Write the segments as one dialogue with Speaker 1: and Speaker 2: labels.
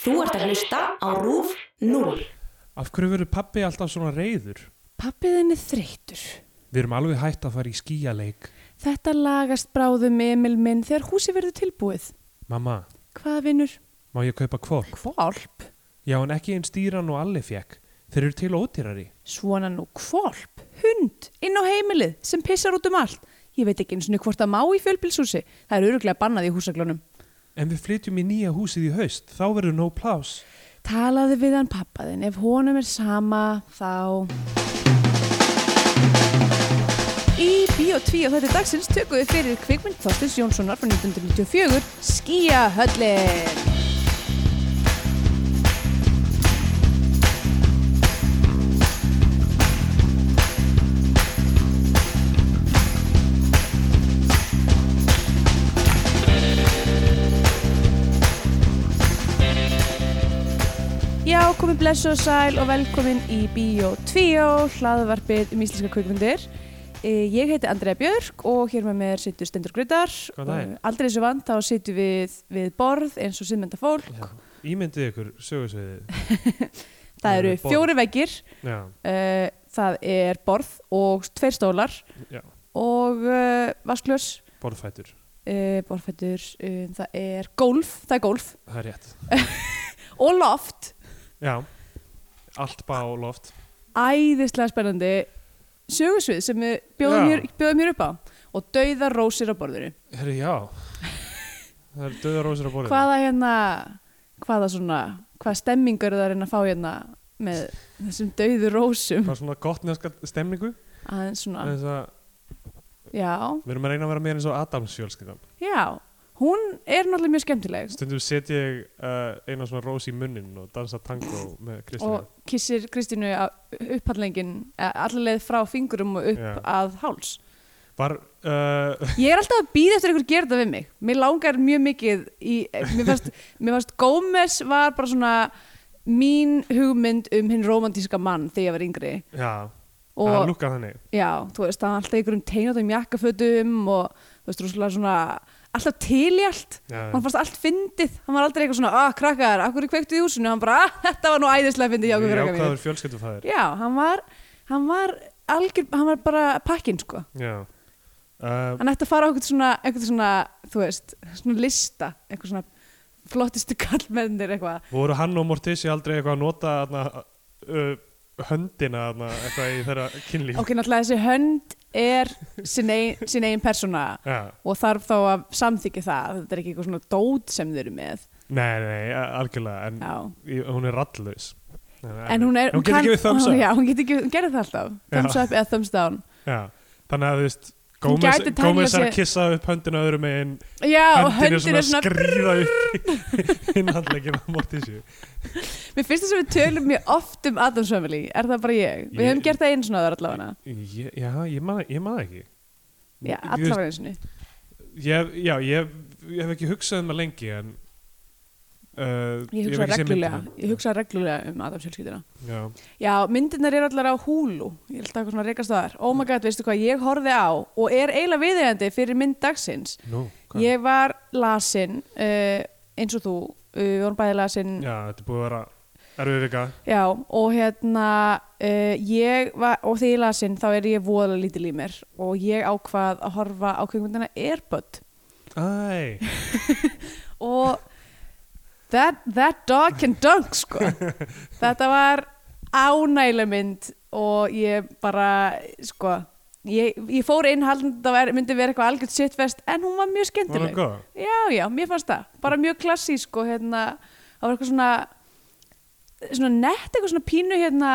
Speaker 1: Þú ert að hlusta á RÚF 0.
Speaker 2: Af hverju verður pappi alltaf svona reyður?
Speaker 3: Pappiðin er þreytur.
Speaker 2: Við erum alveg hætt að fara í skíjaleik.
Speaker 3: Þetta lagast bráðum Emil minn þegar húsi verður tilbúið.
Speaker 2: Mamma,
Speaker 3: Hvað vinnur?
Speaker 2: má ég kaupa kvolp?
Speaker 3: Kvolp?
Speaker 2: Já, en ekki einn stýran og allir fekk. Þeir eru til ótýrari.
Speaker 3: Svona nú kvolp? Hund? Inn á heimilið sem pissar út um allt? Ég veit ekki eins og hvort það má í fjölbilshúsi. Það er öruglega bannað í húsaglunum.
Speaker 2: En við flytjum í nýja húsið í haust, þá verður nóg plás.
Speaker 3: Talaðu við hann pappaðin. Ef honum er sama, þá... Í Bíó 2 þetta dagsins tökum við fyrir kvikmynd Þorstins Jónssonar frá 1994 Skíahöllin. Já, komið blessu og sæl og velkomin í Bíó 2, hlaðvarpið um íslenska kvikmyndir. Eh, Ég heiti Andrea Björk og hér með mér situr Stendur Gryddar.
Speaker 2: Góðan daginn.
Speaker 3: Eh, Aldrei þessu vant, þá situr við við borð eins og siðmynda fólk.
Speaker 2: Já. Ímyndið ykkur, sögursviðið.
Speaker 3: Það
Speaker 2: Við
Speaker 3: eru
Speaker 2: erum við borð.
Speaker 3: fjóri veggir,
Speaker 2: Já,
Speaker 3: eh, það er borð og tveir stólar
Speaker 2: já,
Speaker 3: og uh, vaskljós,
Speaker 2: borðfætur.
Speaker 3: uh, borðfættur, um, það er gólf, það er gólf
Speaker 2: Það er rétt.
Speaker 3: og loft.
Speaker 2: Já, allt bá loft.
Speaker 3: æðislega spennandi sögursvið sem við
Speaker 2: Já.
Speaker 3: bjóðum hér, bjóðum hér upp á og dauða rósir á borðinu.
Speaker 2: Herri, já. Það eru döða rósir á borðinu.
Speaker 3: Hvaða hérna, hvaða svona, hvaða stemmingur það er að reyna að fá hérna með þessum dauðu rósum?
Speaker 2: Bara svona gott nefnska stemningu.
Speaker 3: Aðeins svona,
Speaker 2: Þess að
Speaker 3: já,
Speaker 2: við erum að reyna að vera meira eins og Adams fjölskyldan.
Speaker 3: já, hún er náttúrulega mjög skemmtileg
Speaker 2: Stundum set ég uh, eina svona rós í munnin og dansa tango með Kristján.
Speaker 3: og kissir Kristínu upphallengin allaveg frá fingurum og upp
Speaker 2: Já.
Speaker 3: að háls.
Speaker 2: Var, uh,
Speaker 3: Ég er alltaf að býða eftir að ykkur gera þetta við mig. Mér langar mjög mikið í, mér fannst, mér fannst Gómez var bara svona mín hugmynd um hinn romantíska mann þegar ég var yngri.
Speaker 2: já, það
Speaker 3: Og
Speaker 2: lukkar þannig.
Speaker 3: já, þú veist, það var alltaf ykkur um teinatum jakkafötum og þú veist, rússalega svona, alltaf til í allt.
Speaker 2: Já,
Speaker 3: Hann fannst allt fyndið, hann var aldrei eitthvað svona, ah, krakkar, akkur er kveiktið í húsinu, hann bara, ah, þetta var nú æðislega fyndið hjá okkur
Speaker 2: Ég
Speaker 3: krakkar mínir.
Speaker 2: ákvaður fjölskyldufæðir.
Speaker 3: Já, hann var, hann var algjör, hann var bara pakkinn, sko.
Speaker 2: Já. Uh,
Speaker 3: hann ætti að fara á eitthvað svona, eitthvað svona þú veist, svona lista eitthvað svona flottistu kallmennir eitthvað
Speaker 2: voru hann og Mortissi aldrei eitthvað að nota aðna, uh, höndina aðna, eitthvað í þeirra kynlíf?
Speaker 3: ok, náttúrulega þessi hönd er sin eigin, sin eigin persóna
Speaker 2: Já.
Speaker 3: og þarf þá að samþykja það þetta er ekki eitthvað svona dót sem þau eru með
Speaker 2: Nei, nei, a- algjörlega, en
Speaker 3: já.
Speaker 2: ég, hún er rallus.
Speaker 3: en hún er
Speaker 2: Mm. Hún getur gefið thumbs up.
Speaker 3: já, hún getur ekki, hún gerir það alltaf thumbs
Speaker 2: Já.
Speaker 3: up eða thumbs down
Speaker 2: Já. Þannig að þú veist,
Speaker 3: Hún
Speaker 2: Gómez
Speaker 3: gæti talað
Speaker 2: Gómez er
Speaker 3: sér-
Speaker 2: að kissa upp höndina öðrum meginn,
Speaker 3: já, og
Speaker 2: höndin er svona
Speaker 3: svona
Speaker 2: skrýða upp í innhandlegin á Mortissi.
Speaker 3: mér finnst þess að við tölum mjög oft um Adam's Family er það bara ég, við
Speaker 2: Ég-
Speaker 3: höfum gert það eins og náður allavega
Speaker 2: Ég- Já, ég maður ekki. Ég-
Speaker 3: já,
Speaker 2: ég-
Speaker 3: allavega eins og
Speaker 2: Ég, já, ég, ég hef ekki hugsað um það lengi en uh,
Speaker 3: ég
Speaker 2: hef
Speaker 3: hugsa
Speaker 2: ekki séð
Speaker 3: reglulega
Speaker 2: myndina.
Speaker 3: ég hugsa reglulega um Adam's fjölskyldina
Speaker 2: Já,
Speaker 3: Já, myndirnar eru allar á húlu Ég held að eitthvað svona reikast á þar Oh my god, veistu hvað, ég horfði á og er eiginlega viðeigandi fyrir mynd dagsins
Speaker 2: nú, hvað?
Speaker 3: Ég var lasin uh, eins og þú, uh, við vorum bæði lasin
Speaker 2: Já, þetta er búið að vera erfið vika
Speaker 3: Já, og hérna uh, ég var, og þegar ég er lasin þá er ég voðalega lítil í mér og ég ákvað að horfa á kvikmyndina Airbud
Speaker 2: Æ,
Speaker 3: og that, that dog can dunk sko þetta var ánægileg mynd og ég bara sko ég, ég fór inn haldin þetta var- myndi vera eitthvað algjörð sittfest en hún var mjög
Speaker 2: var það
Speaker 3: skemmtileg
Speaker 2: góð?
Speaker 3: já já, mér fannst það, bara mjög klassísk og hérna, það var eitthvað svona svona nett eitthvað svona pínu hérna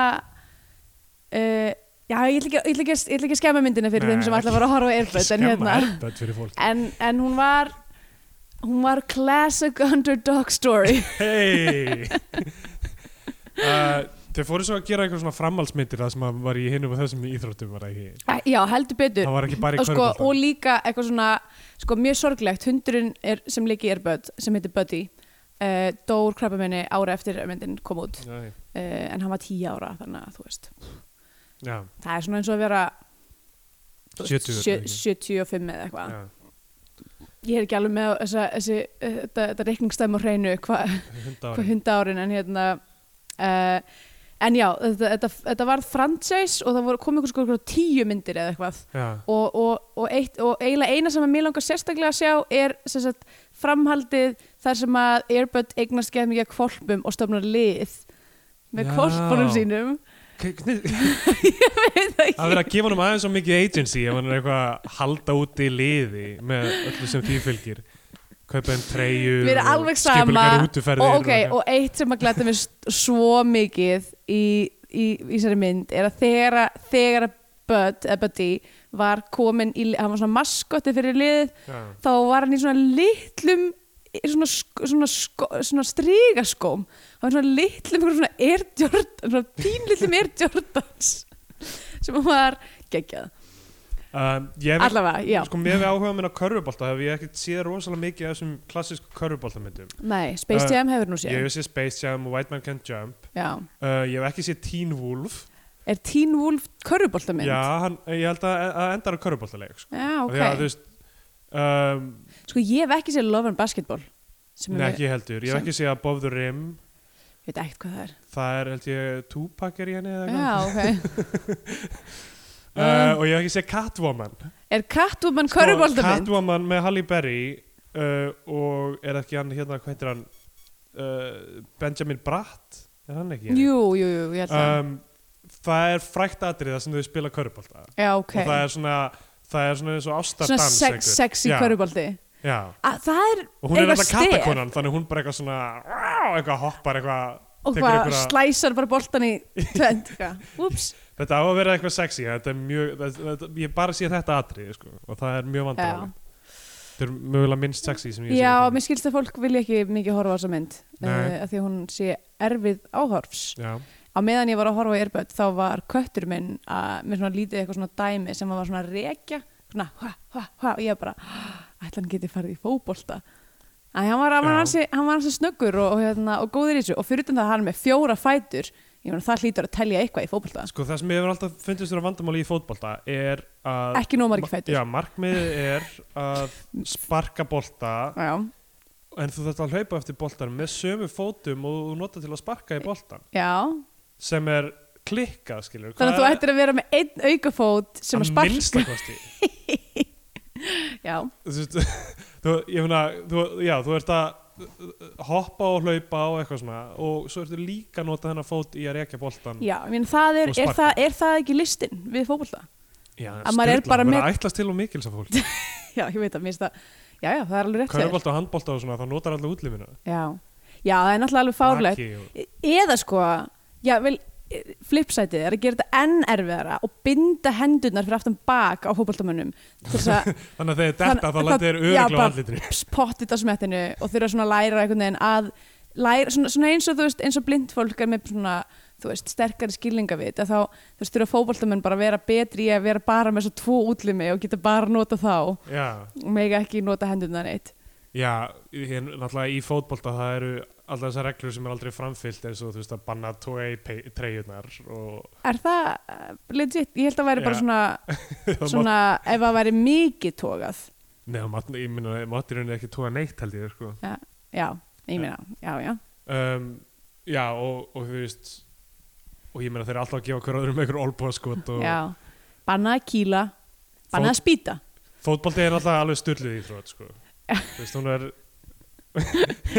Speaker 3: uh, já, ég ætla ekki, ég ætla ekki, að- ég ætla ekki að skemma myndina fyrir
Speaker 2: Nei,
Speaker 3: þeim sem alltaf var að horfa á
Speaker 2: Ekki
Speaker 3: erböð en
Speaker 2: skemma
Speaker 3: hérna
Speaker 2: þetta fyrir fólk
Speaker 3: en, en hún var hún var classic underdog story
Speaker 2: Hei uh, Þau fóru svo að gera einhver svona framhaldsmyndir það sem að var í hinum og þessum íþróttum var það ekki
Speaker 3: Æ, já, heldur betur
Speaker 2: Það var ekki bara
Speaker 3: og,
Speaker 2: í
Speaker 3: sko,
Speaker 2: körfbólta
Speaker 3: og líka eitthvað svona sko, mjög sorglegt, hundurinn er, sem líki er Bud, sem heitir Buddy uh, dór krabbaminni ára eftir að myndin kom út, uh,
Speaker 2: Æ,
Speaker 3: en hann var 10 ára þannig að þú veist,
Speaker 2: Já,
Speaker 3: það er svona eins og að vera þú veist,
Speaker 2: 70 eða
Speaker 3: sjö-
Speaker 2: ekki?
Speaker 3: 75 eða eitthvað
Speaker 2: já
Speaker 3: ég er ekki alveg með þessa, þessi, eh, þetta, þetta reikningstæmi á hreinu hvað
Speaker 2: Hunda
Speaker 3: hva
Speaker 2: ári.
Speaker 3: hunda árin en hérna uh, en já, þetta, þetta, þetta varð franchise og það voru komið einhvers konar tíu myndir eða eitthvað
Speaker 2: Já,
Speaker 3: og, og, og, eitt, og eiginlega eina sem að mér langar sérstaklega að sjá er sem sagt, framhaldið þar sem að Airbud eignast geð mikið af kvolpum og stofnar lið með
Speaker 2: Já.
Speaker 3: kvolpunum sínum
Speaker 2: K- kni-
Speaker 3: Veit ekki.
Speaker 2: að vera að gefa hann aðeins svo mikið agency ef hann er eitthvað að halda úti liði með öllu sem því fylgir kaupa þeim treyjur
Speaker 3: Mér er
Speaker 2: og
Speaker 3: alveg sama
Speaker 2: skipulegar
Speaker 3: og,
Speaker 2: útiferðir
Speaker 3: ok, og eitt sem að glæta mér st- svo mikið í, í, í þessari mynd er að þegar, að- þegar að Bud, eða Buddy var komin í, hann var svona maskotti fyrir liðið
Speaker 2: Já.
Speaker 3: þá var hann í svona litlum í svona, sk- svona, sko, svona strígaskóm hann var svona litlum einhverjum svona Air Jordan svona pínlitlum Air Jordans sem var geggjað
Speaker 2: um, ég hef,
Speaker 3: allavega, já,
Speaker 2: sko mér hefur áhuga minn á körfubolta hef ég ekkert séð rosalega mikið af þessum klassísku körfuboltamyndum
Speaker 3: nei, Space
Speaker 2: Eh,
Speaker 3: Jam hefur nú
Speaker 2: ég
Speaker 3: séð
Speaker 2: hef séð Space Jam og White Man Can't Jump
Speaker 3: já.
Speaker 2: uh, ég hef ekki séð Teen Wolf
Speaker 3: er Teen Wolf körfuboltamynd?
Speaker 2: já, hann, ég held að það endar á körfuboltaleik sko.
Speaker 3: Já,
Speaker 2: Af því að,
Speaker 3: ok.
Speaker 2: þú veist, um,
Speaker 3: Sko ég hef ekki séð Love and Basketball sem
Speaker 2: nei,
Speaker 3: er,
Speaker 2: ekki heldur ég hef
Speaker 3: sem-
Speaker 2: ekki séð Above the Rim
Speaker 3: ég veit ekkert hvað það er.
Speaker 2: það er held ég Tupac er í henni eða
Speaker 3: Já,
Speaker 2: eitthvað
Speaker 3: ok.
Speaker 2: uh, og ég hef ekki séð Catwoman
Speaker 3: Er Catwoman körfuboltamynd?
Speaker 2: Sko, Catwoman með Halle Berry uh, og er ekki hann hérna hvað heitir hann uh, Benjamin Bratt er hann ekki í henni?
Speaker 3: Jú, jú, jú, ég held það.
Speaker 2: um, það er frækt atrið þar sem þau spila körubólta
Speaker 3: Já, ok.
Speaker 2: og það er svona það er svona eins og ástardans
Speaker 3: Svona sex,
Speaker 2: einhver.
Speaker 3: sexy
Speaker 2: Já,
Speaker 3: körfubolti.
Speaker 2: já.
Speaker 3: A, það er
Speaker 2: og hún er
Speaker 3: eitthvað
Speaker 2: alltaf
Speaker 3: stef.
Speaker 2: kattakonan þannig hún bara eitthvað svona eitthvað hoppar eitthvað
Speaker 3: og
Speaker 2: tekur
Speaker 3: bara
Speaker 2: einhverja-
Speaker 3: slæsar bara boltan í tvend. Úps.
Speaker 2: þetta á að vera eitthvað sexy þetta er mjög þetta, þetta, ég bara sé þetta atrið sko, og það er mjög vandrarleg þetta er mögulega minnst sexy sem ég sé hérna.
Speaker 3: Já, mér skilst að fólk vilja ekki mikið horfa á þessa mynd
Speaker 2: Nei.
Speaker 3: uh, af því að hún sé erfið áhorfs.
Speaker 2: já,
Speaker 3: Á meðan ég var að horfa á Airbud þá var köttur minn að, með svona lítið eitthvað svona dæmi sem var svona að rekja svona hva, hva, hva og ég bara, ætla hann geti farið í fótbolta að hann var, hann
Speaker 2: Já.
Speaker 3: var, ansi, hann var ansi snöggur og, og, hérna, og góður í þessu og fyrir utan það að hann er með fjóra fætur ég meina það hlýtur að telja eitthvað í fótbolta
Speaker 2: sko það sem ég hefur alltaf fundist þér að vandamáli í fótbolta er að
Speaker 3: ekki nóg margir fætur
Speaker 2: já, markmiðið er að sparka bolta
Speaker 3: já,
Speaker 2: en þú þarft að hlaupa eftir boltan með sömu fótum og þú nota til að sparka í boltan
Speaker 3: já.
Speaker 2: sem er klikkað skilur
Speaker 3: þannig að þú ættir að vera með einn aukafót sem að sparka
Speaker 2: minnstakosti
Speaker 3: já,
Speaker 2: þú, veist, þú, ég meina, þú, já, þú ert að uh, hoppa og hlaupa og eitthvað svona og svo ertu líka að nota þennan fót í að rekja boltan
Speaker 3: já, ég meina það er
Speaker 2: Og
Speaker 3: er
Speaker 2: sparka.
Speaker 3: það, er það ekki listin við fótbolta?
Speaker 2: Já,
Speaker 3: Að maður er
Speaker 2: sturlað,
Speaker 3: bara
Speaker 2: maður
Speaker 3: með-
Speaker 2: ætlast til og mikil sem fólk
Speaker 3: já, ég veit að mér finnst það já, já, það er alveg rétt hjá þér.
Speaker 2: Körbolt og handbolt og svona, þá notar allir útlifinu
Speaker 3: Já, já það er náttúrulega alveg fárlegt E- Eða sko, já vel e, flipsætið er að gera þetta enn erfiðara og binda hendurnar fyrir aftan bak á hópaldamönnum til þess að
Speaker 2: Þannig að þegar þetta þá lendir þér
Speaker 3: já,
Speaker 2: öruglega á
Speaker 3: bara
Speaker 2: andlitinu
Speaker 3: ps- pottþétt á smettinu og þurfa svona að læra einhvern veginn að læra, svona, svona eins og þú veist, eins og blind fólk er með svona, þú veist, sterkari skilningavit að þá, þú veist, þurfa fótbaldamenn bara að vera betri í að vera bara með svo tvo útlimi og geta bara nota þá og
Speaker 2: Já,
Speaker 3: mega ekki nota hendurnar neitt
Speaker 2: já, hér, náttúrulega í fótbolta það eru alltaf þessar reglur sem er aldrei framfyllt eins og þú veist að banna tói treyjurnar og
Speaker 3: Er það eh, legit? Ég held að væri bara
Speaker 2: Já.
Speaker 3: svona svona ef það væri mikið tókað
Speaker 2: Nefnum, ég minna, mátirunni ekki tóa neitt held ég sko.
Speaker 3: já, ég meina, já, já
Speaker 2: um, Já, og, og þú veist og ég meina þeir eru alltaf að gefa hver öðrum einhver olbúaskot og
Speaker 3: já, bannað að kýla bannað að spýta
Speaker 2: fótbolti er alltaf alveg styrluð í þrótt sko. þú veist, hún er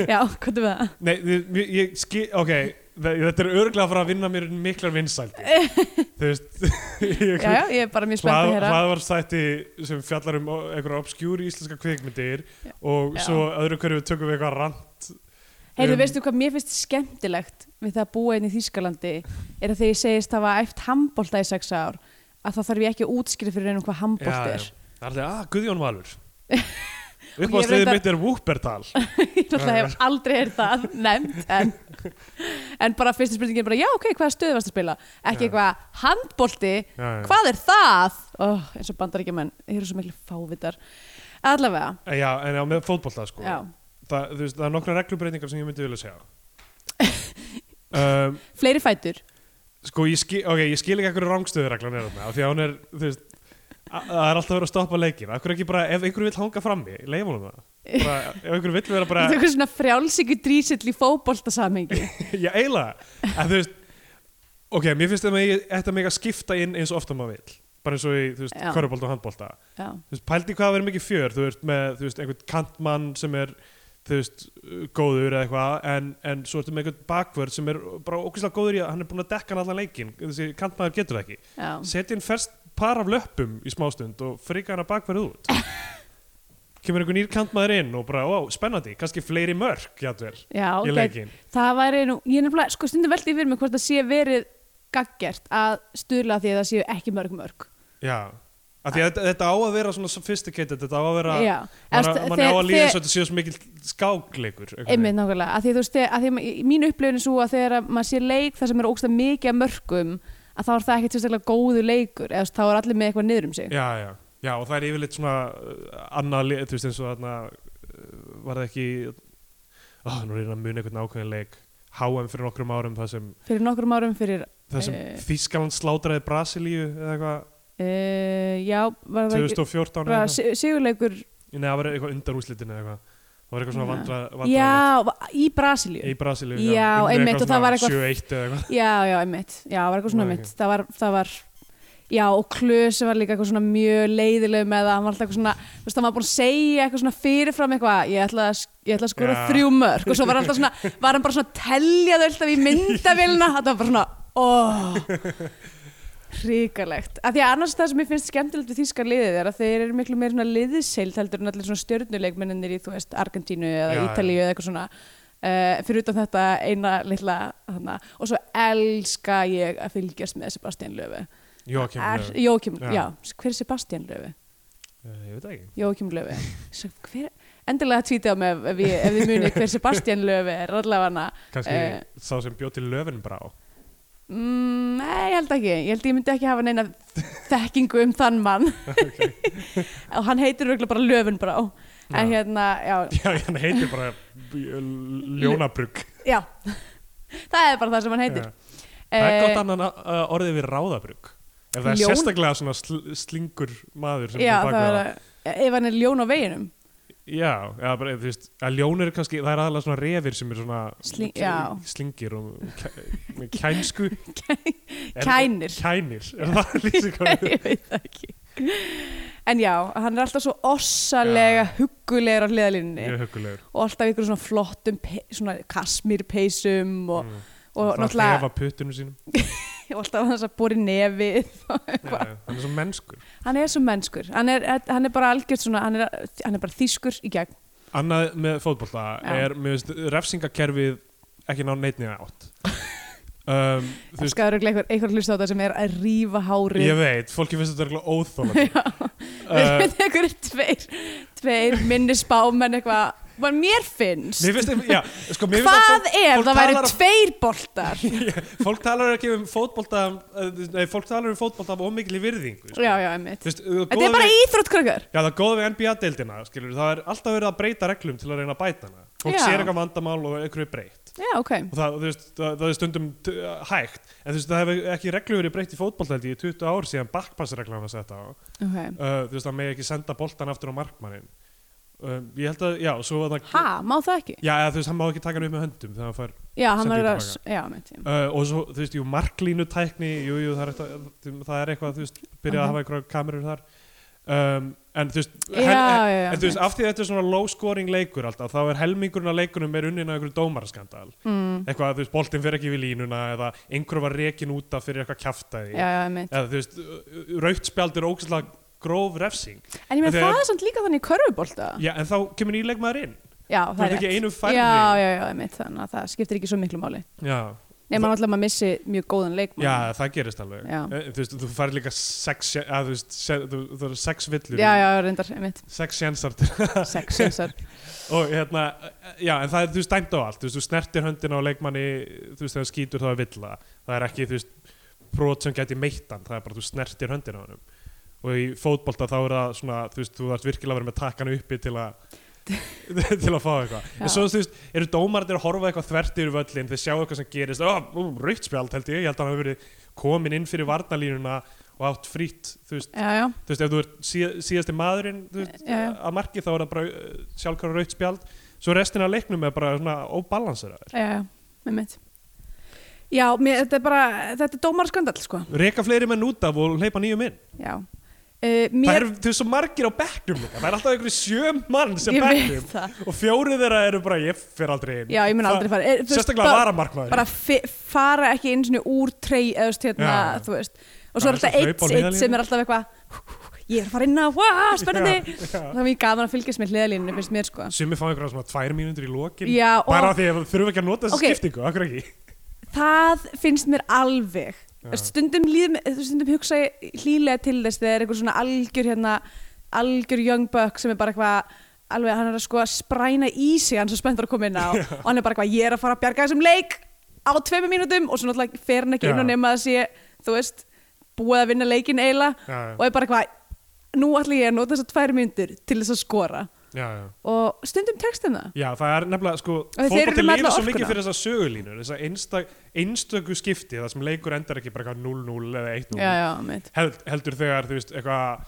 Speaker 3: já, hvað er það?
Speaker 2: Nei, þið- mér- ég skil, ok þe- þetta er örglega að fara að vinna mér miklar vinsældi þú veist ég-
Speaker 3: já, já, ég er bara mjög spennt að
Speaker 2: hlað-
Speaker 3: hérna
Speaker 2: hlaðvarpsþætti sem fjallar um o- einhverja obskjúri íslenska kvikmyndir
Speaker 3: Já.
Speaker 2: og
Speaker 3: Já.
Speaker 2: svo öðru hverju tökum við eitthvað rant
Speaker 3: heyrðu,
Speaker 2: um-
Speaker 3: veistu hvað mér finnst skemmtilegt við það að búa einn í Þýskalandi er að þegar ég segist það var æft handbólta í sex ár að þá þarf ég ekki að útskýra fyrir einum hvað handbólt
Speaker 2: það
Speaker 3: er
Speaker 2: er alltaf, að Guðjón Valur
Speaker 3: ég
Speaker 2: uppáðsliðið
Speaker 3: reyndar-
Speaker 2: mitt er Wúpertal
Speaker 3: ég náttúrulega hef aldrei heyrt það nefnt en, en bara fyrsta spurningin er bara já ok, hvaða stöðu varst að spila ekki
Speaker 2: Já.
Speaker 3: eitthvað handbólti,
Speaker 2: Já, já.
Speaker 3: hvað er það oh, eins og bandaríkjumenn, þeir eru svo miklu fávitar allavega,
Speaker 2: Eh, já, en já, með fótbolta sko
Speaker 3: já
Speaker 2: það, þú veist, það er nokkra reglubreitingar sem ég myndi vilja segja um,
Speaker 3: fleiri fætur,
Speaker 2: sko ég skil, ok, ég skil ekki ekkur rangstöðureglan er þarna, af því að hún er, þú veist a- það er alltaf verið að stoppa leikin Akkur ekki bara, ef einhver vill hanga frammi, leifum hún það bara, Ef einhver vill vera bara
Speaker 3: Þetta er eitthvað svona frjálsíku drísill í fótboltasamingi.
Speaker 2: Já, eiginlega En þú veist Ok, mér finnst þetta með þetta með að skipta inn eins ofta maður vill Bara eins og í, þú veist,
Speaker 3: Já.
Speaker 2: körubólta og handbólta
Speaker 3: Já,
Speaker 2: Þú veist, pældi hvað að vera mikið fjör Þú veist, með, þú veist, einhvern kantmann sem er Þú veist, góður eða eitthvað En, en svo ertu með einhvern bakvörð sem er bara ókvæslega góður í að hann er búin að dekka hann allan leikin Þessi kantmaður getur það ekki
Speaker 3: já.
Speaker 2: Setja inn fyrst par af löppum í smástund og frika hann að bakverð út Kemur einhver nýr kantmaður inn og bara, ó, spennandi, kannski fleiri mörk, játvel,
Speaker 3: Já,
Speaker 2: í
Speaker 3: gæti-
Speaker 2: leikin
Speaker 3: það væri nú, ég er nefnilega, sko stundum veldi fyrir mig hvort það sé verið gaggjert að stuðla að því að það séu ekki mörg mörg.
Speaker 2: Já, af því að þetta, þetta á að vera svona sophisticated, þetta á að vera
Speaker 3: Já,
Speaker 2: mann
Speaker 3: Eftir-
Speaker 2: man á að
Speaker 3: þegar-
Speaker 2: líða
Speaker 3: þegar-
Speaker 2: svo þetta séu svo mikill skákleikur einhvern veginn.
Speaker 3: einmitt nákvæmlega, að því þú veist þegar- að því ma- í- mín upplifin er svo að þegar að maður sé leik þar sem er ógstað mikið af mörgum að þá er það ekkert sérstaklega góðu leikur eða þú veist, þá er allir með eitthvað niður um sig
Speaker 2: Já, já, já, og það er yfirleitt svona uh, annað lið, þú veist eins og þarna uh, var það ekki ó, nú er ég að muna einhvern ákveðin leik HM fyrir nokkrum árum það sem,
Speaker 3: fyrir nokkrum árum fyrir,
Speaker 2: það sem
Speaker 3: Eh.
Speaker 2: Þískaland slátraði Brasilíu eða eitthvað
Speaker 3: uh, já var það ekki
Speaker 2: 2014 eða
Speaker 3: bara
Speaker 2: eitthvað,
Speaker 3: si- sigurleikur
Speaker 2: nei það var eitthvað undar úslitin eða eitthvað, það var eitthvað svona vandra, vandra
Speaker 3: já, va- í Brasilíu
Speaker 2: í Brasilíu
Speaker 3: Já,
Speaker 2: Unnu
Speaker 3: einmitt, og það var eitthvað-
Speaker 2: svona 7-1 eða eitthvað
Speaker 3: já, já, einmitt, já, var eitthvað svona
Speaker 2: Nei,
Speaker 3: einmitt
Speaker 2: ekki.
Speaker 3: það var, það var Já, og Klösi var líka eitthvað svona mjög leiðileg með það, hann var alltaf eitthvað svona, þú veist, hann var búin að segja eitthvað svona fyrirfram eitthvað, ég ætla að, ég ætla að skora
Speaker 2: Já.
Speaker 3: þrjú mörg og svo var, alltaf svona, var hann bara svona að telja þau alltaf í myndavélina, þetta var bara svona, óh, hrikalegt. Af því að annars það sem ég finnst skemmtilegt við þýska liðið er að þeir eru miklu meira svona liðiseild heldur en allir svona stjörnuleikmennir í, þú veist, Argentínu eða
Speaker 2: Já, já.
Speaker 3: Ítalíu eða eitthvað svona. Uh, fyrir utan þetta eina litla hana. og svo elska ég að fylgjast með Sebastian Löfu
Speaker 2: Jóakim
Speaker 3: er,
Speaker 2: Löw.
Speaker 3: Jókim,
Speaker 2: Já.
Speaker 3: já. hver er Sebastian Löfi?
Speaker 2: Eh, Ég veit það ekki
Speaker 3: Jókim Löfi Svo hver, endilega tvítið á mig ef- ef, ég, ef við munið hver Sebastian Löfi er allavega
Speaker 2: kannski
Speaker 3: Eh.
Speaker 2: sá sem bjó til löfinbrá
Speaker 3: mm, nei, ég held ekki, ég held ég myndi ekki hafa neina þekkingu um þann mann og hann heitir röglega bara Löfinbrá en
Speaker 2: Já.
Speaker 3: hérna, já,
Speaker 2: já, hann heitir bara b- l- ljónabrugg
Speaker 3: já það er bara það sem hann heitir
Speaker 2: Já. það er
Speaker 3: Eh,
Speaker 2: gott annan a- a- orðið við ráðabrugg ef það er
Speaker 3: Ljón?
Speaker 2: sérstaklega svona sl slingur maður sem er
Speaker 3: já, það
Speaker 2: bakað
Speaker 3: er
Speaker 2: það.
Speaker 3: að ef hann er ljón á veginum
Speaker 2: já, eða bara, þú veist, að ljón eru kannski það er aðalega svona refir sem eru svona
Speaker 3: Sling-
Speaker 2: kæ-
Speaker 3: já.
Speaker 2: slingir og kæ- með kænsku Er-
Speaker 3: Kænir.
Speaker 2: kænir, er það lýsingar
Speaker 3: ég veit það ekki en já, hann er alltaf svo ossalega huggulegur á hliðalínunni
Speaker 2: mjög hugulegur
Speaker 3: og alltaf ykkur svona flottum pe- svona kasmírpeysum og,
Speaker 2: Mm.
Speaker 3: og,
Speaker 2: það er að
Speaker 3: náttúrulega,
Speaker 2: hefa puttunum sínum Mm.
Speaker 3: og alltaf hans að bóri nefið og
Speaker 2: Já,
Speaker 3: eitthvað.
Speaker 2: já, hann er svo mennskur
Speaker 3: hann er svo mennskur hann er, hann er bara algjört svona hann er, hann er bara þýskur í gegn
Speaker 2: Annað með fótbolta
Speaker 3: Já.
Speaker 2: er, mér veist, refsingakerfið ekki ná neitni átt um, Þú veist,
Speaker 3: skadur ykkur einhver hlusta á þetta sem er að rífa hárið
Speaker 2: ég veit, fólki finnst þetta eitthvað óþólandi
Speaker 3: við
Speaker 2: uh,
Speaker 3: veit ykkur tveir tveir minni spámenn eitthvað Bara mér finnst
Speaker 2: Mér finnst, já, sko, mér finnst
Speaker 3: hvað er,
Speaker 2: fólk
Speaker 3: það væri
Speaker 2: talar-
Speaker 3: tveir boltar
Speaker 2: að fólk, fólk talar ekki um fótbolta eh, nei, fólk talar um fótbolta af ómikli virðingu sko.
Speaker 3: já, já, einmitt
Speaker 2: Þú veist, það
Speaker 3: þetta
Speaker 2: góða
Speaker 3: er bara
Speaker 2: við-
Speaker 3: íþrótt krakkar
Speaker 2: Já, það góða við NBA-deildina, skilur, það er alltaf verið að breyta reglum til að reyna að bæta hana. Fólk
Speaker 3: Já.
Speaker 2: sér eitthvað vandamál og einhverju er breytt.
Speaker 3: já, ok,
Speaker 2: og það, þú veist, það, það er stundum t- uh, hægt, en þú veist, það hefur ekki reglu verið breytt í fótbolltældi í 20 ár síðan backpassreglan var sett á uh,
Speaker 3: okay.
Speaker 2: þú veist, það megi ekki senda boltan aftur á markmannin um, ég held að, já, svo var það
Speaker 3: ha, má það ekki
Speaker 2: já, eða, þú veist, hann má ekki taka hann upp með höndum þegar hann fær,
Speaker 3: já, hann
Speaker 2: Sendi
Speaker 3: var að
Speaker 2: tilbaka.
Speaker 3: já, einmitt, já.
Speaker 2: uh, og svo, þú veist, jú, marklínu tækni, jú, jú, það er, eitthvað, þú- það er eitthvað, þú veist, byrjað
Speaker 3: Ok.
Speaker 2: að hafa einhverjar kamerur þar um, en þú veist,
Speaker 3: já, já, já,
Speaker 2: En þú veist, af því að þetta er svona low scoring leikur alltaf, þá er helmingurinn að leikunum er unnin að einhverju dómaraskandal. Mm. Eitthvað, þú veist, boltinn fer ekki við línuna eða einhver var rekin út af fyrir eitthvað kjaftaði.
Speaker 3: já, já, einmitt.
Speaker 2: Eða þú veist, raut spjald er ógæslega gróf refsing.
Speaker 3: en ég meina
Speaker 2: Þetta er-
Speaker 3: það er samt líka þannig í körfubólta já,
Speaker 2: Já, en þá kemur nýleikmaður inn.
Speaker 3: það
Speaker 2: Þú ert
Speaker 3: er
Speaker 2: ekki
Speaker 3: rétt.
Speaker 2: einu færri.
Speaker 3: já, já, já, einmitt, þannig að það skiptir ekki svo miklu máli
Speaker 2: Já.
Speaker 3: nema náttúrulega maður missi mjög góðan leikmann
Speaker 2: Já, það gerist alveg.
Speaker 3: Já.
Speaker 2: Eh, Þú veist, þú fær líka sex, sje- að, þú veist, se, þú, þú eru sex villur.
Speaker 3: já, já, reyndar, einmitt,
Speaker 2: Sex sjensar til
Speaker 3: sex, sexar
Speaker 2: og hérna, já, en það er, þú veist, dæmt á allt þú veist, þú snertir höndina á leikmanni þú veist, þegar hann skýtur þá er villa það er ekki, þú veist, brot sem gæti meittan það er bara, þú snertir höndina á hennum og í fótbolta þá er það svona þú veist, þú þarft virkilega að vera með takkanu uppi til að til að fá eitthvað
Speaker 3: Já.
Speaker 2: en svo, þú veist, eru dómarnir að horfa eitthvað þvert yfir völlin, þeir sjá eitthvað sem gerist, ó, ó, rautspjald held ég, ég held að hann hafi verið komin inn fyrir varnalínuna og og átt frýtt þú veist,
Speaker 3: já, já,
Speaker 2: þú veist, ef þú ert síð, síðasti maðurinn þú veist,
Speaker 3: Já, já.
Speaker 2: að marki þá er það bara sjálfkvæður raut spjald svo restin af leiknum er bara svona óbalanseraður
Speaker 3: já, já, með mitt Já, mér, þetta er bara, þetta er dómarskandall, sko
Speaker 2: reka fleiri menn út af og hleypa nýjum inn
Speaker 3: Já uh,
Speaker 2: það
Speaker 3: mér,
Speaker 2: er, þú er svo margir á bekknum líka. það er alltaf einhverju sjö mann sem
Speaker 3: Ég veit
Speaker 2: bekknum og fjórið þeirra eru bara ég fer aldrei inn
Speaker 3: Já, ég mun
Speaker 2: Það-
Speaker 3: aldrei fara er, þú veist,
Speaker 2: sérstaklega
Speaker 3: bara-
Speaker 2: varamarkmaður
Speaker 3: Bara fi- fara ekki einu sinni úr trey eða þú veist, hérna,
Speaker 2: Já, já.
Speaker 3: þú veist
Speaker 2: Já,
Speaker 3: Og svo er
Speaker 2: eins og
Speaker 3: alltaf eitt,
Speaker 2: hlaupa á
Speaker 3: eitt
Speaker 2: hliðarlínu.
Speaker 3: sem er alltaf eitthvað Ég er að fara inn á, wow, spennandi Það
Speaker 2: bara
Speaker 3: er mjög gaman að fylgjast með hliðalínu, finnst mér, sko
Speaker 2: sumi fá einhverja svona tvær mínútur í lokin
Speaker 3: Já, og-
Speaker 2: bara af því að þau þurfum ekki að nota þessi
Speaker 3: Ok.
Speaker 2: skiptingu, akkur ekki
Speaker 3: það finnst mér alveg
Speaker 2: Já.
Speaker 3: stundum, líð, stundum hugsa ég hlýlega til þess þegar eitthvað svona algjör hérna, algjör young buck sem er bara eitthvað alveg hann er að sko að spræna í sig hann er svo spenntur að koma inn á og hann er bara eitthvað ég er að fara að bjarga þessum leik á tveimu mínútum og svo náttúrulega fer hann ekki
Speaker 2: Já.
Speaker 3: inn og nema að sé þú veist búið að vinna leikin eiginlega
Speaker 2: Já, já.
Speaker 3: og er bara eitthvað nú ætla ég að nota þessar tvær mínútur til þess að skora
Speaker 2: já, já.
Speaker 3: og stundum textum það
Speaker 2: Já, það er nefnilega, sko,
Speaker 3: þeir eru
Speaker 2: fótbolti lifir
Speaker 3: með alla
Speaker 2: svo mikið
Speaker 3: orkuna.
Speaker 2: fyrir þessar sögulínur, þessar einstak, einstöku skipti, það sem leikur endar ekki bara eitthvað 0-0 eða 1-0,
Speaker 3: já, já, mitt
Speaker 2: Held, heldur þegar, þú veist, eitthvað,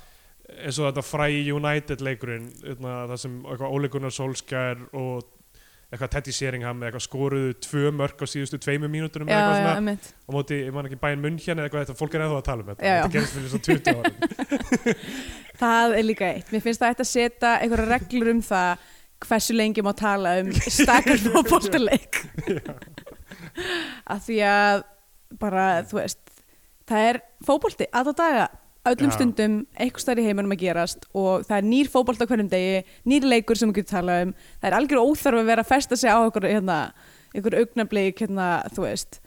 Speaker 2: eins og þetta fræ United leikurinn, eitthvað, það sem eitthvað Ole Gunnar Solskjær og eitthvað Teddy Sheringham eða eitthvað skoruðu tvö mörk á síðustu tveimu mínúturum eða
Speaker 3: já, já,
Speaker 2: eitthvað svona,
Speaker 3: mitt
Speaker 2: á móti, ég man ekki bæinn munn hérna eitthvað þetta, fólk er eða að tala um þetta,
Speaker 3: Já, já.
Speaker 2: þetta gerist fyrir svo 20 ára.
Speaker 3: Það er líka eitt. Mér finnst það ætti að setja einhverja reglur um það hversu lengi má tala um stakar fótboltaleik. Af því að bara, þú veist, það er fótbolti að á daga öllum
Speaker 2: Já.
Speaker 3: stundum eitthvað stær í heiminum að gerast og það er nýr fótbolti á hverjum degi, nýr leikur sem við getum talað um. Það er algjör óþarf að vera að festa sig á okkur, hérna, einhver augnablík, hérna, þú veist,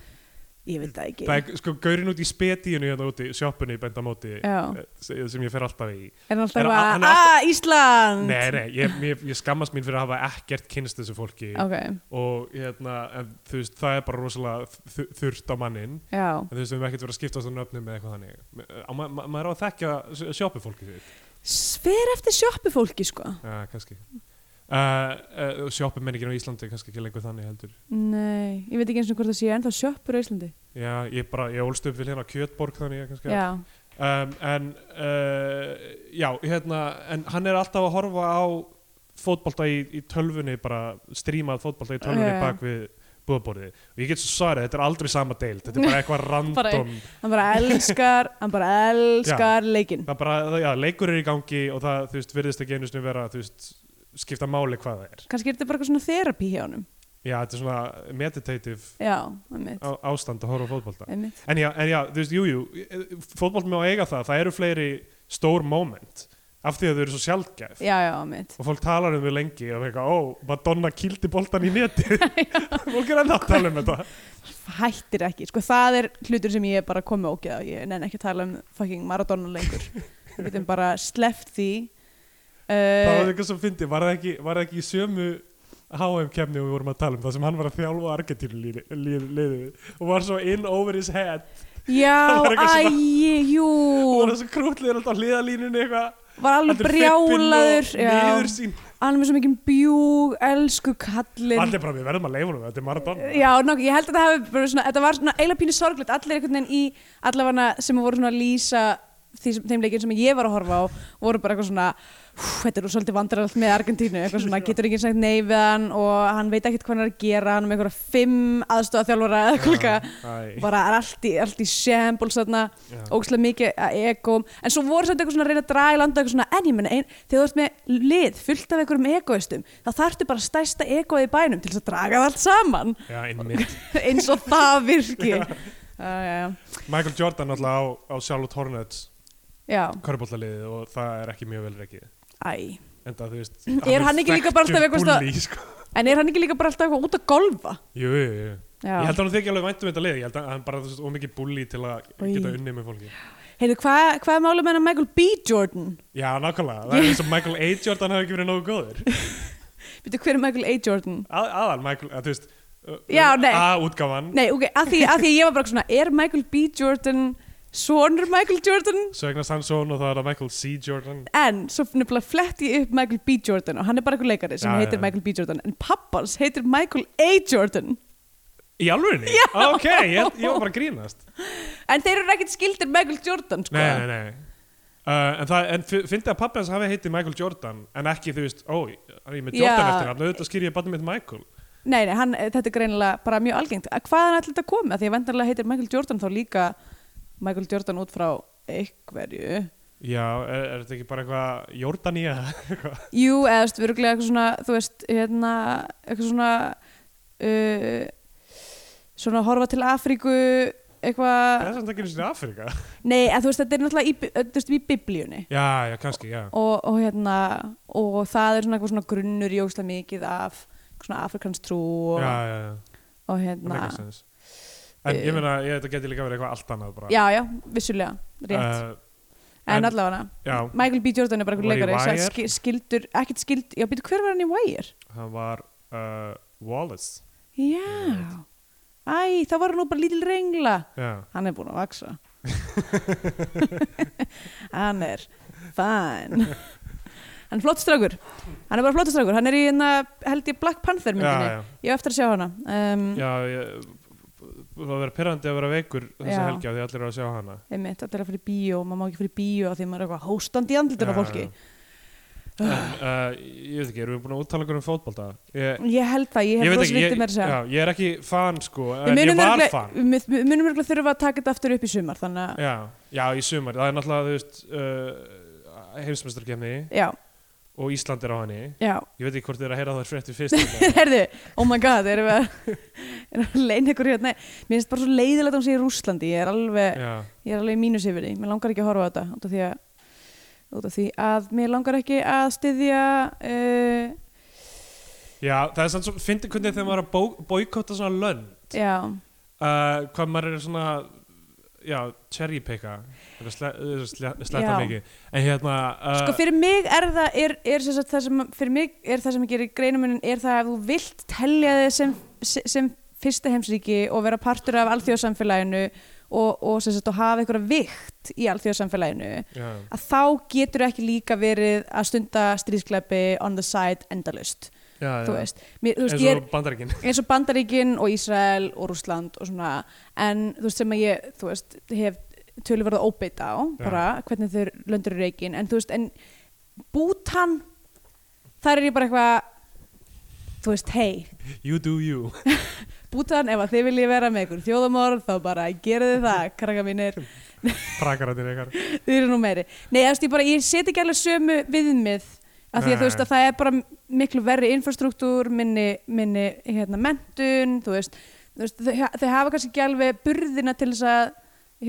Speaker 3: ég veit það ekki.
Speaker 2: Það er, sko, gaurin út í spetíinu hérna úti, sjoppunni í bendamóti,
Speaker 3: Já.
Speaker 2: eh, sem ég fer alltaf í.
Speaker 3: Er hann alltaf
Speaker 2: Er
Speaker 3: eitthvað,
Speaker 2: hann- hann er
Speaker 3: aaa, Ísland!
Speaker 2: Nei, nei, ég, ég, ég skammast mín fyrir að hafa ekkert kynst þessu fólki
Speaker 3: Ok,
Speaker 2: og hérna, en, þú veist, það er bara rosalega þu- þurrt á mannin
Speaker 3: já.
Speaker 2: en þú veist, við höfum ekkert verið að skipta á þessu nöfnum eða eitthvað þannig Á ma ma maður á að þekkja sjópi fólki sitt
Speaker 3: Sver eftir sjoppu fólki sko
Speaker 2: ja, kannski uh, uh, sjópi menningin á Íslandi er kannski ekki lengur þannig heldur
Speaker 3: Nei, ég veit ekki eins og hvort það sé ennþá sjoppur á Íslandi
Speaker 2: Já, ég bara, ég ólst upp við hérna Kjötborg þannig ég kannski
Speaker 3: Já,
Speaker 2: um, en uh, já, hérna en hann er alltaf að horfa á fótbolta í, í tölvunni bara strímað fótbolta í tölvunni
Speaker 3: Já.
Speaker 2: bak við búðaborðið og ég get svo svarið, þetta er aldrei sama deild þetta er bara eitthvað
Speaker 3: Bara-
Speaker 2: random
Speaker 3: hann bara elskar, hann bara elskar leikinn
Speaker 2: það er bara, það- já, leikur er í gangi og það, þú veist, virðist ekki einu sinni vera þú veist, skipta máli hvað það er
Speaker 3: Kannski er þetta bara eitthvað svona therapy hjá honum
Speaker 2: já, þetta er svona meditative
Speaker 3: Já, einmitt,
Speaker 2: á, ástand að horfa á fótbolta
Speaker 3: einmitt.
Speaker 2: en já, en já, þú veist, jújú jú, fótbolta með að eiga það, það eru fleiri stór moment af því að þau eru svo sjaldgæf
Speaker 3: Já, já, einmitt
Speaker 2: og fólk talar um þau lengi og það er eitthvað, ó, Madonna kýldi boltan í neti fólk er ennþá að tala um þetta
Speaker 3: Hættir ekki, sko það er hlutur sem ég er bara komið ógeð á Ég nenni ekki að tala um fucking Maradona lengur Við getum bara sleppt því
Speaker 2: það var
Speaker 3: uh,
Speaker 2: eitthvað sem fyndi, var það ekki, var það ekki í sömu HM kemni og við vorum að tala um það sem hann var að þjálfa Argentínu liðið og var svo in over his head
Speaker 3: Já,
Speaker 2: það var eitthvað sem
Speaker 3: æi, jú
Speaker 2: og var þessi krútlegur alltaf á hliðalínunni eitthvað
Speaker 3: Var alveg
Speaker 2: heldur fibbinn
Speaker 3: brjálaður
Speaker 2: og
Speaker 3: já.
Speaker 2: niður sín
Speaker 3: hann er með svo mikið bjúg, elsku kallinn
Speaker 2: allir bara, við verðum að leifa honum, þetta er Maradona
Speaker 3: Já, nokkuð, ég held að þetta hafi bara svona, þetta var svona eiginlega pínu sorglegt, allir einhvern veginn í allavega sem voru svona að lýsa því, sem- þeim leikinn sem ég var að horfa á voru bara eitthvað svona, "Úff, þetta er svolítið vandrarallt með Argentínu, eitthvað svona, getur enginn sagt nei við hann og hann veit ekkert hvað hann er að gera hann er með einhverja fimm aðstofa þjálfara eða eitthvað líka,
Speaker 2: Ah, Æ,
Speaker 3: bara er allt í, allt í shambles þarna,
Speaker 2: já.
Speaker 3: ógæslega mikið að egóm, en svo voru þetta eitthvað svona að reyna að draga í landa eitthvað svona, en ég menna, ein, þegar þú ert með lið fullt af einhverjum egoistum þá þarftu bara stærsta egoið í bænum til þess að draga það allt saman
Speaker 2: já, einmitt
Speaker 3: eins og það virki já, já,
Speaker 2: Michael Jordan alltaf á, á Charlotte Hornets
Speaker 3: já,
Speaker 2: körbóltaliðið og það er ekki mjög vel reikið
Speaker 3: æ
Speaker 2: en það, þú veist
Speaker 3: Er hann ekki líka bara alltaf eitthvað svona-
Speaker 2: bulli, sko.
Speaker 3: en er hann ekki líka bara alltaf eitthvað út að golfa
Speaker 2: jú, jú, jú.
Speaker 3: já,
Speaker 2: ég held að hann þykja alveg væntum þetta lið ég held að hann bara þú veist, ómikið bulli til að
Speaker 3: Oj.
Speaker 2: geta unnið með fólki
Speaker 3: heyrðu, hvað hva er málum hennar Michael B. Jordan
Speaker 2: já, nákvæmlega, það er eins og Michael A. Jordan hefði ekki verið nógu góður
Speaker 3: veitu hver er Michael A. Jordan
Speaker 2: að, aðal Michael, að, þú veist
Speaker 3: Já, nei.
Speaker 2: A-útgáfan,
Speaker 3: nei, ok, að því, að því ég var bara svona er Michael B. Jordan sonur Michael Jordan
Speaker 2: svo eignast hann son og það er það Michael C. Jordan
Speaker 3: en svo nefnilega fletti ég upp Michael B. Jordan og hann er bara einhver leikari sem
Speaker 2: Já,
Speaker 3: heitir
Speaker 2: já.
Speaker 3: Michael B. Jordan en pappans heitir Michael A. Jordan
Speaker 2: í alvörinni? ok, ég, ég var bara að grínast
Speaker 3: en þeir eru ekkert skildir Michael Jordan sko.
Speaker 2: Nei, nei, nei uh, En, það- en fyndi að pappi hans hafi heitið Michael Jordan En ekki þú veist, ó, er ég með Jordan
Speaker 3: Já.
Speaker 2: eftir hann Auðvitað skýr ég bara mitt Michael
Speaker 3: Nei, nei, hann, eh, þetta er greinilega bara mjög algengt Eh, að hvaðan ætli þetta komi, að því að vendarlega heitir Michael Jordan þá líka Michael Jordan út frá einhverju
Speaker 2: Já, er, er þetta ekki bara eitthvað Jordan í eða?
Speaker 3: Jú, eða þú veist, virkulega eitthvað svona þú veist, hérna, eitthvað svona uh, svona horfa til Afríku
Speaker 2: Það
Speaker 3: eitthvað,
Speaker 2: er samt ekki einu sinni Afrika
Speaker 3: nei, en þú veist, þetta er náttúrulega í, bi- eh, þú veist, í biblíunni
Speaker 2: Já, já, kannski, já
Speaker 3: og, og hérna og það er svona eitthvað svona grunnur í ógstlega mikið af eitthvað svona afrikans trú og,
Speaker 2: Já, já, já,
Speaker 3: og
Speaker 2: það
Speaker 3: hérna
Speaker 2: meikar sens En ég meina, ég, þetta geti líka verið eitthvað allt annað bara
Speaker 3: Eh. já, já, vissulega, rétt
Speaker 2: Uh,
Speaker 3: en,
Speaker 2: en-
Speaker 3: allavega
Speaker 2: já,
Speaker 3: Michael B. Jordan er bara
Speaker 2: Var
Speaker 3: einhver
Speaker 2: í
Speaker 3: leikari sem
Speaker 2: Wire?
Speaker 3: ski- skildur, ekkert skild já, býtu, hver var hann í Wire?
Speaker 2: hann var uh, Wallace
Speaker 3: já, æ, þá var hann nú bara lítil rengla
Speaker 2: Já,
Speaker 3: hann er búinn að vaksa hann er fæn hann er flott strákur hann er bara flott strákur, hann er í hérna, held ég Black Panther
Speaker 2: já,
Speaker 3: myndinni,
Speaker 2: já,
Speaker 3: ég á eftir að sjá hana um,
Speaker 2: já ég, Það verður pirrandi að vera veikur þessa
Speaker 3: Já.
Speaker 2: helgi af því allir eru að sjá hana
Speaker 3: einmitt, þetta er að fyrir bíó, maður má ekki fyrir bíó af því maður er eitthvað hóstandi í andlutinu á
Speaker 2: Já,
Speaker 3: fólki
Speaker 2: já. Eh, En, uh, ég veit ekki, erum við búin að úttala ykkur um fótbolta? Ég,
Speaker 3: ég held það, ég hef
Speaker 2: veit
Speaker 3: rosa
Speaker 2: ekki,
Speaker 3: lítið
Speaker 2: ég,
Speaker 3: meira að segja
Speaker 2: já, ég er ekki fan sko,
Speaker 3: við
Speaker 2: en ég
Speaker 3: munum
Speaker 2: var
Speaker 3: örugglega-
Speaker 2: fan
Speaker 3: við- við munum örgulega þurfa að taka þetta aftur upp í sumar þannig að,
Speaker 2: já, já, í sumar, það er náttúrulega þú veist, uh, heimsmeistarkefni
Speaker 3: já,
Speaker 2: og Ísland er á henni
Speaker 3: já
Speaker 2: ég veit ekki hvort þið er að heyra það frétti fyrst hérna.
Speaker 3: Herðu, oh my god, erum við að, erum við að leina ykkur hérna Nei, Mér finnst bara svo leiðilegt að hún sé í Rúslandi Ég er alveg,
Speaker 2: já,
Speaker 3: ég er alveg í mínus yfir því Mér langar ekki að horfa á þetta út af því að, út af því að mér langar ekki að styðja uh,
Speaker 2: já, það er sann svo fyndi hvernig þegar maður er að bó, boykotta svona lönn
Speaker 3: Já,
Speaker 2: uh, hvað maður er svona já, cherry picka þetta er sle- þetta er sle- sletta
Speaker 3: Já.
Speaker 2: mikið en hérna uh,
Speaker 3: sko fyrir mig er það er, er sem sagt, það sem, fyrir mig er það sem ég gerir greinumunin er það að þú vilt telja þig sem, sem, sem fyrsta heimsríki og vera partur af alþjóðsamfélaginu og, og, sem sagt, og hafa einhverja vikt í alþjóðsamfélaginu
Speaker 2: já,
Speaker 3: að þá getur ekki líka verið að stunda stríðskleipi on the side endalust,
Speaker 2: já, já.
Speaker 3: þú veist. Mér, þú
Speaker 2: Eh,
Speaker 3: veist
Speaker 2: eins
Speaker 3: ég,
Speaker 2: og bandaríkin
Speaker 3: er- eins og Bandaríkin og Ísrael og Rússland og svona, en þú veist sem að ég, þú veist, hef tölur verið óbeitt á, bara hvernig þau löndur í reikin, en þú veist, en Bútan, þar er ég bara eitthvað, þú veist, hei,
Speaker 2: you do you
Speaker 3: Bútan, ef að þið viljið vera með ykkur þjóðamorð, þá bara gerðu þið það, krakka mínir,
Speaker 2: prakararnir ykkar
Speaker 3: þið eru nú meiri nei, þú veist, ég bara, ég set ekki alveg sömu viðmið af því að
Speaker 2: Nei.
Speaker 3: þú veist að það er bara miklu verri infrastruktúr minni, minni hérna, mentun, þú veist, þú veist þau, þau hafa kannski ekki alveg burðina til þess að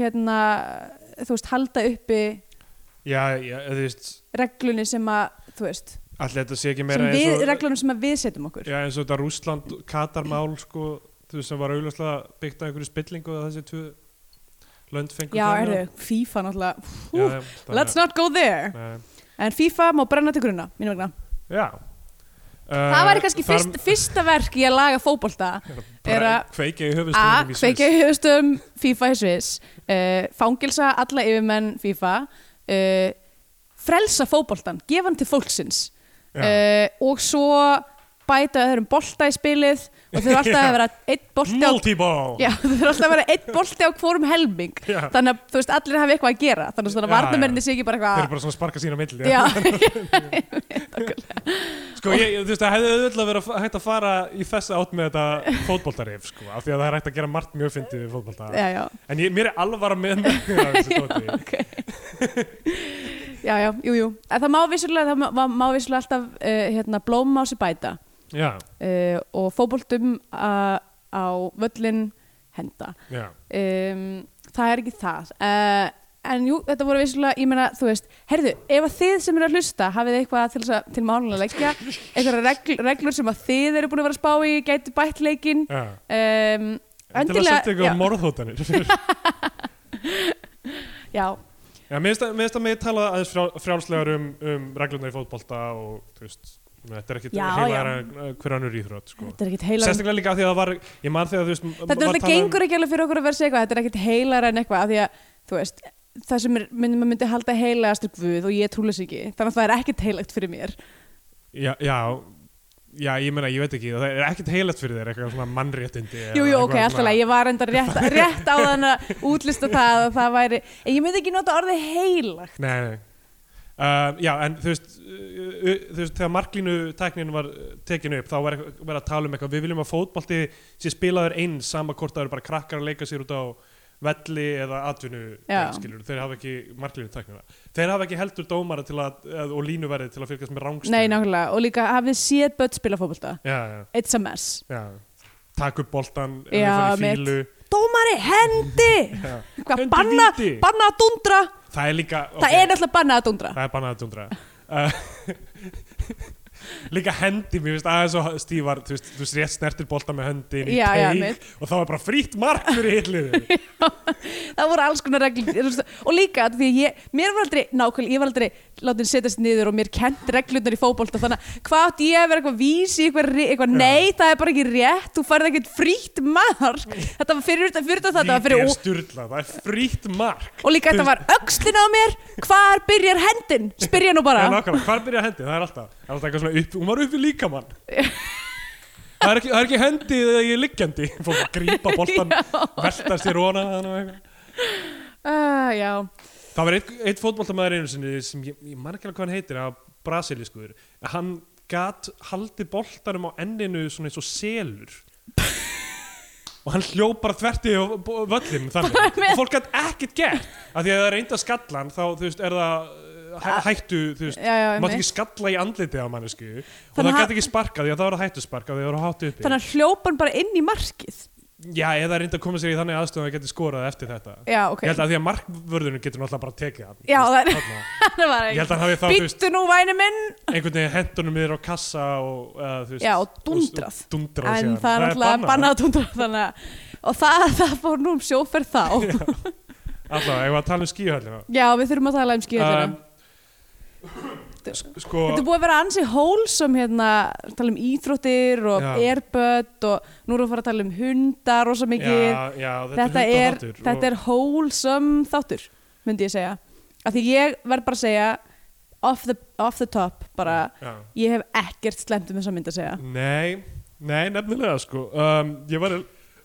Speaker 3: hérna, þú veist, halda uppi
Speaker 2: já, já, þú veist
Speaker 3: reglunni sem að, þú veist
Speaker 2: allir þetta sé ekki
Speaker 3: sem
Speaker 2: meira
Speaker 3: við,
Speaker 2: eins og,
Speaker 3: reglunum sem að við setjum okkur
Speaker 2: já, eins og þetta Rússland Katarmál sko, þú veist sem var augljóslega byggt af einhverju spillingu að þessi tvö lönd fengur
Speaker 3: já, er þau, FIFA náttúrulega hú, let's
Speaker 2: let's
Speaker 3: not go there en FIFA má brenna til grunna, mínu vegna
Speaker 2: já Eh,
Speaker 3: það væri kannski fyrst, fyrsta verk í að laga fótbolta er að
Speaker 2: Hérna, kveikja í
Speaker 3: A.
Speaker 2: höfustunum í
Speaker 3: Kveikja í höfustum FIFA í Sviss uh, Fangilsa alla yfirmenn FIFA uh, Frelsa fótboltan Gefa hann til fólksins
Speaker 2: Já.
Speaker 3: uh, Og svo bæta öðrum bolta í spilið Og þau eru alltaf að vera einn bolti á
Speaker 2: Multiball
Speaker 3: Já, þau eru alltaf að vera einn bolti á hvorum helming
Speaker 2: Já.
Speaker 3: Þannig að þú veist, allir hafi eitthvað að gera Þannig að svona
Speaker 2: Já,
Speaker 3: varnamenninni
Speaker 2: já.
Speaker 3: sé ekki bara
Speaker 2: Þeir
Speaker 3: eitthvað
Speaker 2: eru bara svona að sparka sína milli
Speaker 3: Já,
Speaker 2: Sko, ég, ég- þú veist, það hefði auðvitað verið að- hægt að fara í þessa átt með þetta fótboltarif, sko, af því að það er hægt að gera margt mjög fyndið við fótbolta.
Speaker 3: já, já,
Speaker 2: En ég, mér er alvara með með þessu tóti.
Speaker 3: ok Já, já, jú, jú En það má vissulega, það má, má vissulega alltaf uh, hérna, blóma á sér bæta
Speaker 2: Já,
Speaker 3: uh, og fótboltum a- á völlin henda
Speaker 2: já.
Speaker 3: um, það er ekki það uh, en jú, þetta voru vissulega ég meina, þú veist, herðu, ef að þið sem eru að hlusta hafið eitthvað til, þess að- til málulega leggja einhverja regl, reglur sem að þið eru búin að vera að spá í, gæti bætt leikin
Speaker 2: já.
Speaker 3: um,
Speaker 2: En Til að setja
Speaker 3: já,
Speaker 2: ykkur morðhótanir.
Speaker 3: já,
Speaker 2: já, mér finnst að- mér finnst að mig tala aðeins frjál, frjálslegar um, um reglunar í fótbolta og, þú veist, þetta er ekkit
Speaker 3: Já,
Speaker 2: heilaðar en hver annur íþrótt, sko.
Speaker 3: þetta er ekkit heilar
Speaker 2: Sérstaklega líka af því að það var, ég man þegar, þú veist,
Speaker 3: þetta
Speaker 2: var
Speaker 3: er þetta
Speaker 2: talað um-
Speaker 3: gengur ekki alveg fyrir okkur að vera að segja eitthvað þetta er ekkit heilar en eitthvað af því að þú veist, það sem er, myndi, maður myndi halda heilegast er guð og ég trúles ekki, þannig að það er ekkit heilagt fyrir mér
Speaker 2: Já, já já, ég meina, ég veit ekki, það er ekkert heilagt fyrir þér eitthvað svona mannréttindi
Speaker 3: Jú, jú, ok, alltaf leið, ég var endar rétt, rétt á þann að útlista það að það væri, en ég myndi ekki nota orðið heilagt.
Speaker 2: Nei, nei Uh, já, en þú veist, uh, uh, þú veist þegar marklínu tæknin var uh, tekin upp þá var eitthvað- verið að tala um eitthvað við viljum að fótbolti sé spilaður eins sama hvort það eru bara krakkar að leika sér út á velli eða atvinnu
Speaker 3: Já.
Speaker 2: skilur, þeir hafa ekki marklínu tæknina þeir hafa ekki heldur dómara til að, eð, og línuverði til að fylgjast með rángstöðu
Speaker 3: Nei, nákvæmlega, og líka hafið séð börn spila fótbolta.
Speaker 2: já,
Speaker 3: It's a mess.
Speaker 2: já, já. takk upp boltan ef
Speaker 3: Já,
Speaker 2: þú ferð í fýlu.
Speaker 3: Dómari, hendi!
Speaker 2: Já.
Speaker 3: Hvað,
Speaker 2: Hendi
Speaker 3: banna,
Speaker 2: víti.
Speaker 3: banna að dundra?
Speaker 2: það er líka ok,
Speaker 3: Það er náttúrulega banna að dundra.
Speaker 2: Það er bannað að dundra uh, Líka hendi, mér finnst aðeins og stífar Þú veist, þú veist rétt snertir bolta með höndin í
Speaker 3: Já, já,
Speaker 2: teig
Speaker 3: mitt.
Speaker 2: Og þá er bara frítt mark fyrir hitliðu
Speaker 3: það voru alls konar reglur þú veist, og líka af því að ég, mér var aldrei nákvæmlega, ég var aldrei látin setjast niður og mér kent reglurnar í fótbolta þannig að hvað átt ég að vera eitthvað vísi eitthvað, re- eitthvað nei, það er bara ekki rétt þú færði ekkert frítt mark þetta var fyrir utan fyrir utan það, þetta var
Speaker 2: Víti
Speaker 3: fyrir
Speaker 2: er
Speaker 3: og,
Speaker 2: sturla, það er frítt mark
Speaker 3: og líka þetta var öxlin á mér hvar byrjar hendin, spyrja nú
Speaker 2: Það
Speaker 3: bara
Speaker 2: er nákvæmlega, hvar byrja hendi? Það er alltaf, það er alltaf eitthvað svona upp, hún var upp í líkamann Það er ekki, það er ekki hendi eða ég er liggjandi Fólk að grípa boltan, velta sér óna
Speaker 3: uh, já,
Speaker 2: Það var eitt, eitt fótboltamaður einu sinni sem ég, ég man ekki alveg hvað hann heitir, það var brasilískuður. Hann gat haldið boltanum á enninu svona eins og selur. og hann hljóp bara þverti á b- völlinn þannig.
Speaker 3: með-
Speaker 2: og fólk gat ekkert gert. Af því að það reynda skallan þá, þú veist, er það uh, hæ, hættu, þú veist,
Speaker 3: Ah. Já, já,
Speaker 2: mátt
Speaker 3: einmitt.
Speaker 2: ekki skalla í andlitið á mannesku og
Speaker 3: Þannig
Speaker 2: það
Speaker 3: að-
Speaker 2: gat ekki sparkað því að það var hættu sparkað því að það var háttu uppi.
Speaker 3: þannig að hljópan bara inn í markið
Speaker 2: Já, eða reynda að koma sér í þannig aðstöðum að það geti skorað eftir þetta.
Speaker 3: já, ok,
Speaker 2: Ég held að því að markvörðunum getur náttúrulega bara tekið hann.
Speaker 3: Já, það er-
Speaker 2: Þarna.
Speaker 3: það var
Speaker 2: Ég held að hann hafi þá, þú veist,
Speaker 3: Býttu nú væni minn
Speaker 2: einhvern veginn hendunum yfir á kassa og, uh, þú veist,
Speaker 3: Já, og dundrað.
Speaker 2: og- og Dundrað
Speaker 3: en
Speaker 2: síðan.
Speaker 3: það er alltaf bannað að tundra þannig að og það, það fór nú um sjóferð þá
Speaker 2: Alltaf, ef að tala um skíuhöllina.
Speaker 3: já, við þurfum að tala um skýrðina
Speaker 2: Um, sko,
Speaker 3: þetta er búið að vera ansi hólsum hérna, tala um íþróttir og
Speaker 2: Já.
Speaker 3: erbött og nú erum við að fara að tala um hundar og svo mikið
Speaker 2: já, já, þetta,
Speaker 3: þetta, er,
Speaker 2: hundaþáttur og-
Speaker 3: þetta er hólsum þáttur myndi ég segja af því ég verð bara að segja off the, off the top bara
Speaker 2: Já.
Speaker 3: ég hef ekkert slemt um þess að mynda að segja
Speaker 2: Nei, nei, nefnilega, sko. Um, ég var,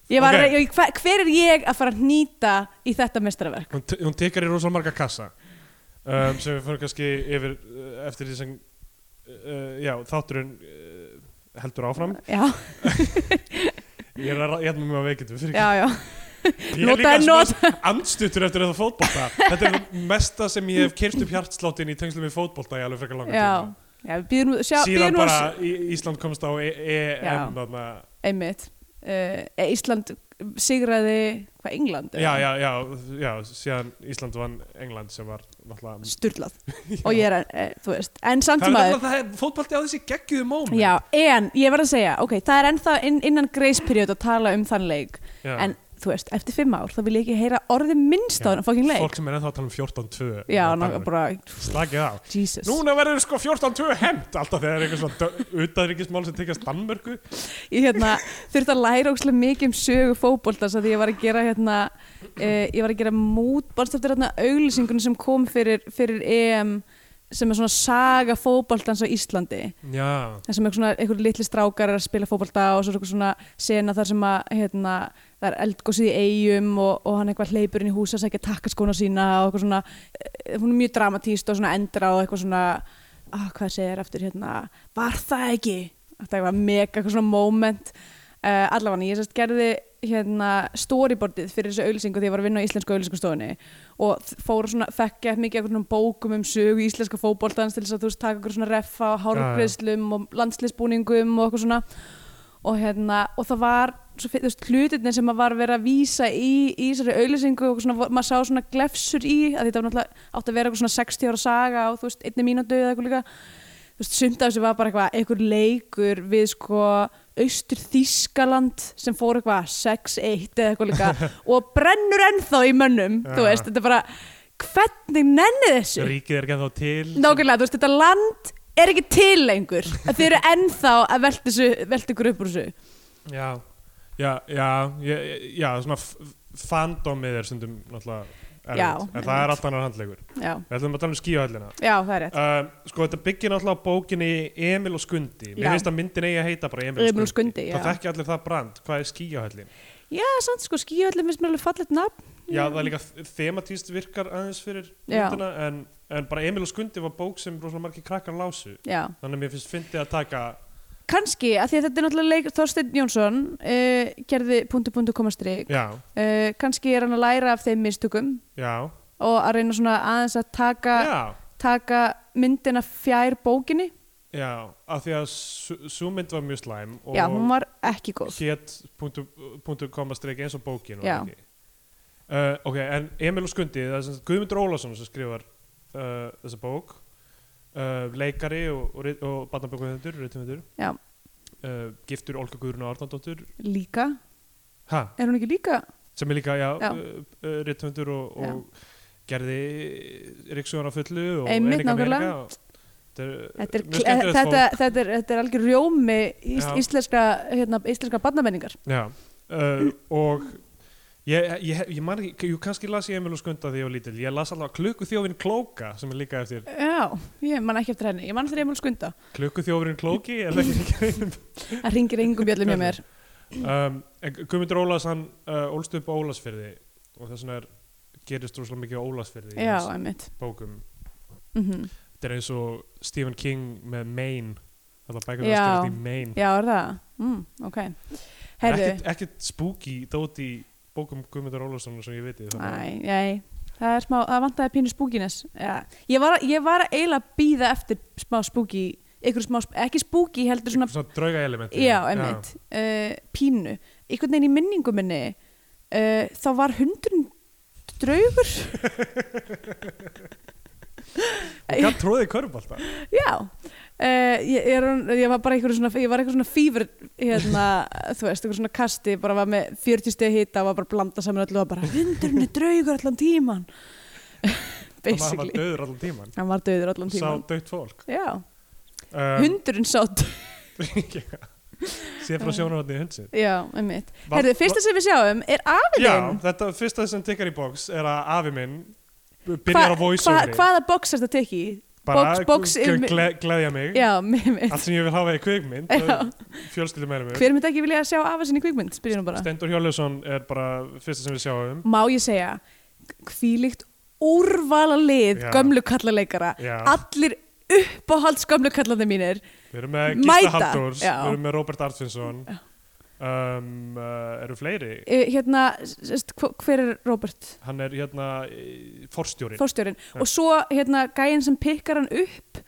Speaker 3: ég var,
Speaker 2: Ok.
Speaker 3: okay. ég, hver, hver er ég að fara að nýta í þetta mestraverk
Speaker 2: hún, te- hún tekar í rosalega marga kassa um, sem við fyrir kannski yfir uh, eftir því sem, uh, já, þátturinn uh, heldur áfram.
Speaker 3: já,
Speaker 2: Ég er að, ra- ég er með mjög veikindum, fyrir
Speaker 3: já, já
Speaker 2: Ég er
Speaker 3: Nota-
Speaker 2: líka smá andstuttur eftir þetta fótbolta Þetta er það mesta sem ég hef kyrst upp hjartsláttin í tengslum við fótbolta í alveg frekar langa
Speaker 3: já, já, við býðum sjá,
Speaker 2: tíma
Speaker 3: býðum
Speaker 2: Síðan
Speaker 3: bara...
Speaker 2: bara Í- Ísland komst á E-
Speaker 3: Já.
Speaker 2: EM þarna.
Speaker 3: einmitt uh, Ísland sigraði hvað, England?
Speaker 2: Já, já, já, já, síðan Ísland vann England sem var náttúrulega
Speaker 3: Sturlað og ég er, uh, þú veist, en samt
Speaker 2: Það er
Speaker 3: maður
Speaker 2: náttúrulega það er fótbolti á þessi geggiðu mómi
Speaker 3: Já, en ég verð að segja, ok, það er ennþá inn, innan greisperiod að tala um þann leik en þú veist, eftir fimm ár þá vil ég ekki heyra orðið minnst á hann fókin leik
Speaker 2: Fólk sem er ennþá að tala um 14-2
Speaker 3: Já,
Speaker 2: Það
Speaker 3: ná,
Speaker 2: er
Speaker 3: bara,
Speaker 2: Slakið á
Speaker 3: Jesus
Speaker 2: Núna verður sko 14-2 hemmt alltaf þegar er eitthvað svona utaðryggismál sem tekjast Danmörku
Speaker 3: ég hérna, þurfti að læra ókslega mikið um sögu fótboltans að því ég var að gera hérna, uh, ég var að gera mútbarst eftir hérna auglýsingunum sem kom fyrir, fyrir EM sem er svona saga fótboltans á Íslandi
Speaker 2: Já,
Speaker 3: þar sem einhver, einhver litli strákar er að spila fótbolta og svo er einhver svona sena þar sem að hérna, það er eldgósið í eigum og, og hann eitthvað hleypur inn í hús að sækja takkaskóna sína og eitthvað svona eh, hún er mjög dramatíst og svona endra og eitthvað svona ah, hvað segir eftir hérna var það ekki þetta er eitthvað mega eitthvað svona moment uh, allavega ég sérst gerði hérna storyboardið fyrir þessu auðlýsingu því ég var að vinna á íslensku auðlýsingustofunni og þ- fór svona, fekk ég mikið eitthvað bókum um sögu íslenska fótboltans til þess að þú veist taka eitthvað svona reffa og hárgreiðslum og landslisbúningum og eitthvað svona og hérna, og það var svo, fyr- þú veist, hlutirnir sem að var verið að vísa í í þessari auðlýsingu og svona, vo- maður sá svona glefsur í, að þetta var náttúrulega átt að vera eitthvað svona 60 ára saga og þú veist, einni mínútu eða eitthvað líka þú veist, sumt af þessu var bara eitthvað einhver leikur við sko austur Þískaland sem fór eitthvað 6-1 eða eitthvað líka og brennur ennþá í mönnum þú
Speaker 2: Já.
Speaker 3: veist, þetta er bara hvernig nenni þessu?
Speaker 2: ríkið er ekki ennþá til
Speaker 3: Nákvæmlega, þú veist, þetta land er ekki til lengur að þið eru ennþá að velta þessu- velta ykkur upp úr þessu
Speaker 2: Já, já, já, já, já svona f- f- fandomið er stundum náttúrulega erfitt.
Speaker 3: Já,
Speaker 2: en það er allt annar handlegur
Speaker 3: já,
Speaker 2: við ætlum að tala um skíuhöllina
Speaker 3: já, það er rétt
Speaker 2: um, sko þetta byggir náttúrulega á bókinni Emil og Skundi
Speaker 3: Já.
Speaker 2: mér finnst að myndin eigi að heita bara Emil,
Speaker 3: Emil og
Speaker 2: og Skundi
Speaker 3: Skundi, já.
Speaker 2: það þekki allir það brand, hvað er skíuhöllin
Speaker 3: Já, samt sko, skíuhöllin finnst mér alveg fallegt nafn
Speaker 2: já það er líka þ- þematíst virkar aðeins fyrir
Speaker 3: Mm. Já.
Speaker 2: myndina en, en bara Emil og Skundi var bók sem rosalega margir krakkar lásu
Speaker 3: Já,
Speaker 2: þannig að mér finnst fyndið að taka
Speaker 3: kannski, að því að þetta er náttúrulega leik Þorsteinn Jónsson uh, gerði punktu punktu komastrik uh,
Speaker 2: já,
Speaker 3: kannski er hann að læra af þeim mistökum
Speaker 2: já,
Speaker 3: og að reyna svona aðeins að taka,
Speaker 2: já
Speaker 3: taka myndina fjær bókinni
Speaker 2: Já, af því að sú sú mynd var mjög slæm og
Speaker 3: Já, hún var ekki góð
Speaker 2: hét punktu, punktu komastrik eins og bókin var
Speaker 3: Já.
Speaker 2: ekki. Uh, ok, en Emil og Skundi, það er sem sagt Guðmundur Ólason sem skrifar uh, þessa bók uh, leikari og, og, rit- og barnabókuðendur, rítumöndur
Speaker 3: Já,
Speaker 2: uh, giftur Olga Guðrún og Arnandóttur
Speaker 3: líka,
Speaker 2: ha,
Speaker 3: er hún ekki líka?
Speaker 2: sem er líka, já,
Speaker 3: Já.
Speaker 2: Uh, uh, rítumöndur og,
Speaker 3: Já.
Speaker 2: og gerði Ríksugan á fullu og
Speaker 3: Einmitt,
Speaker 2: Eiríka
Speaker 3: nákvæmlega.
Speaker 2: Meiríka og- Þetta er,
Speaker 3: Þetta er,
Speaker 2: mjög
Speaker 3: þetta,
Speaker 2: skemmtilegt
Speaker 3: þetta,
Speaker 2: fólk.
Speaker 3: þetta, er, þetta er algjör rjómi ís,
Speaker 2: Já.
Speaker 3: íslenska, hérna, íslenska barnamenningar
Speaker 2: Já, uh, og ég, ég, ég man ekki, jú, kannski las ég Emil og Skunda því ég var lítil, ég las alltaf Klukkuþjófin Klóka sem er líka eftir
Speaker 3: Já, ég man ekki eftir henni, ég man eftir Emil Skunda
Speaker 2: Klukkuþjófurinn Klóki eða ekki
Speaker 3: Það ringir engum bjöllum hjá mér
Speaker 2: um, en Guðmundur Ólafs hann uh, ólst upp á Ólafsfyrði og þess vegna er, gerist rosalega mikið á Ólafsfyrði í
Speaker 3: Já,
Speaker 2: hans
Speaker 3: einmitt
Speaker 2: bókum
Speaker 3: mm
Speaker 2: þetta er eins og Stephen King með Maine alltaf bækur
Speaker 3: Já.
Speaker 2: það skerði í Maine
Speaker 3: Já, er það? Mm, ok
Speaker 2: En
Speaker 3: Herðu,
Speaker 2: ekkert, ekkert spooky dót í bókum Guðmundur Ólafsson sem ég viti þannig að-
Speaker 3: næ, næ Það er smá, það vantaði pínu spúkines Já, ég var, að- ég var að eiginlega að býða eftir smá spúki, ykkur smá, sp- ekki spúki heldur svona
Speaker 2: Eitthvað svona drauga elementi
Speaker 3: Já, einmitt, uh, pínu einhvern veginn í minningu minni uh, þá var hundurinn draugur
Speaker 2: og hann tróði í körfbalta
Speaker 3: já uh, ég, ég, er- ég var bara einhver svona ég var einhver svona fýfur hérna, þú veist, einhver svona kasti bara var með 40 stegi hita og var bara að blanda saman öllu og bara hundurinn er draugur allan tíman
Speaker 2: Hann var
Speaker 3: basically,
Speaker 2: döður allan tíman
Speaker 3: hann var döður allan
Speaker 2: Sá
Speaker 3: tíman
Speaker 2: dögt fólk
Speaker 3: já,
Speaker 2: um,
Speaker 3: hundurinn sátt
Speaker 2: Sér frá sjónarhóttni hundsinn
Speaker 3: já, einmitt
Speaker 2: Va-
Speaker 3: Herðu, Um, fyrsta sem við sjáum er afinn
Speaker 2: Já, þetta fyrsta sem tikkar í bóks er að afi minn byrjar á voiceoveri
Speaker 3: hvaða box er þetta tekið í? box- box
Speaker 2: gle-
Speaker 3: um-
Speaker 2: gle- gleðja mig
Speaker 3: Já, mitt.
Speaker 2: Allt sem ég vil hafa í kvikmynd
Speaker 3: Já.
Speaker 2: Fjölskyldum meira mig
Speaker 3: Hver myndi ekki vilja sjá afa sinni í kvikmynd, spyrir hún bara.
Speaker 2: Stendur Hjörleusson er bara fyrsta sem við sjáum
Speaker 3: Má ég segja, hvílíkt úrvala lið
Speaker 2: Já.
Speaker 3: gömlu kallaleikara.
Speaker 2: Já.
Speaker 3: Allir uppáhalds gömlu kallandi mínir.
Speaker 2: Við erum með Gísla
Speaker 3: Mæta,
Speaker 2: Halldórs
Speaker 3: já.
Speaker 2: Við erum með Robert Artfinsson um, uh, Eru fleiri?
Speaker 3: Eh, Hérna, s- s- hvo- hver er Robert?
Speaker 2: Hann er hérna eh, forstjóri
Speaker 3: Fórstjórin.
Speaker 2: Já.
Speaker 3: Og svo hérna gæinn sem pikkar hann upp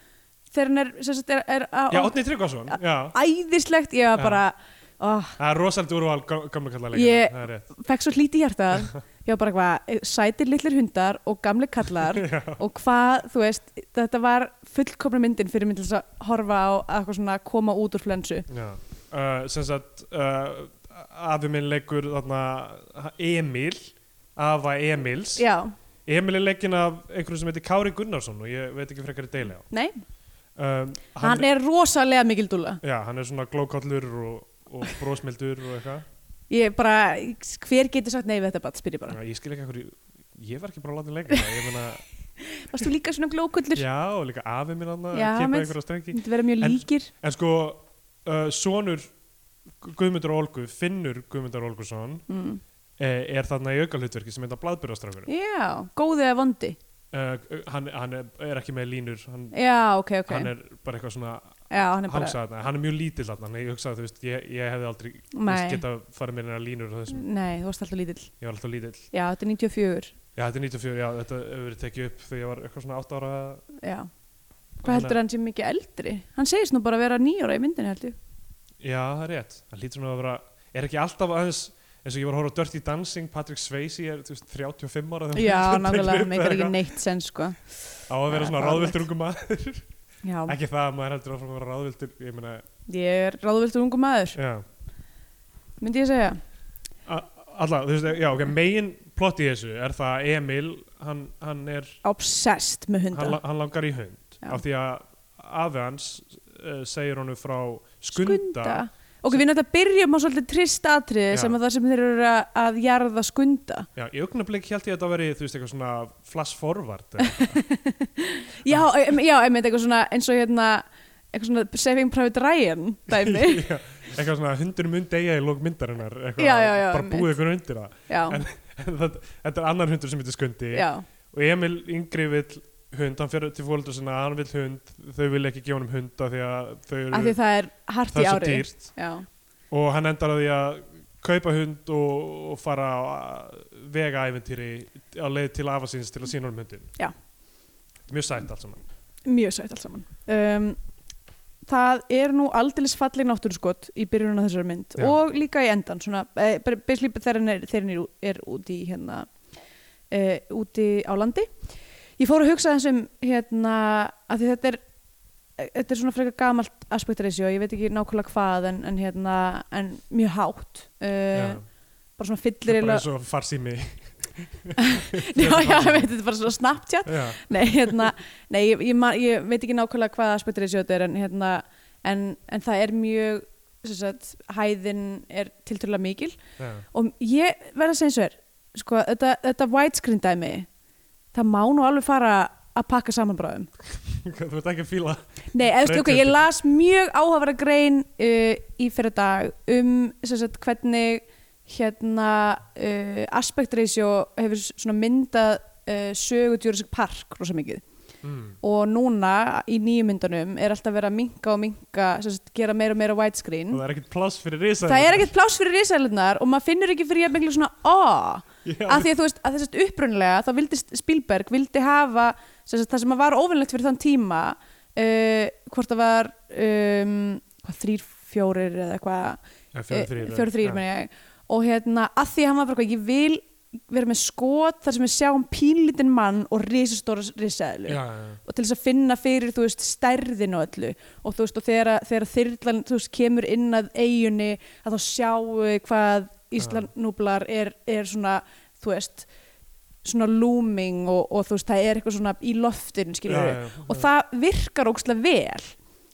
Speaker 3: þegar hann er, sem sagt, er, er á,
Speaker 2: Já, Otni Tryggvason Já,
Speaker 3: æðislegt. Ég var
Speaker 2: Já.
Speaker 3: bara, oh,
Speaker 2: það er rosalega úrval gam- gamla kallarleika
Speaker 3: Ég-
Speaker 2: Það er rétt
Speaker 3: fekk svo hlítið hjartað. Ég var bara hvað, sætir litlir hundar og gamle kallar.
Speaker 2: Já.
Speaker 3: og hvað, þú veist, þetta var fullkomna myndin fyrir myndin að horfa á að eitthvað svona koma út úr flensu
Speaker 2: Já, uh, sem sagt uh, afi minn leikur þarna Emil afa Emils
Speaker 3: Já,
Speaker 2: Emil er leikinn af einhverjum sem heitir Kári Gunnarsson og ég veit ekki frekar í deili á
Speaker 3: nei,
Speaker 2: um,
Speaker 3: hann, er rosalega mikil dúlla
Speaker 2: Já, hann er svona glókallur og, og brósmildur og eitthvað
Speaker 3: Ég bara, hver getur sagt nei við þetta bara, spyr ég bara
Speaker 2: Já, Ég skil ekki einhverju Ég var ekki bara að láta hann leika það, ég meina,
Speaker 3: Varst þú líka svona glókullur?
Speaker 2: já, og líka afi minn hann að
Speaker 3: Já,
Speaker 2: kippa
Speaker 3: mitt.
Speaker 2: einhverja strengi
Speaker 3: Myndi vera mjög
Speaker 2: En-
Speaker 3: líkir
Speaker 2: En sko, uh, sonur Guðmundur Olgu, Finnur Guðmundur Olgusson
Speaker 3: mm.
Speaker 2: eh, er þarna í aukalutverki sem heita Bladbyrðastrákur
Speaker 3: Já, góðið eða vondi
Speaker 2: uh, hann, hann er, er ekki með línur hann,
Speaker 3: Já, ok, ok
Speaker 2: hann er bara eitthvað svona
Speaker 3: Já, hann er bara
Speaker 2: hangsa þarna, hann er mjög lítill þarna þannig ég hugsaði, þú veist, ég, ég hefði aldrei
Speaker 3: Nei. Mm.
Speaker 2: geta farið mér einhverja línur á þessum,
Speaker 3: Nei, þú varst alltaf lítill
Speaker 2: ég var alltaf lítill
Speaker 3: Já, þetta er 94
Speaker 2: já, þetta er 94, já, þetta hefur verið tekið upp þegar ég var eitthvað svona 8 ára
Speaker 3: Já Hvað heldur hann sé mikið eldri? Hann segist nú bara að vera nýjóra í myndinu heldur
Speaker 2: já, það er rétt, hann lítur nú að vera er ekki alltaf aðeins eins og ég var að horfa á Dirty Dancing, Patrick Swayze er þú veist, 35 ára þegar
Speaker 3: Já,
Speaker 2: hann tekur upp
Speaker 3: nákvæmlega,
Speaker 2: eða
Speaker 3: meikar ekki
Speaker 2: eitthvað.
Speaker 3: neitt sen sko
Speaker 2: á að vera
Speaker 3: Ja,
Speaker 2: svona
Speaker 3: það er
Speaker 2: ráðviltur ungu maður
Speaker 3: Já,
Speaker 2: ekki það að maður heldur áfram að vera ráðviltur ég meina,
Speaker 3: ég er ráðviltur ungu maður
Speaker 2: já
Speaker 3: myndi ég segja
Speaker 2: Alltaf, þú veist, já, ok, megin plott í þessu er það að Emil, hann, hann er,
Speaker 3: obsessed með
Speaker 2: hann,
Speaker 3: hunda
Speaker 2: la- hann langar í hund
Speaker 3: Já.
Speaker 2: eh, af því að afi hans uh, segir honum frá skunda,
Speaker 3: ok, við náttúrulega byrjum á svolítið trist atriði
Speaker 2: Já.
Speaker 3: sem að það sem þeir eru að, að jarða skunda
Speaker 2: Já, í augnablik held ég að þetta veri, þú veist, eitthvað svona flash forward. eða eitthvað.
Speaker 3: já, em, já, einmitt eitthvað svona eins og hérna eitthvað svona Saving Private Ryan dæmi
Speaker 2: Já, eitthvað svona hundur mun degja í lók myndarinnar, eitthvað,
Speaker 3: Já, já, já,
Speaker 2: bara
Speaker 3: einmitt.
Speaker 2: búið eitthvað undir það.
Speaker 3: já,
Speaker 2: En, en þetta, þetta er annar hundur sem heitir Skundi
Speaker 3: já,
Speaker 2: og Emil yngri vill hund, hann fyrir til fólöldur sinna, hann vill hund, þau vil ekki gefa honum hund af því að þau eru,
Speaker 3: af því það er hart
Speaker 2: það
Speaker 3: í
Speaker 2: er svo
Speaker 3: ári
Speaker 2: dýrt
Speaker 3: já,
Speaker 2: og hann endar á því að kaupa hund og, og fara á vega æventýri á leið til afa síns til að sína honum hundin
Speaker 3: Já.
Speaker 2: mjög sætt allt saman
Speaker 3: mjög sætt allt saman um, það er nú aldeilis falleg náttúruskot í byrjunum á þessari mynd
Speaker 2: Já.
Speaker 3: og líka í endan svona, eh, bara basically þegar hann er, þegar hann er, ú- er úti í hérna eh, úti á landi ég fór að hugsa þessum hérna að því þetta er eh, þetta er svona frekar gamalt aspektreisjó ég veit ekki nákvæmlega hvað en, en hérna en mjög hátt uh,
Speaker 2: Já.
Speaker 3: bara svona
Speaker 2: Það
Speaker 3: fyllir
Speaker 2: er bara
Speaker 3: eiginlega-
Speaker 2: eins og farsými
Speaker 3: já, já, ég veit, þetta er bara svona Snapchat
Speaker 2: já,
Speaker 3: Nei, hérna, nei ég, ég, man- ég veit ekki nákvæmlega hvaða aspektrið þetta er en, hérna, en, en það er mjög sem sagt, hæðin er tiltrúlega mikil
Speaker 2: já,
Speaker 3: og ég verð að segja eins og er sko, þetta, þetta widescreen dæmi það má nú alveg fara að pakka saman bráðum.
Speaker 2: þú ert ekki að fíla
Speaker 3: Nei, eða, okay, ég las mjög áhafara grein uh, í fyrir dag um sem sagt, hvernig hérna uh, aspektreisjó hefur svona myndað uh, sögu Jurassic Park rosa mikið
Speaker 2: mm,
Speaker 3: og núna í nýju myndunum er alltaf verið að minka og minka sem sagt, gera meira og meira
Speaker 2: og
Speaker 3: widescreen
Speaker 2: það er ekkert pláss fyrir risa
Speaker 3: það er ekkert pláss fyrir risælunar og maður finnur ekki fyrir jafnmiklu svona aah
Speaker 2: já,
Speaker 3: af því að þú veist að þessast upprunlega þá vildi Spielberg vildi hafa sem sagt, það sem var óvinnlegt fyrir þann tíma uh, hvort það var um, hvað, þrýr, fjórir eða eitthvað
Speaker 2: Já,
Speaker 3: Eh,
Speaker 2: fjórir, þrír, já.
Speaker 3: fjóri þrýr ja. og hérna að því að hann var bara eitthvað ég vil vera með skot þar sem við sjáum pínlítinn mann og risastóra risælu
Speaker 2: já, já, já.
Speaker 3: og til þess að finna fyrir þú veist stærðin og öllu og þú veist og þegar, þegar þyrlan þú veist kemur inn að eigunni að þá sjáu við hvað Íslandnúblar er, er svona þú veist svona looming og, og þú veist það er eitthvað svona í loftinu skilur
Speaker 2: Já, já, já.
Speaker 3: og það virkar ógstlega vel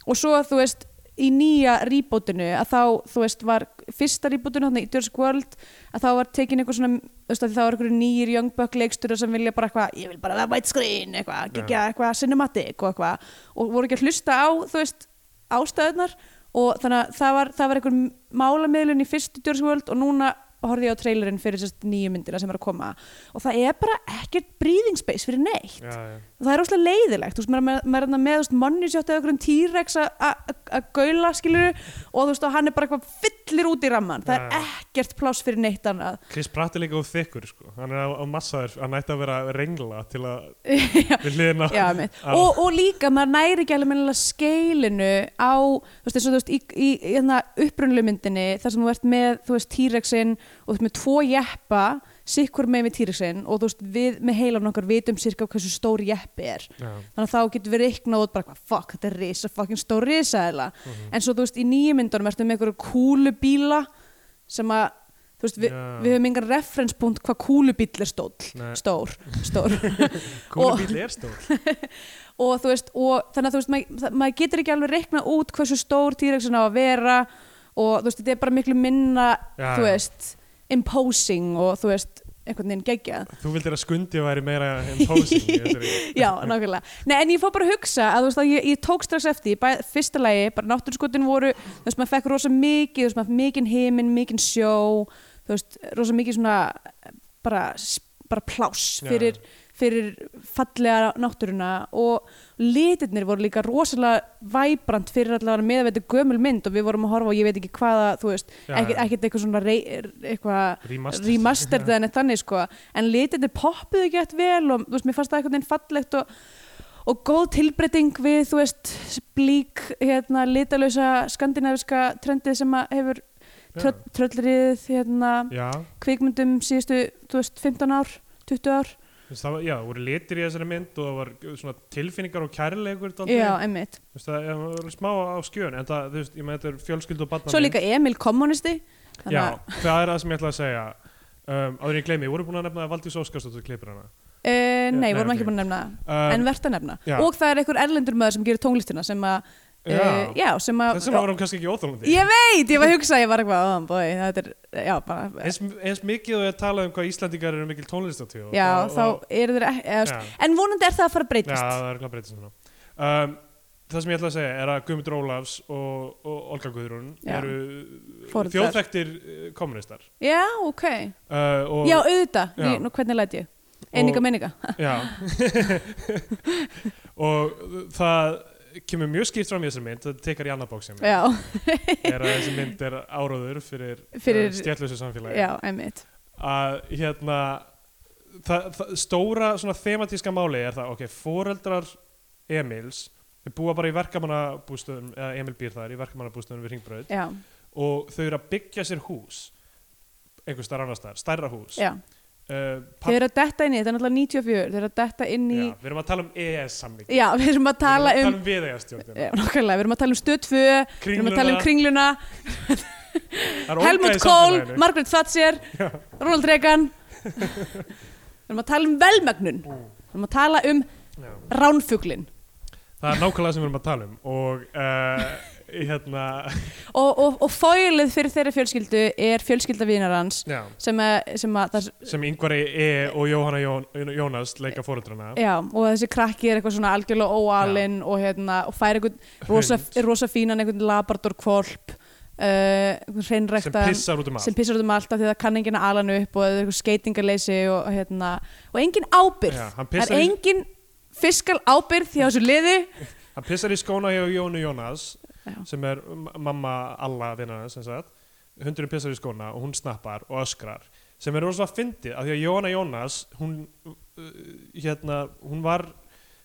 Speaker 3: og svo þú veist í nýja rýbótinu að þá þú veist var fyrsta rýbótinu þannig í Jurassic World að þá var tekin eitthvað svona þú veist að þá var eitthvað nýjir Young Buck leikstur sem vilja bara eitthvað, ég vil bara vera white screen eitthvað, gegja eitthvað cinematic og eitthvað og voru ekki að hlusta á þú veist ástæðunar og þannig að það var, það var eitthvað málamiðlun í fyrstu Jurassic World og núna horfði ég á trailerinn fyrir sérst nýju myndina sem er að koma og það er bara ekkert breathing space fyrir neitt
Speaker 2: Já, já.
Speaker 3: og það er óslega leiðilegt, þú veist, maður, maður, maður er þarna með, þú veist, mannusjátt eða einhverjum T-rex að- að að gaula, skilur og þú veist, og hann er bara eitthvað fyllir út í ramman það
Speaker 2: Já,
Speaker 3: er
Speaker 2: já.
Speaker 3: ekkert pláss fyrir neitt annað
Speaker 2: Chris Pratt er líka úr þykkur sko. hann er á, á massaður, hann ætti að vera rengla til að
Speaker 3: Já.
Speaker 2: við hliðina
Speaker 3: Já, einmitt.
Speaker 2: á-
Speaker 3: og, og líka, maður næri ekki alveg meðlega skeilinu á, þú veist, eins og þú veist, í, í, í hérna upprunlu myndinni, þar sem þú ert með, þú veist, T-rexin og þú veist, með tvo jeppa, sikkur með með T-rexin og þú veist, við með heilan okkar vitum sirka hversu stór jeppi er.
Speaker 2: Já.
Speaker 3: þannig að þá getur við reiknað út bara hvað, fuck, þetta er risa, fucking stór risaðila
Speaker 2: Mhm.
Speaker 3: en svo þú veist, í nýju myndunum ertu með einhverju kúlubíla sem að, þú veist, við,
Speaker 2: Já.
Speaker 3: við höfum engan referenspunkt hvað kúlubíl er stóll
Speaker 2: Nei.
Speaker 3: stór, stór Og-
Speaker 2: Kúlubíl er stór
Speaker 3: og þú veist, og þannig að þú veist maður það- maður getur ekki alveg reiknað út hversu stór týreksin á að vera og þú veist, þetta er bara miklu minna
Speaker 2: Já, já.
Speaker 3: þú veist, imposing og þú veist, einhvern veginn geggjað
Speaker 2: Þú vildir að skundi væri meira imposing í þessari-
Speaker 3: Já, nákvæmlega. Nei, en ég fór bara að hugsa að þú veist að ég, ég tók strax eftir, bæ, fyrsta lagi, bara náttúrskotin voru, þú veist, maður fekk rosa mikið, þú veist, maður mikinn heiminn, mikinn sjó, þú veist, rosa mikið svona bara, bara pláss
Speaker 2: Já.
Speaker 3: fyrir, fyrir fallega náttúruna og litirnir voru líka rosalega væbrant fyrir allavega með að veita gömul mynd og við vorum að horfa og ég veit ekki hvaða, þú veist,
Speaker 2: Já,
Speaker 3: ekkert
Speaker 2: já.
Speaker 3: ekkert eitthvað svona rey, eitthvað
Speaker 2: Remastered.
Speaker 3: remastered eða neitt þannig sko en litirnir poppuðu ekki eftir vel og þú veist, mér fannst það einhvern veginn fallegt og, og góð tilbreyting við þú veist, blík hérna, litalösa skandinaviska trendið sem að hefur tröll, tröllriðið hérna,
Speaker 2: Já,
Speaker 3: kvikmyndum síðustu þú veist, 15 ár, 20 ár
Speaker 2: þú veist, það var, já, voru litir í þessari mynd og það var svona tilfinningar og kærleikur dálítið.
Speaker 3: já, einmitt,
Speaker 2: Þú veist, það það var smá á skjön en það, þú veist, ég með þetta er fjölskyld og barna
Speaker 3: svo líka Emil kommunisti þannig
Speaker 2: Já,
Speaker 3: að-
Speaker 2: það er það sem ég ætla að segja um, áður en ég gleymi, ég voru búin að nefna að Valdís Óskarsdóttur klippir hana
Speaker 3: Eh, nei,
Speaker 2: Nei,
Speaker 3: vorum ekki
Speaker 2: ok.
Speaker 3: búin að nefna það
Speaker 2: um,
Speaker 3: en verðt að nefna
Speaker 2: já.
Speaker 3: og það er einhver erlendur maður sem gerir tónlistina sem að
Speaker 2: Já.
Speaker 3: Eh, já sem að
Speaker 2: Þessum var hann kannski ekki óþólandi
Speaker 3: ég veit, ég var að hugsa, ég var eitthvað oh, boy, þetta er, já, bara
Speaker 2: eins, eins mikið og ég talaði um hvað Íslandingar eru mikil tónlistatíu
Speaker 3: já, þá eru þeir ekki eða,
Speaker 2: Já.
Speaker 3: ja. en vonandi er það að fara
Speaker 2: Já,
Speaker 3: að breytast
Speaker 2: það er hvað breytist núna um, Það sem ég ætla að segja er að Guðmundur Ólafs og, og Olga Guðrún
Speaker 3: Já.
Speaker 2: eru
Speaker 3: Foreldrar.
Speaker 2: þjóðþektir eh, kommunistar
Speaker 3: já, ok,
Speaker 2: uh, og,
Speaker 3: já, auðvitað
Speaker 2: Já.
Speaker 3: Ný, nú hvernig læt ég, eininga
Speaker 2: Og-
Speaker 3: meininga
Speaker 2: Já Og það kemur mjög skýrt fram í þessari mynd það tekar í annað bóksum er
Speaker 3: já,
Speaker 2: að þessi mynd er áróður fyrir,
Speaker 3: Fyrir-
Speaker 2: stjætlusu samfélagi
Speaker 3: já, einmitt
Speaker 2: að hérna það, það, stóra svona thematíska máli er það ok, foreldrar Emils þau búa bara í verkamannabústöðum eða Emil býr þar í verkamannabústöðum við Ringbraut
Speaker 3: já,
Speaker 2: og þau eru að byggja sér hús einhvers starf annars staðar, stærra hús
Speaker 3: já,
Speaker 2: Uh,
Speaker 3: þeir
Speaker 2: papp,
Speaker 3: eru að detta inn í þetta er náttúrulega 94, þeir eru að detta inn í
Speaker 2: já,
Speaker 3: já,
Speaker 2: við erum að tala um EES-samling
Speaker 3: við erum að tala um
Speaker 2: um viðeigastjórnina
Speaker 3: Já, nákvæmlega, við erum að tala um stöð 2 við erum að tala um kringluna, Helmut Kohl Margaret Thatcher, Ronald Reagan við erum að tala um velmögnun við erum að tala um ránfuglin
Speaker 2: það er nákvæmlega sem við erum að tala um og uh, hérna
Speaker 3: og, og, og fóilið fyrir þeirra fjölskyldu er fjölskylda vinar hans
Speaker 2: já,
Speaker 3: sem, að- sem að það,
Speaker 2: sem yngvar E og Jóhanna Jón, Jónas leika fóreldrana
Speaker 3: já, og þessi krakki er eitthvað svona algjörlega óalinn og, hérna, og fær eitthvað rosa,
Speaker 2: Hund.
Speaker 3: rosa fínan einhvern labrador kvolp uh,
Speaker 2: sem
Speaker 3: hreinrækta
Speaker 2: pissar út um
Speaker 3: sem
Speaker 2: allt
Speaker 3: pissar út um allt af því það kann enginn að ala hann upp og það er eitthvað skeitingarleysi og, hérna, og engin ábyrð
Speaker 2: Já, hann
Speaker 3: það
Speaker 2: pissar
Speaker 3: er
Speaker 2: í-
Speaker 3: engin fiskal ábyrð hjá þessu liði
Speaker 2: hann pissar í skóna hjá Jónu Jónas
Speaker 3: Já.
Speaker 2: sem er m- mamma alla vinnana sem sagt hundurinn pissar í skóna og hún snappar og öskrar sem er rosalega fyndið af því að Jóhanna Jónas hún uh, hérna, hún var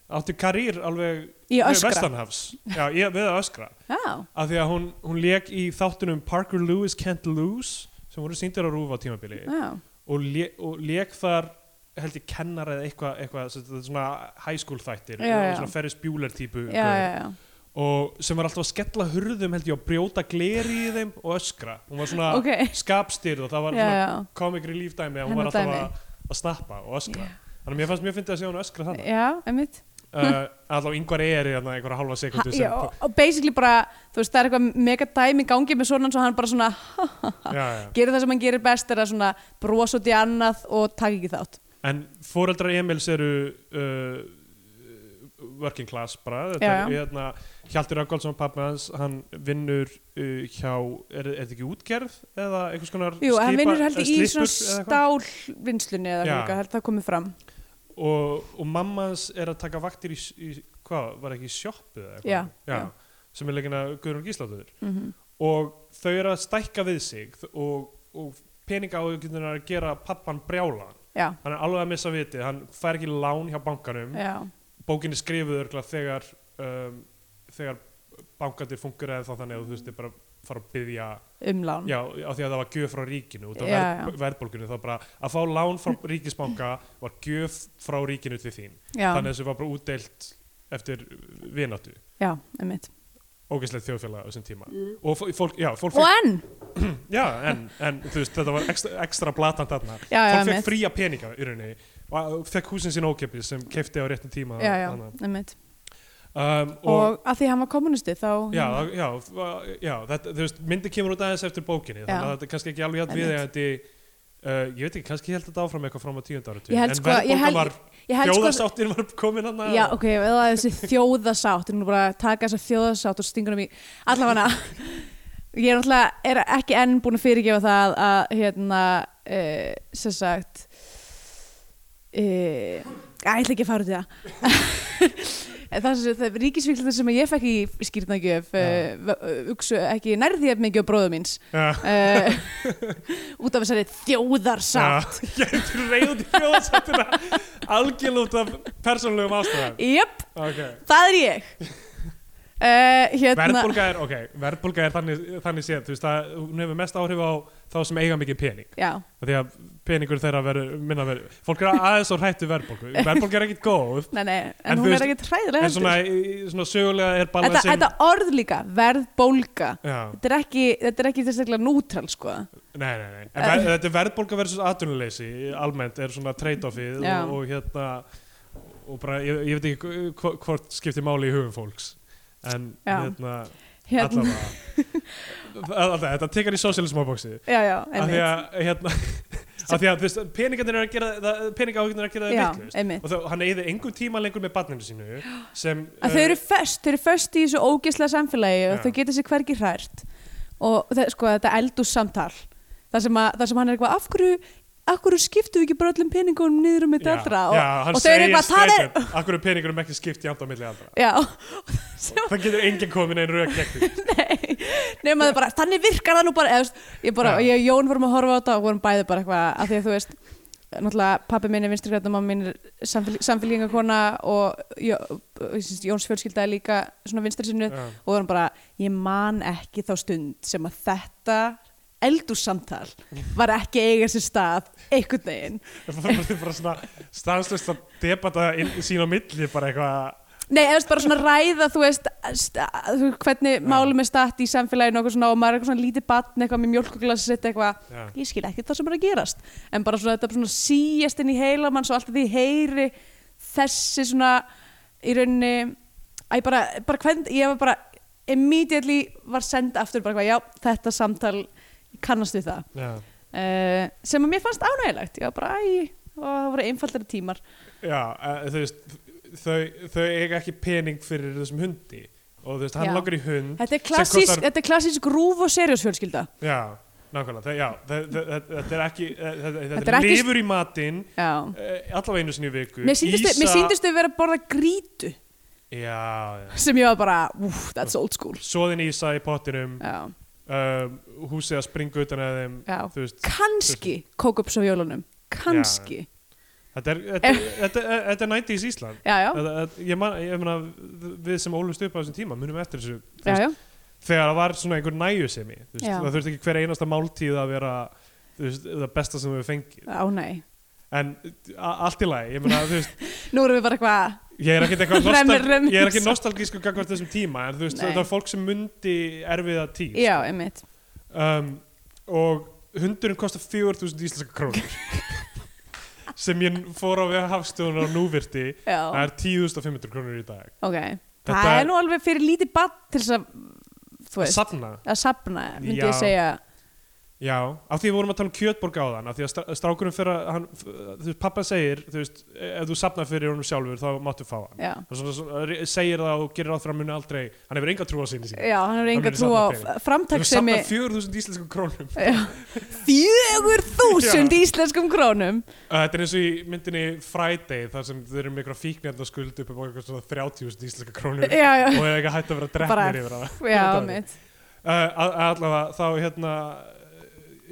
Speaker 2: átti karýr alveg
Speaker 3: Í að öskra.
Speaker 2: vestanhafs já, í, við að öskra
Speaker 3: já,
Speaker 2: af því að hún, hún leik í þáttunum Parker Lewis Can't Lose sem voru sýndir á rúfa á tímabili
Speaker 3: já,
Speaker 2: og, le, og leik þar held ég kennar eða eitthvað eitthva, svona high school þættir
Speaker 3: Já, já.
Speaker 2: svona Ferris Bueller típu
Speaker 3: já, já, já.
Speaker 2: og sem var alltaf að skella hurðum held ég og brjóta gleri í þeim og öskra hún var svona
Speaker 3: Ok.
Speaker 2: okay. skapstyrð og það var
Speaker 3: Já,
Speaker 2: svona
Speaker 3: já.
Speaker 2: comic relief dæmi að hún
Speaker 3: Hennar
Speaker 2: var alltaf
Speaker 3: dæmi.
Speaker 2: að, að snappa og öskra þannig að mér fannst mjög fyndið að sjá hún öskra þannig
Speaker 3: já einmitt
Speaker 2: uh, allavega yngvar er í þarna einhverja hálfa sekundu
Speaker 3: já, og, og basically bara, þú veist, það er eitthvað mega dæmi í gangi með svona eins og hann bara svona
Speaker 2: já, já.
Speaker 3: gerir það sem hann gerir best er að svona bros út í annað og takk ekki þátt
Speaker 2: En fóreldrar Emils eru uh, working class bara þetta
Speaker 3: Já,
Speaker 2: er
Speaker 3: já.
Speaker 2: hérna Hjalti Röggoldsson pappi hans, hann vinnur uh, hjá, er, er þetta ekki útgerð eða einhvers konar
Speaker 3: Jú, hann
Speaker 2: skipa-
Speaker 3: vinnur held
Speaker 2: eða
Speaker 3: ég í
Speaker 2: slípur
Speaker 3: svona
Speaker 2: eða eitthvað?
Speaker 3: stálvinnslunni eða
Speaker 2: Já.
Speaker 3: hvað, held það komið fram
Speaker 2: og, og mamma hans er að taka vaktir í, í hvað, var ekki í sjoppu eða eitthvað
Speaker 3: Já,
Speaker 2: já,
Speaker 3: já.
Speaker 2: sem er leikina Guðrún Gísláttur
Speaker 3: mm
Speaker 2: og þau eru að stækka við sig þ- og, og peninga á að gera pappan brjálan
Speaker 3: já,
Speaker 2: hann er alveg að missa vitið, hann fær ekki lán hjá bankanum
Speaker 3: já,
Speaker 2: bókin er skrifuð örgla þegar um, þegar bankandir fungur eða þá þannig að þú þurftir bara að fara að byggja
Speaker 3: umlán
Speaker 2: já, á því að það var gjöf frá ríkinu út af
Speaker 3: Já,
Speaker 2: verð,
Speaker 3: já.
Speaker 2: verðbólgunni þá bara að fá lán frá ríkisbanka var gjöf frá ríkinu til þín
Speaker 3: já,
Speaker 2: þannig að þessu var bara útdeilt eftir vináttu
Speaker 3: já, einmitt
Speaker 2: ógæslegt þjóðfélag á þessum tíma
Speaker 3: Mm.
Speaker 2: og fó- fólk, já, fólk
Speaker 3: og
Speaker 2: fekk,
Speaker 3: enn
Speaker 2: já, en, en þú veist, þetta var ekstra, ekstra blatant þarna
Speaker 3: já, já,
Speaker 2: fólk
Speaker 3: einmitt.
Speaker 2: fekk fría peninga í rauninni og fekk húsin sín ókepis sem keipti á réttum tíma
Speaker 3: já, já,
Speaker 2: þarna.
Speaker 3: einmitt
Speaker 2: um, og,
Speaker 3: og að því hann var kommunisti þá
Speaker 2: já,
Speaker 3: hérna?
Speaker 2: það- já, f- já þetta, þú veist, myndi kemur út aðeins eftir bókinni
Speaker 3: Já.
Speaker 2: þannig að þetta er kannski ekki alveg jætt við
Speaker 3: Einmitt.
Speaker 2: eðandi, uh, ég veit ekki, kannski held þetta áfram eitthvað fram á tíund ára
Speaker 3: Ég held
Speaker 2: en
Speaker 3: sko- ég
Speaker 2: verðbólgan
Speaker 3: held-
Speaker 2: var,
Speaker 3: ég held sko
Speaker 2: þjóðasáttin var komin hann
Speaker 3: já, ok, eða þessi þjóðasátt ég er nú bara að taka þessa þjóðasátt og stinga um í allafana ég er náttúrulega er ekki enn búin að fyrirgefa það að hérna uh, sem sagt uh, að ég ætla ekki að fara út í það En það sem það ríkisvíklindur sem ég fekk í skýrnagjöf uh, uksu ekki nærði því að mikið á bróðum míns
Speaker 2: Já.
Speaker 3: uh, út af þessari þjóðarsátt
Speaker 2: Já, ég er reyð í þjóðasáttina algjörl út af persónulegum ástæðan
Speaker 3: Jöp,
Speaker 2: okay.
Speaker 3: það er ég uh, hérna,
Speaker 2: verðbólga er, ok, verðbólga er þannig, þannig séð, þú veist að hún hefur mest áhrif á þá sem eiga mikið pening
Speaker 3: Já,
Speaker 2: af því að peningur þeirra verður minna verður, fólk er aðeins og hrættu verðbólgu verðbólga er ekkit góð
Speaker 3: nei, nei, en,
Speaker 2: En
Speaker 3: hún
Speaker 2: þú
Speaker 3: er
Speaker 2: veist-
Speaker 3: ekkert hræðilega
Speaker 2: en
Speaker 3: heldur
Speaker 2: svona, í- svona sögulega er
Speaker 3: þetta,
Speaker 2: balansin
Speaker 3: þetta orð líka, verð bólga
Speaker 2: Já,
Speaker 3: Þetta er ekki, þetta er ekki sérstaklega nútral sko.
Speaker 2: nei, nei, nei. En ver, þetta er verðbólga versus atvinnuleysi almennt er svona trade-offið
Speaker 3: Já.
Speaker 2: og, og hérna og bara, ég, ég veit ekki hvo- hvort skiptir máli í hugum fólks en
Speaker 3: Já.
Speaker 2: hérna,
Speaker 3: Hérna,
Speaker 2: allavega Alltaf, þetta tekar í socialismaboksi
Speaker 3: já, já,
Speaker 2: af því
Speaker 3: einmitt.
Speaker 2: að, hérna af því að, þú veist, peningarnir er að gera það peningaáhugnin er að gera það
Speaker 3: Já,
Speaker 2: vitlaust.
Speaker 3: einmitt.
Speaker 2: og þá, hann eyði engum tíma lengur með barninu sínu sem eh,
Speaker 3: að þau eru föst, þau eru föst í þessu ógislega samfélagi og
Speaker 2: Já.
Speaker 3: þau geta sér hvergi hrært og það, sko, þetta eldús samtal þar sem, að, þar sem hann er eitthvað af hverju, af hverju skiptum við ekki bara öllum peningunum niður um þetta allra og, og þau eru eitthvað það er
Speaker 2: Akkur er peningurum ekki skipt jafnt á milli aldra
Speaker 3: já,
Speaker 2: Það getur enginn komin einn rauk gegn því
Speaker 3: nema þau bara, þannig virkar það nú bara, eða, þú veist, ég bara,
Speaker 2: Já.
Speaker 3: ég og Jón vorum að horfa á þetta og vorum bæði bara eitthvað, af því að þú veist náttúrulega pappi minn er vinstri grænt og mamma mín er samfél, samfélgingakona og Jó- ég syns Jóns fjölskylda er líka svona vinstri sinnu
Speaker 2: Já.
Speaker 3: og það er bara, ég man ekki þá stund sem að þetta eldússamtal var ekki að eiga sér stað einhvern veginn
Speaker 2: Það er bara svona stanslust að debata inn, sín á milli bara eitthvað
Speaker 3: Nei, eða þú veist, bara svona ræða, þú veist, sta, þú, hvernig málum er statt í samfélaginu og, eitthvað svona, og maður er eitthvað svona lítið batn eitthvað með mjölkuglas sitt eitthvað,
Speaker 2: Já.
Speaker 3: ég skil ekki það sem er að gerast en bara svona þetta svona síjast inn í heilamann svo alltaf því heyri þessi svona í rauninni æ, bara, bara hvern, ég var bara immediately var send aftur bara eitthvað, já, þetta samtal ég kannast við það
Speaker 2: Já,
Speaker 3: uh, sem að mér fannst ánægilegt, ég var bara, æ og það voru einfaldari tímar
Speaker 2: já eh, þú veist þau, þau eiga ekki pening fyrir þessum hundi og þú veist, hann
Speaker 3: Já.
Speaker 2: langar í hund
Speaker 3: Þetta er
Speaker 2: sem
Speaker 3: klassísk,
Speaker 2: kostar-
Speaker 3: þetta er klassísk rúf og serjósfjölskylda
Speaker 2: Já, nákvæmlega, það, já, það, það, það, þetta er ekki það, það,
Speaker 3: Þetta
Speaker 2: þetta
Speaker 3: er
Speaker 2: er
Speaker 3: ekki-
Speaker 2: lifur í matinn
Speaker 3: Já.
Speaker 2: eh, allavega einu sinni í viku
Speaker 3: Mér síndist,
Speaker 2: Ísa-
Speaker 3: mér síndist þau vera að borða grítu
Speaker 2: Já, já
Speaker 3: sem ég var bara, úf, that's old school
Speaker 2: Soðin Ísa í pottinum
Speaker 3: Já,
Speaker 2: um, húsið að springa utan að þeim
Speaker 3: já
Speaker 2: þú veist,
Speaker 3: Kanski kókups á jólunum Kanski
Speaker 2: þetta er, þetta, er, þetta, er, þetta er 90s Ísland
Speaker 3: Já, já,
Speaker 2: þetta, þetta- ég, man, ég meina við sem ólumst upp á þessum tíma munum eftir þessu þú
Speaker 3: já, já,
Speaker 2: þegar það var svona einhver næjusemi þú veist,
Speaker 3: Já.
Speaker 2: það þurfti ekki hver einasta máltíð að vera þú veist, það besta sem við fengið
Speaker 3: á nei
Speaker 2: en a- allt í lagi, ég meina þú veist
Speaker 3: Nú erum við bara eitthvað
Speaker 2: ég er ekkit eitthvað
Speaker 3: Remmir,
Speaker 2: nostal,
Speaker 3: remmir.
Speaker 2: ég er ekki nostalgísku gangvart þessum tíma en þú veist,
Speaker 3: Nei.
Speaker 2: þetta var fólk sem mundi erfiða tíð
Speaker 3: Já, einmitt
Speaker 2: um, og hundurinn kostar 4000 íslenska krónur sem ég fór á við hafstöðunar á núvirti það
Speaker 3: Já,
Speaker 2: er 10.500 krónur í dag
Speaker 3: ok Það
Speaker 2: Þetta-
Speaker 3: er nú alveg fyrir lítið badd til þess að þú veist,
Speaker 2: safna
Speaker 3: að sapna, myndi
Speaker 2: Já.
Speaker 3: ég segja
Speaker 2: Já, af því við vorum að tala um kjötborg á þann af því að stra- strákurinn fyrir að hann, f- þú veist, pappa segir, þú veist, ef þú safnar fyrir honum sjálfur þá máttu fá hann
Speaker 3: Já,
Speaker 2: og svona, svona, re- segir það og gerir ráð fyrir að hann muni aldrei hann hefur enga trú á sinni sín
Speaker 3: já hann er enga
Speaker 2: muni
Speaker 3: trú
Speaker 2: safna
Speaker 3: á
Speaker 2: pening. þú
Speaker 3: framtaksemi
Speaker 2: safnar 4000 íslenskum krónum
Speaker 3: Fjögur þúsund íslenskum krónum
Speaker 2: Uh, Þetta er eins og í myndinni Friday þar sem þau eru með eitthvað fíknefna skuld upp um eitthvað svona 30.000 íslenska krónur
Speaker 3: Já, já,
Speaker 2: og er ekki hægt að vera
Speaker 3: Bara-
Speaker 2: drefnir yfir hana
Speaker 3: já, mitt
Speaker 2: Uh, að- að allavega þá hérna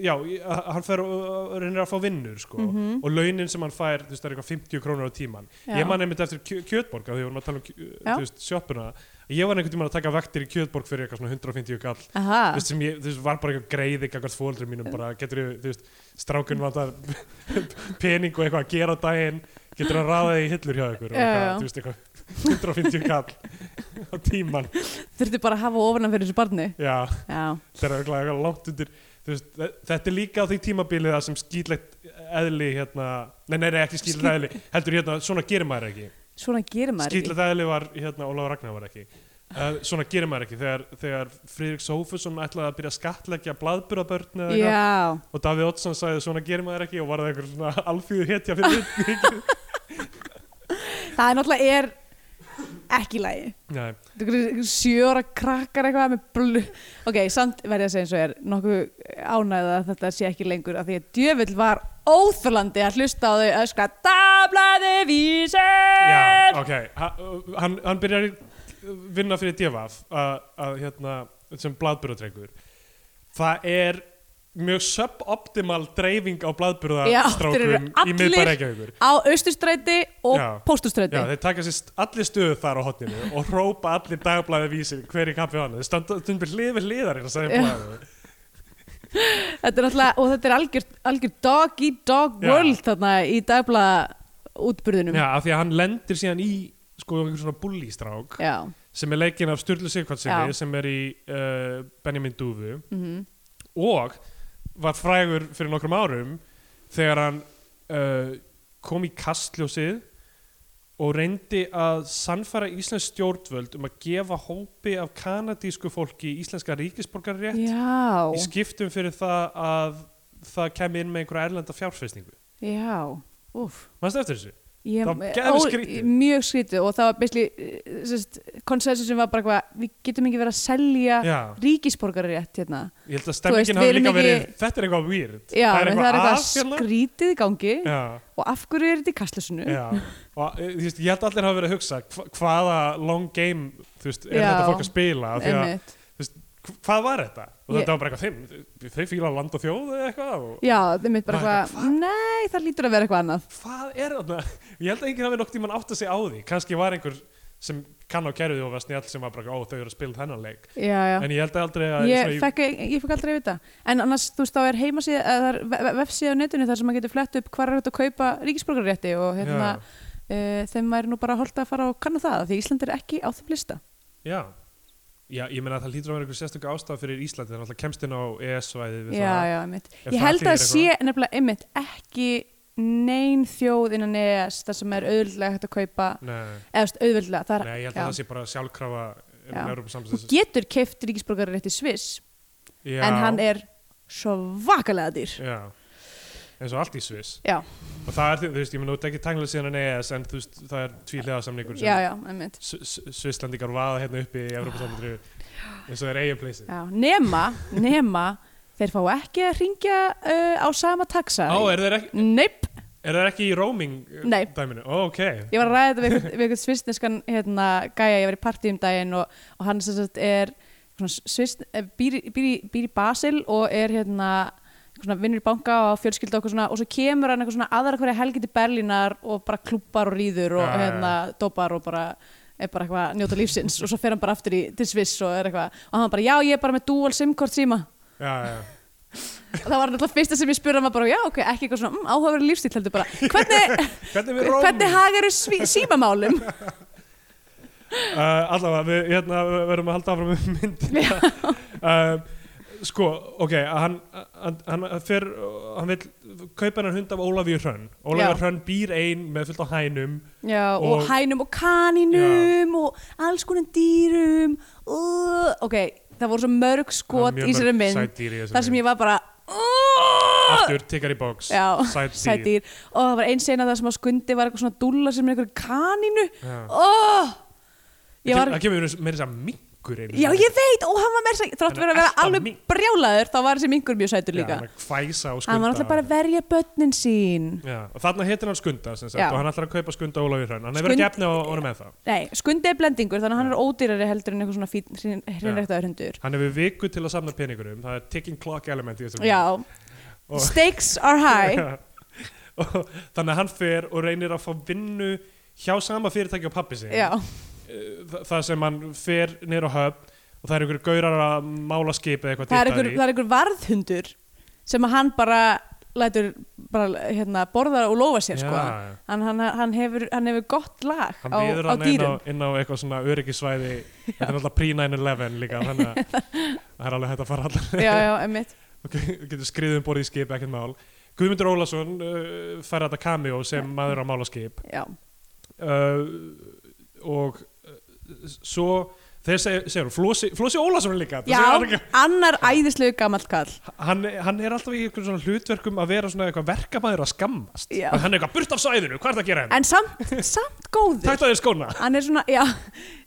Speaker 2: já, í- að- hann fer og og reynir að fá vinnur sko og launin sem hann fær, þú veist, það er eitthvað 50 krónur á tíman
Speaker 3: Mhm. Já.
Speaker 2: ég man einmitt eftir kjö, kjötborg að því við vorum að tala um, kjö-
Speaker 3: Já.
Speaker 2: þú veist, sjoppuna ég var einhvern tímann að taka vektir í kjötborg fyrir eitthvað svona 150 kall
Speaker 3: Aha,
Speaker 2: þú veist, sem ég, þú veist, var bara eitthvað greiði gagvart fóldrum mínum, bara getur ég, þú veist strákun vantar pening og eitthvað að gera á daginn, getur að ráða í hillur hjá ykkur, og
Speaker 3: Já,
Speaker 2: eitthvað,
Speaker 3: já.
Speaker 2: þú veist, eitthvað 150 kall á tíman,
Speaker 3: þurfti bara að hafa ofanan fyrir þessu barni
Speaker 2: já
Speaker 3: Já,
Speaker 2: þetta er örugglega eitthvað langt undir þú veist, þe- þetta er líka á því tímabilið það sem skýtlegt eðli hérna, nei, nei, nei, ekki skýtlegt
Speaker 3: Skít-
Speaker 2: eðli heldur hérna, svona gerir maður ekki
Speaker 3: svona gerir maður ekki
Speaker 2: skýtlegt eðli var, hérna, Ólafur Ragnar var ekki uh, svona gerir maður ekki þegar, þegar Friðrik Sófusson ætlaði að byrja að skattleggja blaðburabörn eða eitthvað
Speaker 3: Já,
Speaker 2: og Davíð Oddsson sagði svona gerir maður ekki og var það einhver svona alfýðu hetja fyrir vikið
Speaker 3: það er náttúrulega er ekki í lagi
Speaker 2: Nei,
Speaker 3: Þetta er einhverjir sjöra krakkar eitthvað með blu Ok, samt verði að segja eins og er nokkuð ánægða að þetta sé ekki lengur af því að djöfull var óþurlandi að hlusta á þau öskra Dablaði vísir
Speaker 2: já, ok Ha- hann, hann byrjar að vinna fyrir Devaf að, að hérna sem blaðburðadrengur það er mjög suboptimal dreifing á
Speaker 3: Já, þeir
Speaker 2: blaðburðastrákum
Speaker 3: eru
Speaker 2: í
Speaker 3: allir-
Speaker 2: miðbærækjavíkur
Speaker 3: Á austurstræti og
Speaker 2: Já.
Speaker 3: póstustræti
Speaker 2: Já, þeir taka sér st- allir stöðu þar á hotninu og hrópa allir dagblæði vísir hver í kampi á hann. Þeir standa stundur hlið við hliðar hérna sagði
Speaker 3: Já.
Speaker 2: blæðinu.
Speaker 3: Þetta er náttúrulega, og þetta er algjör, algjör dog eat dog
Speaker 2: Já.
Speaker 3: world þarna í dæbla útbyrðinum.
Speaker 2: Já, af því að hann lendir síðan í sko einhver svona bullystrák
Speaker 3: Já.
Speaker 2: sem er leikinn af Sturlu
Speaker 3: Já.
Speaker 2: Sigvartsinni sem er í uh, Benjamin Dúfu.
Speaker 3: mhm.
Speaker 2: og var frægur fyrir nokkrum árum þegar hann uh, kom í kastljósið og reyndi að sannfæra Íslands stjórnvöld um að gefa hópi af kanadísku fólki íslenska ríkisborgarrétt
Speaker 3: Já,
Speaker 2: í skiptum fyrir það að það kemi inn með einhverja erlenda fjárfæsningu.
Speaker 3: já, úf.
Speaker 2: Manstu eftir þessu?
Speaker 3: Ég,
Speaker 2: Það var geðveikt
Speaker 3: ó,
Speaker 2: skrítið.
Speaker 3: Mjög skrítið og það var eh, basically, konsensusum var bara eitthvað, við getum ekki verið að selja
Speaker 2: Já,
Speaker 3: ríkisborgarrétt hérna.
Speaker 2: ég held að
Speaker 3: veist,
Speaker 2: stemmingin
Speaker 3: við
Speaker 2: hafi
Speaker 3: erum
Speaker 2: líka
Speaker 3: ekki-
Speaker 2: verið, þetta er eitthvað weird.
Speaker 3: Já, en það er eitthvað
Speaker 2: að hérna.
Speaker 3: skrítið í gangi
Speaker 2: Já,
Speaker 3: og af hverju er þetta í kastlusinu?
Speaker 2: já. Og, eh, þú veist, ég held allir hafa verið að hugsa hva- hvaða long game, þú veist, er
Speaker 3: Já.
Speaker 2: þetta fólk að spila? af því að-
Speaker 3: Einmitt.
Speaker 2: hv- hvað var þetta? Og
Speaker 3: Ég-
Speaker 2: þetta var bara eitthvað þeim, þau fíla land og þjóð eða eitthvað og
Speaker 3: Já, þeim mitt bara
Speaker 2: Maður er
Speaker 3: eitthvað, nei, það lítur að vera eitthvað annað.
Speaker 2: hvað er þarna? Ég held að enginn hafi nokt í mann átt að segja á því, kannski var einhver sem kann á kerfið og var snjall sem var bara ó þau eru að spila þennan leik,
Speaker 3: Já, já.
Speaker 2: en ég held aldrei að
Speaker 3: Ég fekk, e- ég fekk aldrei að vita. En annars, þú veist, þá er heimasíða, eða það er ve- ve- vefsíða á netinu þar sem maður getur flett upp hvar er þetta að kaupa ríkisborgarrétti og hérna, uh, þeim væri nú bara holdt að fara og kanna það, því Ísland er ekki á þeim lista.
Speaker 2: já, já. já, ég meina að það lítur að vera einhver sérstöku ástæða fyrir Íslandi, þannig að kemst inn á ES-svæðið við
Speaker 3: Já,
Speaker 2: það
Speaker 3: já, einmitt.
Speaker 2: Ef
Speaker 3: Ég
Speaker 2: það
Speaker 3: held að
Speaker 2: þýðir
Speaker 3: sé nefnilega einmitt ekki neyn þjóð innan ES þar sem er auðvöldlega hægt að kaupa,
Speaker 2: Nei,
Speaker 3: eða þú veist, auðvöldlega, það er,
Speaker 2: nei, ég held að
Speaker 3: já.
Speaker 2: það sé bara sjálfkrafa
Speaker 3: Já. þú
Speaker 2: Európa-samsins
Speaker 3: getur keift ríkisborgarrétti Sviss, en hann er svakalega dýr.
Speaker 2: já, eins og allt í Sviss
Speaker 3: Já,
Speaker 2: og það er, þú veist, ég meina, þú tekir tanglega síðan en ES en þú veist, það er tvíhliða samningur
Speaker 3: já, já, einmitt.
Speaker 2: Svislandingar vaða hérna uppi í Evropasambandri eins og það er eigin pleysið
Speaker 3: Já, nema, nema, þeir fá ekki að ringja uh, á sama taxa.
Speaker 2: Á, er þeir ekki,
Speaker 3: Neip,
Speaker 2: er þeir ekki í roaming uh,
Speaker 3: Nei.
Speaker 2: dæminu? Ó, ok
Speaker 3: ég var að ræða þetta við einhvern- við eitthvað svistneskan hérna, gæja, ég var í partí um daginn og, og hann sem sagt er svona svist, eh, býr, í- býr, í- býr í Basel og er hérna eitthvað svona vinnur í banka og á fjölskyldu og okkur svona og svo kemur hann eitthvað svona aðra hverja helgi til Berlínar og bara klúpar og rýður og
Speaker 2: Já, já, já.
Speaker 3: hérna dópar og bara er bara eitthvað að njóta lífsins og svo fer hann bara aftur í, til Sviss og er eitthvað og hann bara já ég er bara með dual simkort síma
Speaker 2: Já, já,
Speaker 3: Og það var náttúrulega fyrsta sem ég spurði hann var bara, já, ok, ekki eitthvað svona mm, áhugaverið lífstíl heldur bara, hvernig,
Speaker 2: hvernig við roaming?
Speaker 3: hvernig hagar eru símamálum?
Speaker 2: Uh, allavega, við hérna, við verðum að halda áfram með myndina uh, Sko, ok, að hann, hann, hann, fyrr, hann vil kaupa hennar hund af Ólafíu Hrönn Ólafíu
Speaker 3: Já.
Speaker 2: Hrönn býr ein með fullt á hænum
Speaker 3: Já, og,
Speaker 2: Og-
Speaker 3: hænum og kanínum og alls konar dýrum og, ok, það voru svo mörg skot í sér mynd, þar sem ég var bara uh,
Speaker 2: Aftur, tikkar í bóks,
Speaker 3: Já,
Speaker 2: sæt
Speaker 3: sæt dýr og það var eins eina það sem að skundi var eitthvað svona dúlla sem er eitthvað kanínu
Speaker 2: Já.
Speaker 3: oh, ég var
Speaker 2: Það kemur mér þess að mingur einu
Speaker 3: Já,
Speaker 2: sinni.
Speaker 3: ég veit, og hann var meira sætt Þrátt
Speaker 2: Hann er
Speaker 3: fyrir að vera
Speaker 2: alltaf
Speaker 3: alveg
Speaker 2: mink.
Speaker 3: brjálaður Þá var þessi mingur mjög sætur líka
Speaker 2: hann er að hvæsa og skunda
Speaker 3: Hann var náttúrulega bara að verja börnin sín
Speaker 2: Já, og þarna heitir hann Skunda sem sagt,
Speaker 3: Já.
Speaker 2: og hann ætlar að kaupa Skunda Ólafi Hrönn hann hefur
Speaker 3: Skund-
Speaker 2: ekki efni á honum með það
Speaker 3: Nei, skundi er blendingur þannig að hann er ódýrari heldur en eitthvað svona fín- hrein- hreinræktaður hundur
Speaker 2: hann hefur viku til að samna peningurum það er ticking clock element í þessum
Speaker 3: Já,
Speaker 2: Mm. Og-
Speaker 3: stakes are high
Speaker 2: og þannig að hann fer og reynir að fá vinnu hjá sama fyrirtæki á pappi sin
Speaker 3: Já,
Speaker 2: Eh, Þa, það sem hann fer nýr á höfn og það er einhverju gaurar að mála skip eða eitthvað
Speaker 3: það er
Speaker 2: dýrdaður
Speaker 3: einhver,
Speaker 2: í.
Speaker 3: það er einhver varðhundur sem að hann bara lætur bara hérna borða og lofa sér sko
Speaker 2: Já, já.
Speaker 3: hann, hann, hann, hefur, hann hefur gott lag
Speaker 2: hann
Speaker 3: á,
Speaker 2: viður
Speaker 3: á
Speaker 2: hann inn á,
Speaker 3: dýrum
Speaker 2: inn á eitthvað svona öryggisvæði þetta er náttúrulega pre-9-11 líka þannig að það er alveg hægt að fara allar
Speaker 3: Já, já, emmitt
Speaker 2: ok, getur skriðið um borðið í skip, ekkert mál Guðmundur Ólason uh, fær þetta cameo sem maður á málaskip
Speaker 3: Já,
Speaker 2: uh, og uh, svo þeir seg- segja, Flósi, Flósi Ólason er líka það
Speaker 3: já
Speaker 2: segir hann ekki-
Speaker 3: annar æðislegu gamall kall
Speaker 2: hann, hann er alltaf í einhverjum svona hlutverkum að vera svona eitthvað verkamæður að skammast
Speaker 3: Já.
Speaker 2: Að hann er eitthvað burt af svæðinu, hvað er það að gera hérna? henn?
Speaker 3: En samt, samt góður
Speaker 2: Tækta þér skóna
Speaker 3: hann er svona, já,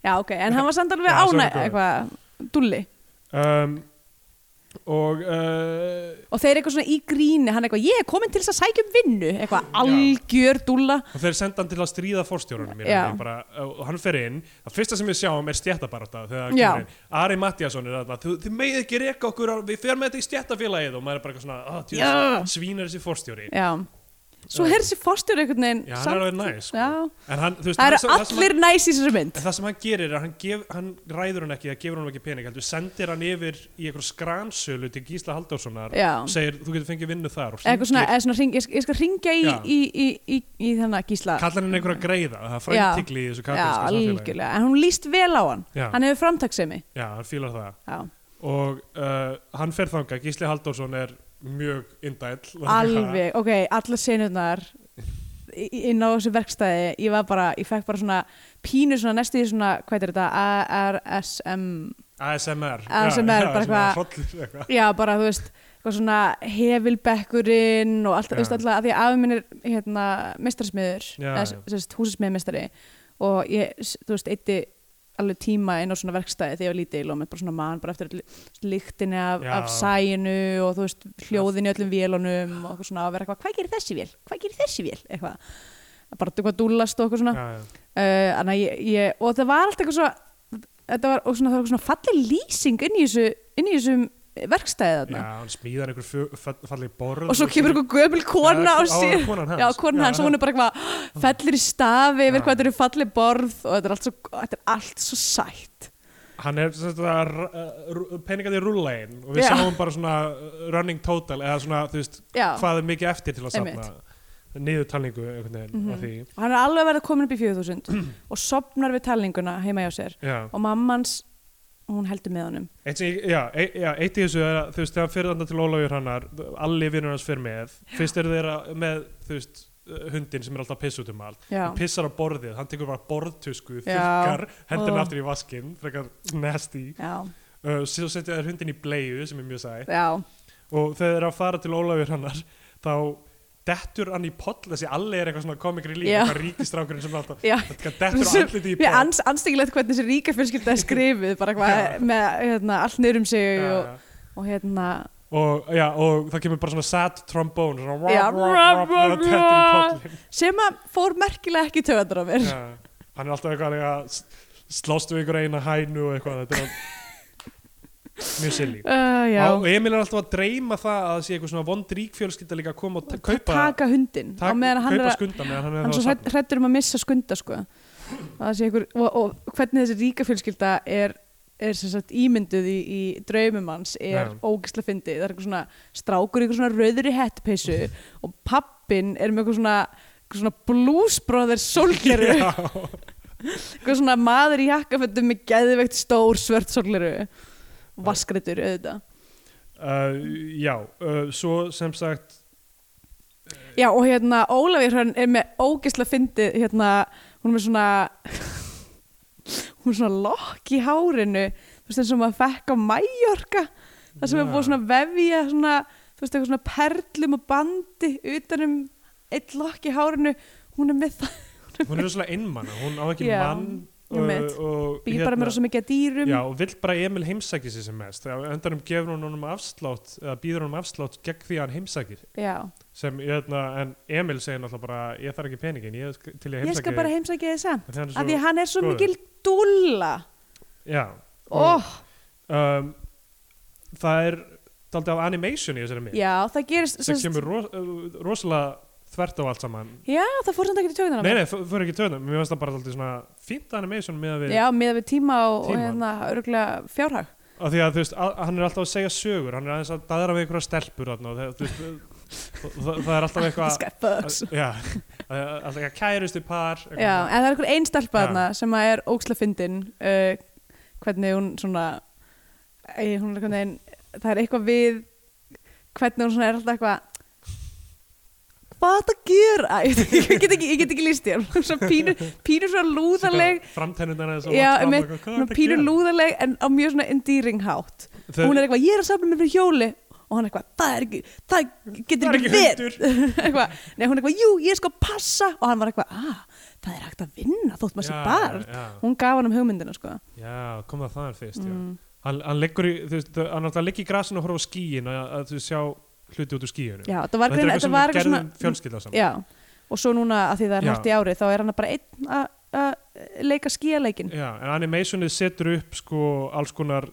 Speaker 3: já ok en hann var samt
Speaker 2: Já,
Speaker 3: alveg
Speaker 2: svo er
Speaker 3: ána
Speaker 2: hann góður.
Speaker 3: eitthvað dulli
Speaker 2: um, og uh,
Speaker 3: og þeir eitthvað svona í gríni, hann eitthvað ég er komin til þess að sækja um vinnu, eitthvað algjör dulla,
Speaker 2: og þeir senda hann til að stríða fórstjórunum í
Speaker 3: Já.
Speaker 2: rauninni, bara, og hann fer inn það fyrsta sem við sjáum er stjættabarata þegar hann
Speaker 3: Já.
Speaker 2: kemur inn. Ari Mattiasson er þarna þið, þið megið ekki reka okkur, á- við ferum með þetta í stjættafélagið og maður er bara eitthvað svona, "Ah, djú,
Speaker 3: Já.
Speaker 2: svínur þessi fórstjóri
Speaker 3: já svo er þessi fórstjóri einhvern veginn
Speaker 2: Já, hann er
Speaker 3: samt-
Speaker 2: alveg næs, sko.
Speaker 3: já.
Speaker 2: en hann, þú veist,
Speaker 3: það
Speaker 2: hann-
Speaker 3: eru
Speaker 2: það sem
Speaker 3: allir
Speaker 2: hann,
Speaker 3: næs í þessari mynd
Speaker 2: en það sem hann gerir er að hann, gef, hann ræður hann ekki, það gefur hann ekki pening heldur, sendir hann yfir í einhver skransölu til Gísla Halldórssonar
Speaker 3: Já.
Speaker 2: og segir, þú getur fengið vinnu þar og
Speaker 3: eitthvað svona,
Speaker 2: hringir-
Speaker 3: eh, eða svona ring, ég, sk- ég skal ringja í,
Speaker 2: Já.
Speaker 3: í, í, í, í þennan gísla
Speaker 2: kallar hann einhverja greiða það er
Speaker 3: Já.
Speaker 2: fræntykli í þessu
Speaker 3: já,
Speaker 2: katalíska samfélagi
Speaker 3: algjörlega, en hún líst vel á hann
Speaker 2: Já.
Speaker 3: hann hefur framtaksemi
Speaker 2: já, hann fílar það
Speaker 3: já,
Speaker 2: og uh, hann fer þanga Gísli Halldórsson er mjög indæll
Speaker 3: alveg, ok, allar senurnar í- inn á þessu verkstæði ég var bara, ég fekk bara svona pínu svona næstu í svona, hvað er þetta ARSM,
Speaker 2: ASMR
Speaker 3: ASMR, bara eitthvað-
Speaker 2: hrollur eitthvað
Speaker 3: já bara þú veist eitthvað svona hefilbekkurinn og allt, þú veist
Speaker 2: Já.
Speaker 3: alltaf að því að afi minn er hérna mistarsmiður,
Speaker 2: Já,
Speaker 3: eða
Speaker 2: já.
Speaker 3: sérst húsasmiðmistari og ég, s- þú veist, eitti alveg tíma inn á svona verkstæði þegar ég var lítil og með bara svona mann, bara eftir öll lyktinni af,
Speaker 2: Já.
Speaker 3: af sæinu og þú veist, hljóðin í öllum vélunum og eitthvað svona að vera eitthvað, hvað gerir þessi vél? Hvað gerir þessi vél? Eitthvað, bara eitthvað dúllast og eitthvað svona
Speaker 2: Já, já.
Speaker 3: uh, anna, ég, ég, og það var alltaf eitthvað svo þetta var og svona, það var eitthvað svona falleg lýsing inn í þessu, inn í þessum verkstæði
Speaker 2: já,
Speaker 3: þarna
Speaker 2: hann smíðar einhver fu- fall- falleg borð
Speaker 3: og svo kemur eitthvað gömul kona
Speaker 2: Já,
Speaker 3: og sér,
Speaker 2: á- konan hans.
Speaker 3: já, konan
Speaker 2: Já,
Speaker 3: hans og hún er bara eitthvað fellir í stafi
Speaker 2: Já.
Speaker 3: yfir hvað þetta eru falleg borð og þetta er allt svo, þetta er allt svo sætt
Speaker 2: hann er sem sagt að r- uh, r- peningandi rúllegin og við
Speaker 3: Já.
Speaker 2: sjáum bara svona uh, running total eða svona þú veist
Speaker 3: já,
Speaker 2: hvað er mikið eftir til að safna
Speaker 3: Einmitt.
Speaker 2: niðurtalningu einhvern veginn
Speaker 3: Mhm.
Speaker 2: af því
Speaker 3: og hann er alveg að verða komin upp í 4000 og sopnar við talninguna heima hjá sér
Speaker 2: já.
Speaker 3: og mammans, hún heldur með honum
Speaker 2: Eitt, sem ég, já, e, já, eitt í þessu er að þú veist þegar fyrir þarna til Ólafur hannar allir vinnur hans fyrir með fyrst eru þeirra með þú veist uh, hundinn sem er alltaf piss út um allt
Speaker 3: já,
Speaker 2: Hann pissar á borðið, hann tekur bara borðtusku
Speaker 3: Já.
Speaker 2: þurrkar, hendur hann
Speaker 3: Ugh.
Speaker 2: aftur í vaskinn frekar nasty
Speaker 3: já,
Speaker 2: uh, svo setja þeir hundinn í bleiðu sem er mjög sætt
Speaker 3: já
Speaker 2: og þegar þeir eru að fara til Ólafur hannar þá dettur hann í poll þessi allir er eitthvað svona komikri líf
Speaker 3: Já.
Speaker 2: eitthvað ríkistrákurinn sem er alltaf
Speaker 3: Já.
Speaker 2: þetta dettur
Speaker 3: Sem-
Speaker 2: allir í
Speaker 3: Mér
Speaker 2: poll
Speaker 3: ans, anstakilegt hvernig þessi ríka fjölskylda er skrifið bara
Speaker 2: Já.
Speaker 3: hvað með hérna, allt niður um sig
Speaker 2: Já,
Speaker 3: og,
Speaker 2: já.
Speaker 3: og hérna
Speaker 2: og, já, og það kemur bara svona sad trombone svona rá,
Speaker 3: Já.
Speaker 2: rá, rá, rá, og þetta er í pollin
Speaker 3: sem að fór merkilega ekki í töðar á mér
Speaker 2: Já. hann er alltaf eitthvað að s- slást við ykkur eina hænu og eitthvað þetta er mjög silly
Speaker 3: uh, Já,
Speaker 2: og Emil er alltaf að dreyma það að það sé eitthvað svona vond ríkfjölskylda líka að koma og ta- kaupa
Speaker 3: taka hundinn á
Speaker 2: tak,
Speaker 3: meðan hann er
Speaker 2: kaupa
Speaker 3: að
Speaker 2: skunda meðan hann er
Speaker 3: hann
Speaker 2: það
Speaker 3: svo
Speaker 2: að
Speaker 3: hrætt-
Speaker 2: safna
Speaker 3: hræddur um að missa skunda sko. Að það sé einhver, og, og hvernig þessi ríka fjölskylda er, er sem sagt ímynduð í, í draumum hans er
Speaker 2: Já.
Speaker 3: ógislega fyndið það er eitthvað svona strákur í eitthvað svona rauðri hettpissu og pappin er með eitthvað svona, eitthvað svona blúsbróðir sólgeru
Speaker 2: Já.
Speaker 3: eitthvað svona maður í jakkafötum með geðveikt stór svört sólgeru vaskreitur auðvitað
Speaker 2: Uh, já, uh, svo sem sagt
Speaker 3: Já og hérna Ólafur hann er með ógeðslega fyndið hérna hún er með svona hún er svona lokk í hárinu þú veist eins og maður fekk á Mallorca það sem er
Speaker 2: Já.
Speaker 3: búið svona að vefja svona þú veist eitthvað svona perlum og bandi utanum eitt lokk í hárinu hún er með það
Speaker 2: hún er svona einmann, hún á ekki
Speaker 3: Já,
Speaker 2: mann uh,
Speaker 3: ég veit.
Speaker 2: og
Speaker 3: býr bara með rosa mikið að dýrum
Speaker 2: Hérna. Já, og vill bara að Emil heimsæki sig sem mest þegar á endanum gefur hún honum afslátt eða býður honum afslátt gegn því að hann heimsæki þig.
Speaker 3: Já.
Speaker 2: sem, hérna, en Emil segir náttúrulega bara, ég þarf ekki peningin ég sk- til ég
Speaker 3: ég
Speaker 2: heimsæki hérna
Speaker 3: skal bara heimsækja þið samt
Speaker 2: heimsæki
Speaker 3: af því að hann er svo
Speaker 2: góður.
Speaker 3: mikil dúlla
Speaker 2: Já,
Speaker 3: oh,
Speaker 2: um, það er daldið af animation í þessari mynd
Speaker 3: Já það gerist
Speaker 2: sem
Speaker 3: sest,
Speaker 2: kemur ros uh, rosalega þvert á allt saman
Speaker 3: Já ah, það fór samt ekki til tökunar
Speaker 2: Nei, nei, f- fyrir ekki töðnum, mér finnst það bara daldið svona fínt animation með að við
Speaker 3: Já, miðað við tíma og, og
Speaker 2: Tíma.
Speaker 3: hérna, örgulega fjárhag.
Speaker 2: af því að þú veist, að, hann er alltaf að segja sögur hann er aðeins að daðra við einhverja stelpur þarna, og það, þú veist, það, það, það er alltaf eitthvað
Speaker 3: Skæpöks.
Speaker 2: Já, að- að- alltaf ekki kærustu par eitthvað
Speaker 3: Já,
Speaker 2: svona.
Speaker 3: en það er einhver einn stelpa
Speaker 2: Já.
Speaker 3: þarna sem að er óksla fyndin, uh, hvernig hún svona, ei, hún er hvernig, það er eitthvað við, hvernig hún svona er alltaf eitthvað, hvað er það að gera? Ég get ekki, ég get ekki líst þér. Hún er svona pínu, pínu svona lúðaleg,
Speaker 2: Svona framtennurnar aðeins og
Speaker 3: Já,
Speaker 2: langt fram
Speaker 3: einmitt,
Speaker 2: og eitthvað, hvað
Speaker 3: svona
Speaker 2: ertu að
Speaker 3: pínu
Speaker 2: gera?
Speaker 3: lúðaleg en á mjög svona endearing hátt.
Speaker 2: Þau-
Speaker 3: hún er eitthvað, ég er að safna mér fyrir hjóli og hann er eitthvað, það er ekki, það
Speaker 2: Það er
Speaker 3: getur
Speaker 2: ekki
Speaker 3: ekki verið eitthvað, nei hún er eitthvað, jú, ég er sko að passa og hann var eitthvað, ah, það er hægt að vinna þótt maður sé
Speaker 2: Já,
Speaker 3: barn,
Speaker 2: já,
Speaker 3: hún gaf hann um hugmyndina sko,
Speaker 2: Já, kom það þaðan fyrst já.
Speaker 3: Mm.
Speaker 2: Hann, hann liggur í, þú veist, þau- hann alltaf liggur í grasinu og horfa á skíin að, að þú sjá hluti út úr skíinu
Speaker 3: já, það var,
Speaker 2: Þetta er
Speaker 3: greina,
Speaker 2: eitthvað sem
Speaker 3: þetta var
Speaker 2: við
Speaker 3: eitthvað
Speaker 2: gerðum
Speaker 3: svona,
Speaker 2: fjölskylda saman
Speaker 3: já og svo núna að því það er
Speaker 2: Já.
Speaker 3: hægt í ári þá er hann bara einn að- að leika skíaleikin
Speaker 2: Já, en animationið setur upp sko alls konar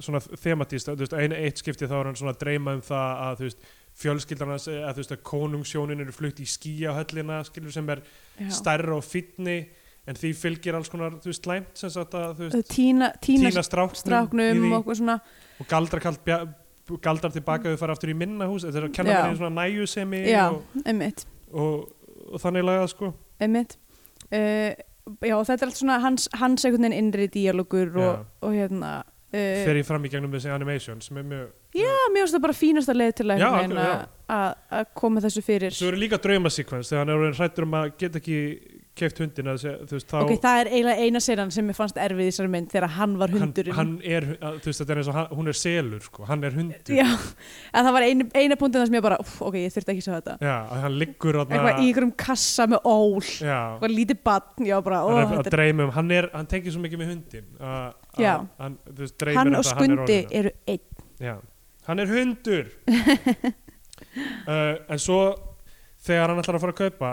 Speaker 2: svona thematist, þú veist, einu eitt skipti þá er hann svona að dreyma um það að þú veist fjölskyldan hans, að þú veist að konungsjónin eru flutt í skíahöllina, skilur sem er
Speaker 3: Já.
Speaker 2: stærra og fínni en því fylgir alls konar, þú veist, slæmt sem sagt að, þú
Speaker 3: Þau
Speaker 2: veist,
Speaker 3: tína, tína,
Speaker 2: tína stráknum, í
Speaker 3: stráknum
Speaker 2: því
Speaker 3: og okkur svona
Speaker 2: og galdrar kallt bja- galdrar tilbaka þau fara aftur í minna hús þetta er að kenna
Speaker 3: Já.
Speaker 2: henni svona næjusemi
Speaker 3: já,
Speaker 2: og,
Speaker 3: einmitt
Speaker 2: og, og þannig lagað sko
Speaker 3: einmitt Eh, uh, já og þetta er allt svona hans, hans einhvern veginn innri díalógur og, og hérna uh,
Speaker 2: fer ég fram í gegnum þessi animation sem er mjög,
Speaker 3: Já, mér finnst það bara fínasta leið til að
Speaker 2: Já,
Speaker 3: einhvern veginn
Speaker 2: algjörlega,
Speaker 3: að- að að koma þessu fyrir
Speaker 2: svo eru líka draumasekvens þegar hann er orðinn hrættur um að geta ekki keft hundin að þú veist þá
Speaker 3: Ok, það er eiginlega eina senan sem mér fannst erfið í þessari mynd þegar hann var
Speaker 2: hann,
Speaker 3: hundurinn
Speaker 2: hann er, að, þú veist þetta er eins og hann, hún er selur sko, hann er hundur
Speaker 3: Já, en það var einu, eina punktin þar sem ég bara "Úff, Ok, ég þurfti ekki að sjá þetta
Speaker 2: Já, að hann liggur
Speaker 3: Eitthvað í einhverjum kassa með ól
Speaker 2: já,
Speaker 3: Eitthvað lítið batn, já bara ó,
Speaker 2: hann er að
Speaker 3: þetta,
Speaker 2: dreyma um hann, er, hann tengir svo mikið með hundin að- að
Speaker 3: Já.
Speaker 2: hann, þú veist,
Speaker 3: er-
Speaker 2: dreymir
Speaker 3: Hann
Speaker 2: um þetta
Speaker 3: og
Speaker 2: að
Speaker 3: Skundi
Speaker 2: orðinn-
Speaker 3: eru einn
Speaker 2: Já, hann er hundur uh, En svo þegar hann ætlar að fara að kaupa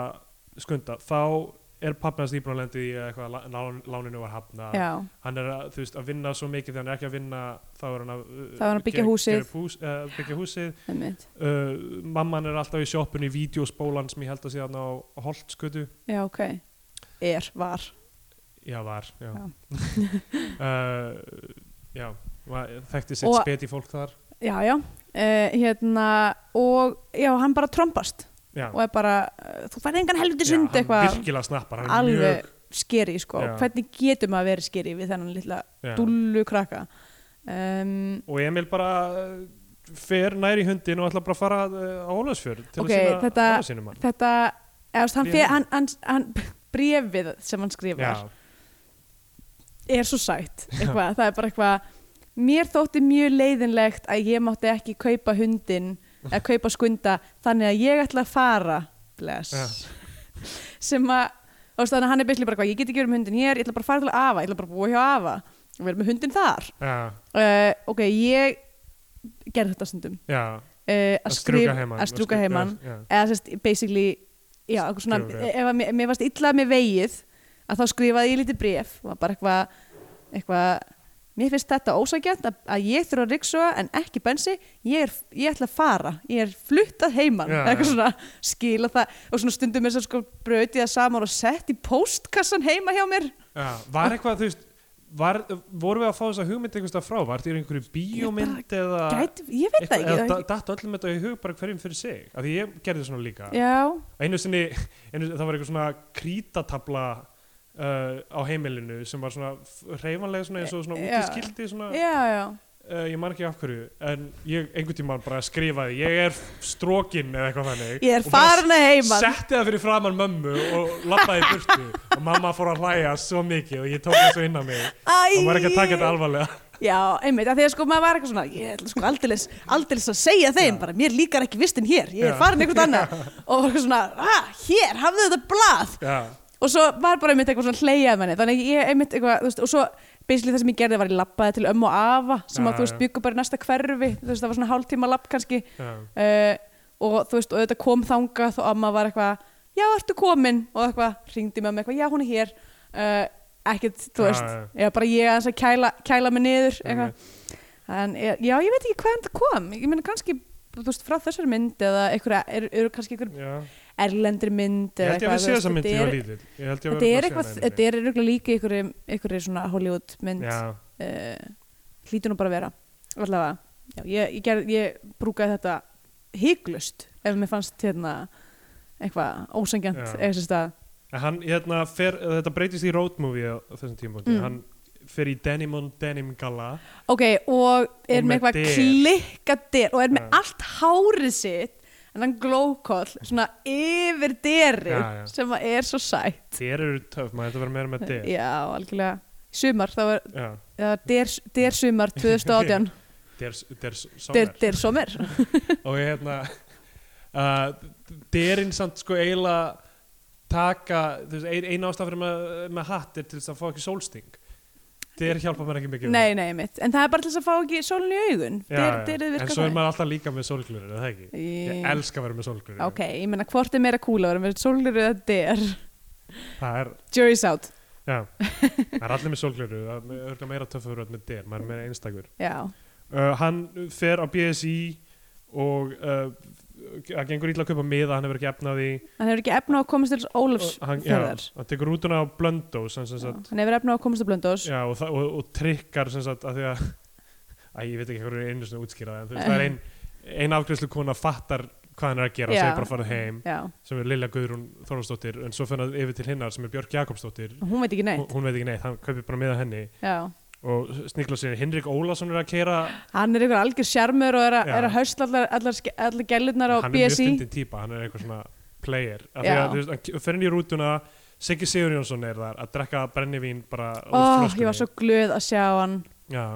Speaker 2: skunda, þá er pappi hans nýbúin að lendi í að eitthvað að lán, láninu var hafna
Speaker 3: Já,
Speaker 2: hann er að, þú veist, að vinna svo mikið þegar hann er ekki að vinna þá er hann að, uh,
Speaker 3: Þá er hann að byggja
Speaker 2: gera-
Speaker 3: húsið.
Speaker 2: gera upp hús, uh, byggja húsið
Speaker 3: það mynd
Speaker 2: uh, mamman er alltaf í sjoppunni vídeospólan sem ég held að sé hann á Holtskötu
Speaker 3: Já, ok Er, var
Speaker 2: Já, var, já.
Speaker 3: Já.
Speaker 2: Já, uh, já va- þekkti sitt
Speaker 3: Og-
Speaker 2: speti fólk þar.
Speaker 3: Já, já Uh, hérna, og já, hann bara trombast
Speaker 2: Já,
Speaker 3: og er bara, uh, þú færði engan helviti
Speaker 2: já
Speaker 3: sund eitthvað
Speaker 2: virkilega snappar, hann er
Speaker 3: alveg
Speaker 2: mjög...
Speaker 3: skeri sko,
Speaker 2: Já.
Speaker 3: hvernig getur maður að vera skeri við þennan litla
Speaker 2: Já.
Speaker 3: dullu krakka um,
Speaker 2: Og Emil bara uh, fer nær í hundin og ætlar bara að fara uh, á Ólafsfjörð til
Speaker 3: Ok,
Speaker 2: að sína
Speaker 3: þetta-
Speaker 2: afa sínum hann.
Speaker 3: þetta eðast, hann,
Speaker 2: Bréfið.
Speaker 3: fer, hann, hann, hann brefið sem hann skrifar
Speaker 2: Já,
Speaker 3: er svo sætt eitthvað, það er bara eitthvað mér þótti mjög leiðinlegt að ég mátti ekki kaupa hundin eða kaupa skunda þannig að ég ætla að fara bless sem að þú veist, þannig að hann er byrjulega bara eitthvað ég get ekki verið með hundin hér, ég ætla bara að fara til afa ég ætla bara að búa hjá afa og verið með hundin þar
Speaker 2: já,
Speaker 3: uh, ok, ég gerði þetta stundum uh,
Speaker 2: já.
Speaker 3: að, skrif,
Speaker 2: heiman,
Speaker 3: að strúka heiman
Speaker 2: Já,
Speaker 3: eða sérst, basically já, eitthvað svona,
Speaker 2: Skrifa bréf.
Speaker 3: ef að mér, mér varst illa með vegið að þá skrifaði ég lítið bref og var bara eitthvað eitthva, mér finnst þetta ósækjönd að, að ég þurfa að riksuga en ekki bensi ég, er, ég ætla að fara, ég er flutt að heiman
Speaker 2: Já,
Speaker 3: eitthvað
Speaker 2: já.
Speaker 3: svona skila það og svona stundum er svo sko brautið að saman og sett í postkassan heima hjá mér
Speaker 2: já. Var eitthvað, þú veist, var, voru við að fá þessa hugmynd einhvers það frá? Var þetta í einhverju bíómynd eða...
Speaker 3: Gæti, ég veit það
Speaker 2: eitthvað-
Speaker 3: ekki,
Speaker 2: eða
Speaker 3: það
Speaker 2: da- datt öllum þetta í hug bara hverjum fyrir sig af því ég gerði svona líka
Speaker 3: ekki já,
Speaker 2: einu sinni, einu, það var eitthvað svona krítatabla uh, á heimilinu sem var svona reyfanlega svona eins og svona
Speaker 3: Já.
Speaker 2: útiskildi svona,
Speaker 3: já, já
Speaker 2: uh, ég man ekki af hverju en ég einhvern tímann bara skrifaði ég er strokin eða eitthvað þannig
Speaker 3: ég er
Speaker 2: og bara
Speaker 3: farin að heiman
Speaker 2: setti það fyrir framann mömmu og lappaði í burtu og mamma fór að hlæja svo mikið og ég tók það svo inn á mig
Speaker 3: Æ,
Speaker 2: og var ekki að taka þetta alvarlega
Speaker 3: Já, einmitt, af því að sko maður var eitthvað svona ég ætla sko aldeilis, aldeilis að segja þeim bara, mér líkar ekki vistin hér, ég er
Speaker 2: Já.
Speaker 3: farin eitthvað annað og var eitthvað svona, ah, hér, hafðu þetta blað
Speaker 2: já,
Speaker 3: og svo var bara einmitt eitthvað svona hlegjað menni þannig að ég einmitt eitthvað, þú veist, og svo basically það sem ég gerði var ég labbaði til ömmu og afa sem
Speaker 2: Já,
Speaker 3: að þú veist
Speaker 2: já.
Speaker 3: byggu bara í næsta hverfi þú veist, það var svona hálftíma labb kannski
Speaker 2: já,
Speaker 3: uh, og þú veist, og þetta kom þangað og amma var eitthvað, já, ertu komin og eitthvað, ringdi með mig eitthvað, já, hún er hér uh, ekkert,
Speaker 2: Já,
Speaker 3: þú veist
Speaker 2: já.
Speaker 3: já, bara ég aðeins að kæla, kæla mig niður
Speaker 2: Einmitt.
Speaker 3: eitthvað, en ég- já, ég veit ekki hvaðan þetta kom, ég meina kannski þú veist, frá þessari mynd eða einhverja, eru er, kannski einhver
Speaker 2: já.
Speaker 3: erlendir mynd
Speaker 2: ég held
Speaker 3: eða
Speaker 2: ég að við
Speaker 3: þú
Speaker 2: sé
Speaker 3: veist,
Speaker 2: þessa myndi
Speaker 3: þetta
Speaker 2: ég var
Speaker 3: er-
Speaker 2: lítill Ég held ég hafi
Speaker 3: þetta er
Speaker 2: séð
Speaker 3: eitthvað,
Speaker 2: hana
Speaker 3: þetta er eitthvað líka einhverju, einhverju svona Hollywood mynd
Speaker 2: já,
Speaker 3: uh, hlýtur nú bara að vera allavega, já, ég, ég, ger, ég brúkaði þetta hygglust ef mér fannst hérna eitthvað ósengjant
Speaker 2: Já.
Speaker 3: eða sérst að
Speaker 2: En hann, hérna, fer, þetta breytist í road movie á þessum tímapunkti,
Speaker 3: Mm.
Speaker 2: hann fer í denim on denim gala
Speaker 3: ok, og er
Speaker 2: Og
Speaker 3: með
Speaker 2: með
Speaker 3: eitthvað
Speaker 2: der.
Speaker 3: klikka der og er með
Speaker 2: Já.
Speaker 3: allt hárið sitt en hann glókoll, svona yfir deri
Speaker 2: Já, já.
Speaker 3: sem að er svo sætt
Speaker 2: þér eru töf, maður þetta verður meira með der
Speaker 3: já, algjörlega sumar, þá var
Speaker 2: já,
Speaker 3: ja, der, der sumar 2018
Speaker 2: der, der
Speaker 3: der,
Speaker 2: sommer
Speaker 3: der sommer
Speaker 2: og hérna uh, derinn samt sko eiginlega taka, þú veist, ein, eina ástaf fyrir með, með hatt er til þess að fá ekki sólsting der hjálpa mér ekki mikið
Speaker 3: nei, nei, mitt, en það er bara til þess að fá ekki sólinu í augun,
Speaker 2: Já,
Speaker 3: der,
Speaker 2: já.
Speaker 3: derið
Speaker 2: en svo
Speaker 3: virkar
Speaker 2: er
Speaker 3: þannig.
Speaker 2: maður alltaf líka með sólglurur, er það ekki? Ég elska að vera með sólglurur
Speaker 3: Ok, ég meina hvort er meira kúla að vera með sólur eða der
Speaker 2: það er
Speaker 3: Jury's out
Speaker 2: Já, það er allir með sólgleru það er örgulega meira töffur en með der maður er meira einstakur
Speaker 3: Já,
Speaker 2: uh, hann fer á BSI og uh, það gengur ítla að kaupa miða hann hefur ekki efnaði
Speaker 3: hann hefur ekki efna á að komast til Ólafs
Speaker 2: hann, já,
Speaker 3: fjörðar
Speaker 2: hann tekur rútuna á blöndó sem, sem sagt,
Speaker 3: Hann hefur efna á að komast til Blöndós
Speaker 2: já, og, það- og, og trikkar sem sagt að því að Æ, ég veit ekki hvað er einu svona útskýrað en þú veist, það er ein, ein afgreðslu kona fattar hvað hann er að gera,
Speaker 3: Já.
Speaker 2: segir bara að fara heim
Speaker 3: Já,
Speaker 2: sem er Lilja Guðrún Þorvaldsdóttir en svo fyrir hann yfir til hinnar sem er Björk Jakobsdóttir
Speaker 3: hún veit ekki
Speaker 2: hún,
Speaker 3: neitt
Speaker 2: hún veit ekki neitt, hann kaupir bara miða henni
Speaker 3: Já,
Speaker 2: og sniklausinn Henrik Ólason er að keira
Speaker 3: Hann er einhver algjör sjarmur og er, a,
Speaker 2: Já.
Speaker 3: er að höstla allar, allar, ske- allar gælunar á
Speaker 2: hann er mjög
Speaker 3: BSI.
Speaker 2: stundin típa, hann er eitthvað svona player, af því
Speaker 3: Já.
Speaker 2: að þú veist, hann fer inn í rútuna Siggi Sigur Jónsson er þar að drekka brennivín bara
Speaker 3: Ó, ég var svo glöð að sjá hann,
Speaker 2: já,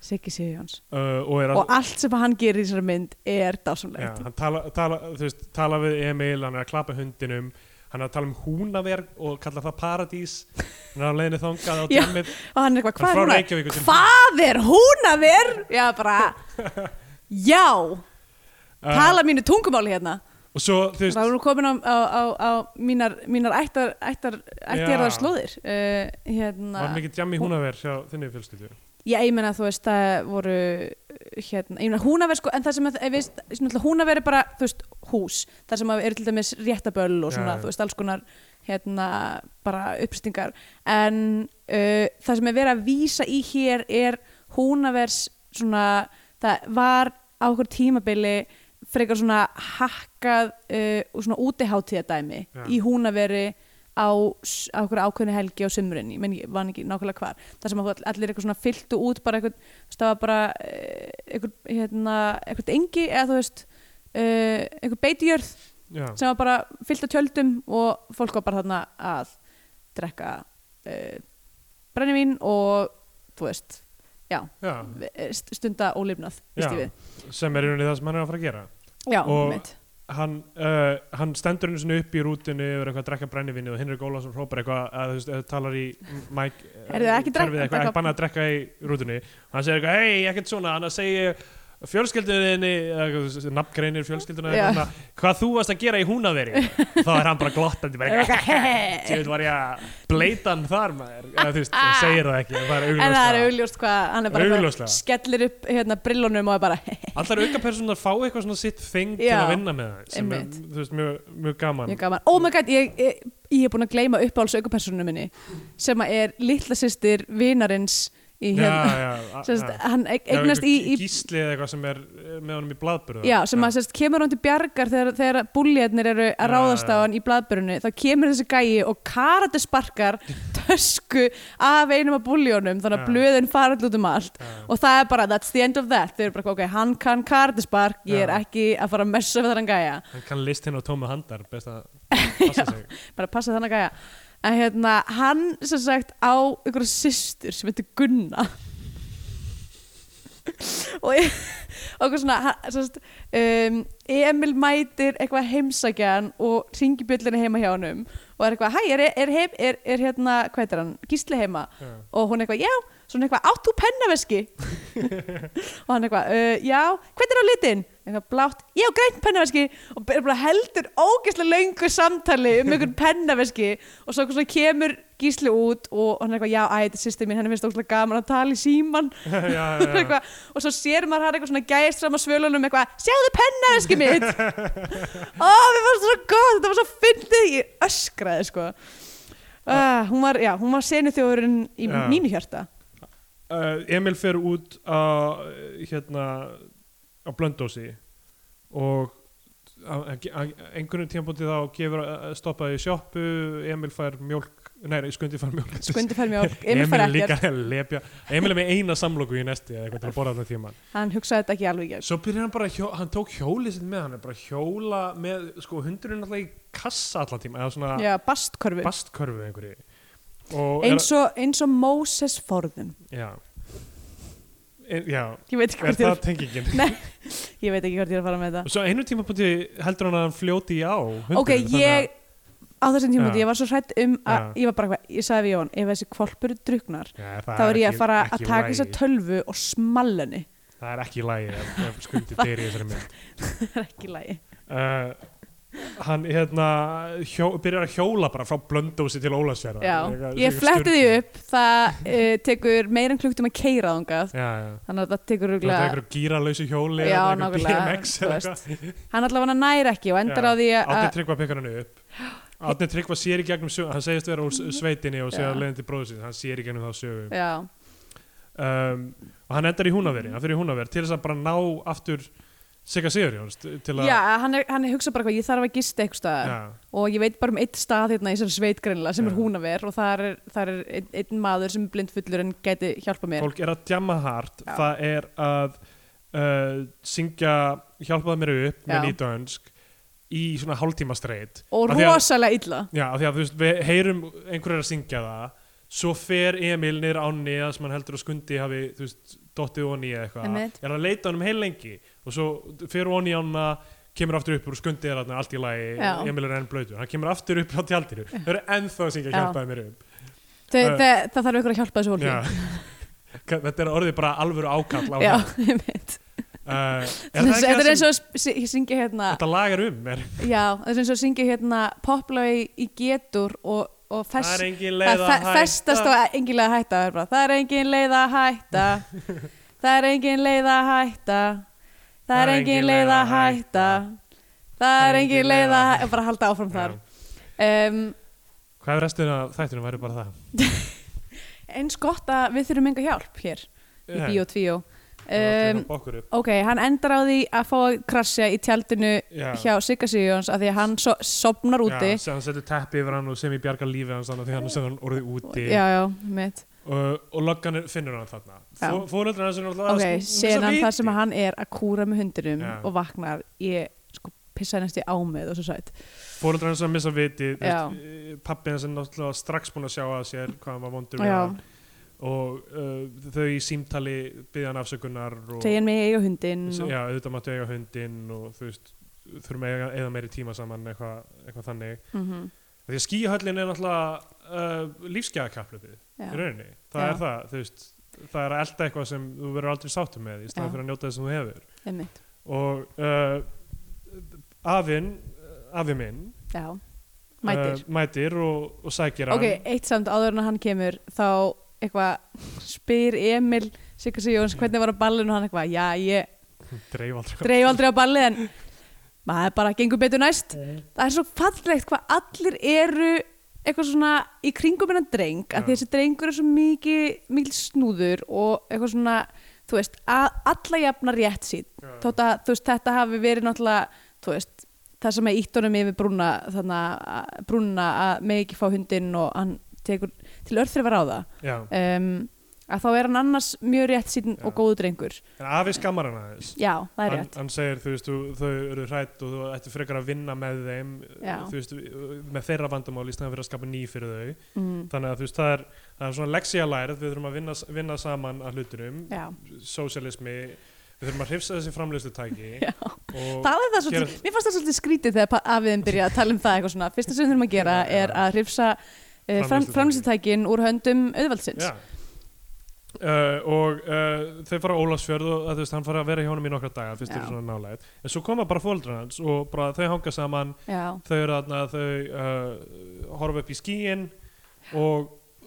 Speaker 3: Siggi Sigjóns.
Speaker 2: uh, og er að
Speaker 3: Og allt sem hann gerir í þessari mynd er
Speaker 2: já,
Speaker 3: dásamlegt.
Speaker 2: hann tala, tala, þú veist, tala við Emil, hann er að klappa hundinum hann er að tala um húnaverk og kalla það paradís hann er á leiðinu þangað á
Speaker 3: Já.
Speaker 2: djammið
Speaker 3: Og hann er eitthvað, hvað
Speaker 2: frá
Speaker 3: er hún að?
Speaker 2: Reykjavíkur til-
Speaker 3: Hvað er hún að vera? Já, bara, já, tala mínu tungumáli hérna.
Speaker 2: Uh, og svo, þú
Speaker 3: Þá
Speaker 2: veist,
Speaker 3: erum við komin á, á, á, á mínar, mínar ættar, ættar, ættarðar
Speaker 2: Já.
Speaker 3: slóðir. Uh, hérna.
Speaker 2: var mikið djammi húnaverk hjá þinni fjölskyldu
Speaker 3: Já, ég meina þú veist, það voru hérna, ég meina húnaver sko, en það sem að, ef við, náttúrulega húnaver er bara, þú veist, hús, þar sem að eru til dæmis réttaböll og svona,
Speaker 2: Já, já.
Speaker 3: þú veist, alls konar hérna, bara uppstingar en uh, það sem er verið að vísa í hér er húnavers svona, það var á okkur tímabili frekar svona hakkað uh, og svona útiháttíðadæmi
Speaker 2: Já.
Speaker 3: í húnaveri á, s- á okkur ákveðni helgi á sumrunni, menn ég var ekki nákvæmlega hvar það sem að þú- allir eitthvað svona fylltu út bara eitthvað, þú veist, það var bara eh, eitthvað, hérna, eitthvað engi eða þú veist, eh, eitthvað beitijörð
Speaker 2: já,
Speaker 3: sem var bara fyllt af tjöldum og fólk var bara þarna að drekka uh, brennivín og þú veist, já
Speaker 2: já,
Speaker 3: eh, st- stunda ólifnað, víst ég
Speaker 2: já,
Speaker 3: við
Speaker 2: sem er í rauninni það sem hann er að fara að gera
Speaker 3: já,
Speaker 2: Og-
Speaker 3: mitt,
Speaker 2: hann, uh, hann stendur einu sinni upp í rútinu yfir eitthvað að drekka brennivinni og Henrik Ólafsson hrópar eitthvað að þú veist, eh, talar í mæk,
Speaker 3: Heyrðu, ekki drekka-
Speaker 2: eitthvað,
Speaker 3: drekka-
Speaker 2: eitthvað banna að drekka í rútinu og hann segir eitthvað, hei, ekkert svona hann segir fjölskyldunni eða eitthvað, þú veist, nafngreinir fjölskylduna
Speaker 3: Já.
Speaker 2: eitthvað, svona, hvað þú varst að gera í húnaveri þá er hann bara glottandi bara eitthvað, þú veit, var ég að bleita hann þar maður, eða þú veist, hann segir það ekki en það er
Speaker 3: Ah. en það er
Speaker 2: augljóslega
Speaker 3: augljóst hvað hann er bara
Speaker 2: Augljóslega.
Speaker 3: eitthvað, skellir upp hérna brillunum og er bara
Speaker 2: allar aukapersonar fá eitthvað svona sitt þing til
Speaker 3: Já.
Speaker 2: að vinna með það sem er,
Speaker 3: Einmitt.
Speaker 2: þú veist, mjög, mjög gaman
Speaker 3: Mjög gaman. Oh my god, ég, ég, ég er búin að gleyma uppáhalds aukapersonu minni sem að er litla sýstir vinarins í hérna.
Speaker 2: já, já,
Speaker 3: Sest,
Speaker 2: já.
Speaker 3: hann eig- eignast
Speaker 2: Já,
Speaker 3: í,
Speaker 2: einhver
Speaker 3: í
Speaker 2: Gísli eða eitthvað sem er eh, með honum í blaðburða
Speaker 3: já, sem að sest, kemur hann til bjargar þegar, þegar búljarnir eru að
Speaker 2: Já,
Speaker 3: ráðast á
Speaker 2: já.
Speaker 3: hann í blaðbörunni þá kemur þessi gæi og karatisparkar tösku af einum af búljónum þannig
Speaker 2: Já.
Speaker 3: að blöðin fara alltaf út um allt
Speaker 2: Já.
Speaker 3: og það er bara, that's the end of that þau eru bara, ok, hann kann karatispark ég er
Speaker 2: Já.
Speaker 3: ekki að fara að messa við þannig gæja
Speaker 2: hann kann list hérna á tómu handar best að passa sig
Speaker 3: bara passa þannig að að hérna, hann sem sagt á einhverja systur sem heitir Gunna og ég- og eitthvað svona hann- sem sagt, um, Emil mætir eitthvað heimsækjan og ringi bjöllinu heima hjá honum og er eitthvað, hæ, er, er, heim, er, er hérna hvað heitir hann, gísli heima
Speaker 2: Já.
Speaker 3: og hún eitthvað, já, svona eitthvað, átt þú pennaveski og hann eitthvað, uh, já hvernig er á litin? eitthvað blátt, já, grænt pennaveski og er bara heldur ógeðslega löngu samtali um einhvern pennaveski og svo, svo kemur gísli út og hann er eitthvað, já, æ, þetta er sýsti mín henni finnst ógeðslega gaman að tala í síman
Speaker 2: já, já, já.
Speaker 3: eitthvað, og svo sér maður hann eitthvað svona gæst fram á svölunum eitthvað, sjáðu pennaveski mitt ó, mér fannst það svo gott þetta var svo fyndið, ég öskraði sko uh, hún var, já, hún var senu þjóðurinn í
Speaker 2: Ah. Já.
Speaker 3: mínu hjarta
Speaker 2: Uh, Emil fer út á eh, hérna á blöndósi og á- á- á- einhvernum tímpúti þá gefur að stoppa í sjoppu Emil fær mjólk nei, nei, skundi fær mjólk
Speaker 3: skundi fær mjólk, Emil fær
Speaker 2: er líka
Speaker 3: ekkert
Speaker 2: að lepja Emil er með eina samloku í næsti eða eitthvað til að borða þarna tíma
Speaker 3: hann hugsaði þetta ekki alveg ekki
Speaker 2: Svo byrjar hann bara, að hjó, hann tók hjólið sitt með hann er bara að hjóla með, sko hundurinn alltaf í kassa allan tíma, eða svona
Speaker 3: já, bastkörfu,
Speaker 2: bastkörfu einhverju og
Speaker 3: eins og, eins og Moses forðum
Speaker 2: er, já en, já,
Speaker 3: ég veit
Speaker 2: er
Speaker 3: ekki hvort ég,
Speaker 2: það tengingin
Speaker 3: ég veit ekki hvort ég er að fara með þetta
Speaker 2: svo einu tíma búti heldur hann að hann fljóti í á hundurinn,
Speaker 3: ok, ég á þessum tíma
Speaker 2: Já.
Speaker 3: ég var svo hrætt um að,
Speaker 2: Já.
Speaker 3: ég var bara eitthvað, ég sagði við Jón ef þessi kvolpur druknar
Speaker 2: já,
Speaker 3: þá er ég að fara að taka
Speaker 2: þess
Speaker 3: þessa tölvu og smalla henni
Speaker 2: það er ekki lægi ef, ef skundi deyri þessari mynd
Speaker 3: það er ekki lægi
Speaker 2: uh, hann hérna hjó, byrjar að hjóla bara frá blöndósi til Ólasfjara
Speaker 3: já, ég fletti því upp það uh, tekur meira en klukkutum að keira þangað
Speaker 2: já, já
Speaker 3: þannig að það tekur
Speaker 2: Það er
Speaker 3: rúglega
Speaker 2: eitthvað gíralausu hjóli
Speaker 3: Já,
Speaker 2: eða eitthvað
Speaker 3: nákvæmlega,
Speaker 2: BMX
Speaker 3: þú
Speaker 2: eða
Speaker 3: veist.
Speaker 2: eitthvað.
Speaker 3: hann allavega nær ekki og endar
Speaker 2: Já,
Speaker 3: á því
Speaker 2: Árni
Speaker 3: að
Speaker 2: Tryggva pekar hann upp Árni Tryggva sér í gegnum sögu hann segist vera úr s- sveitinni og segja
Speaker 3: Já.
Speaker 2: leiðin til bróður sín hann sér í gegnum þá sögu
Speaker 3: já,
Speaker 2: um, og hann endar í húnaveri hann fyrir í húnaveri til þess að bara ná aftur Sigga Sigurjóns t- til að
Speaker 3: Já, hann er, hann er hugsað bara hvað, ég þarf að gista eitthvað staðar
Speaker 2: Já.
Speaker 3: og ég veit bara um eitt stað hérna í þessari sveit greinlega sem
Speaker 2: Já.
Speaker 3: er húnaver og þar er, þar er einn, einn maður sem er blindfullur en gæti hjálpað mér.
Speaker 2: fólk er að djamma hart
Speaker 3: Já.
Speaker 2: það er að uh, syngja hjálpaða mér upp með
Speaker 3: Já.
Speaker 2: nýtönsk í svona hálftíma streit
Speaker 3: Og
Speaker 2: Af því að-
Speaker 3: rosalega illa.
Speaker 2: Já, af því að þú veist, við heyrum einhverjar að syngja það svo fer Emil nýr ánni að sem hann heldur að skundi hafi, þú veist, dottið onni eða
Speaker 3: Einmitt.
Speaker 2: eitthvað, er að leita honum heil lengi og svo fer onni ána kemur aftur upp úr og skundi er þarna allt í lagi
Speaker 3: Já.
Speaker 2: Emil er enn blöytur, hann kemur aftur upp á tjaldinu, þau eru ennþá að syngja
Speaker 3: Já.
Speaker 2: hjálpaði mér upp
Speaker 3: Þe,
Speaker 2: Eh.
Speaker 3: það, það þarf ykkur að hjálpa þessu fólki.
Speaker 2: Já. Þetta er orðið bara alvöru ákall á
Speaker 3: Já,
Speaker 2: hann
Speaker 3: ég veit.
Speaker 2: uh, er það
Speaker 3: Þetta
Speaker 2: ekki
Speaker 3: er
Speaker 2: það
Speaker 3: eins
Speaker 2: sem
Speaker 3: og að sp- sy- syngja hérna,
Speaker 2: þetta lagar um er,
Speaker 3: já, þetta er eins og að syngja hérna poplagi í getur og, og
Speaker 2: það
Speaker 3: fest,
Speaker 2: er engin
Speaker 3: það
Speaker 2: leið að
Speaker 3: fe- festast á engin leið að hætta það er bara, það er engin leið að hætta það er engin leið að hætta það er engin leið að hætta það er engin leið að hætta bara halda áfram þar um,
Speaker 2: hvað er restin af þættunum væri bara það
Speaker 3: eins gott að við þurfum enga hjálp hér í Bíó 2 um,
Speaker 2: um,
Speaker 3: ok, hann endar á því að fá að krasja í tjaldinu
Speaker 2: Já.
Speaker 3: hjá Sigga Sigjóns af því að hann so sopnar úti
Speaker 2: Já, sem hann setur teppi yfir hann og sem í bjarga lífi hans þannig að því hann sem hann orðið úti
Speaker 3: já, já, mitt
Speaker 2: og, og löggan er- finnur hann þarna
Speaker 3: Já.
Speaker 2: fóröldrar hans er náttúrulega
Speaker 3: ok,
Speaker 2: að-
Speaker 3: senan
Speaker 2: viti.
Speaker 3: þar sem hann er að kúra með hundinum
Speaker 2: Já.
Speaker 3: og vaknar ég sko pissaði næst í ámið og svo sætt
Speaker 2: foreldrar hans að missa viti
Speaker 3: Já.
Speaker 2: pappi hans er náttúrulega strax búinn að sjá að sér hvað hann var vondur við
Speaker 3: Já.
Speaker 2: hann og uh, þau í símtali byggja hann afsökunar og
Speaker 3: segja hann mig eiga hundin og,
Speaker 2: já, auðvitað máttu eiga hundinn og þú veist þurfum að eiga, eiga meiri tíma saman eitthvað eitthva þannig
Speaker 3: mm
Speaker 2: því að skíhöllin er náttúrulega uh, lífsgæðakaplöfið í
Speaker 3: já.
Speaker 2: rauninni, það
Speaker 3: Já.
Speaker 2: er það þú veist, það er að elda eitthvað sem þú verður aldrei sáttum með í staðan
Speaker 3: Já.
Speaker 2: fyrir að njóta þess sem þú hefur
Speaker 3: einmitt
Speaker 2: og uh, afinn afi minn
Speaker 3: já, mætir
Speaker 2: uh, mætir og, og sækir
Speaker 3: ok, eitt samt áður en hann kemur þá eitthvað spyr Emil Sigga Sigjóns hvernig var á ballinu og hann eitthvað já, ég
Speaker 2: hann dreif aldrei
Speaker 3: dreif aldrei á ballið en maður bara gengur betur næst það er svo fallegt hvað allir eru eitthvað svona í kringum hennan dreng að
Speaker 2: Já.
Speaker 3: því þessi drengur er svo mikið mikil snúður og eitthvað svona þú veist, að, alla jafna rétt sín þótt að þú veist, þetta hafi verið náttúrulega þú veist, það sem er ítt honum yfir brúna þannig að brúna að megi ekki fá hundinn og hann tekur til örþrifar á það
Speaker 2: já,
Speaker 3: um, að þá er hann annars mjög rétt sín
Speaker 2: Já.
Speaker 3: og góðu drengur
Speaker 2: en afi skammar hann aðeins
Speaker 3: já, það er
Speaker 2: Hann,
Speaker 3: rétt
Speaker 2: hann segir, þú veist, þú- þau eru hrætt og þú ættu frekar að vinna með þeim
Speaker 3: Já.
Speaker 2: þú veist, með þeirra vandamál í stæðan fyrir að skapa ný fyrir þau
Speaker 3: mm,
Speaker 2: þannig að þú veist, það er, það er svona leksía lærið, við þurfum að vinna, vinna saman að hlutunum,
Speaker 3: já
Speaker 2: sósialismi við þurfum að hrifsa þessi framlýstu tæki
Speaker 3: Já.
Speaker 2: og
Speaker 3: Það er það svolítið, mér fannst það svolítið skrítið þegar pa- afiðin byrja að tala um það eitthvað svona. Fyrsta sem við þurfum að gera er að hrifsa uh, fram,
Speaker 2: Framleiðslutækin.
Speaker 3: framlýstutækin úr höndum auðvaldsins.
Speaker 2: já. Uh, og uh, þau fara á Ólafsfjörð og að, þú veist, hann fara að vera hjá honum í nokkra daga fyrst
Speaker 3: Já.
Speaker 2: þau eru svona nálægt, en svo koma bara fóldrar hans og bara þau hanga saman
Speaker 3: Já,
Speaker 2: þau eru þarna, þau uh, horfa upp í skíin og,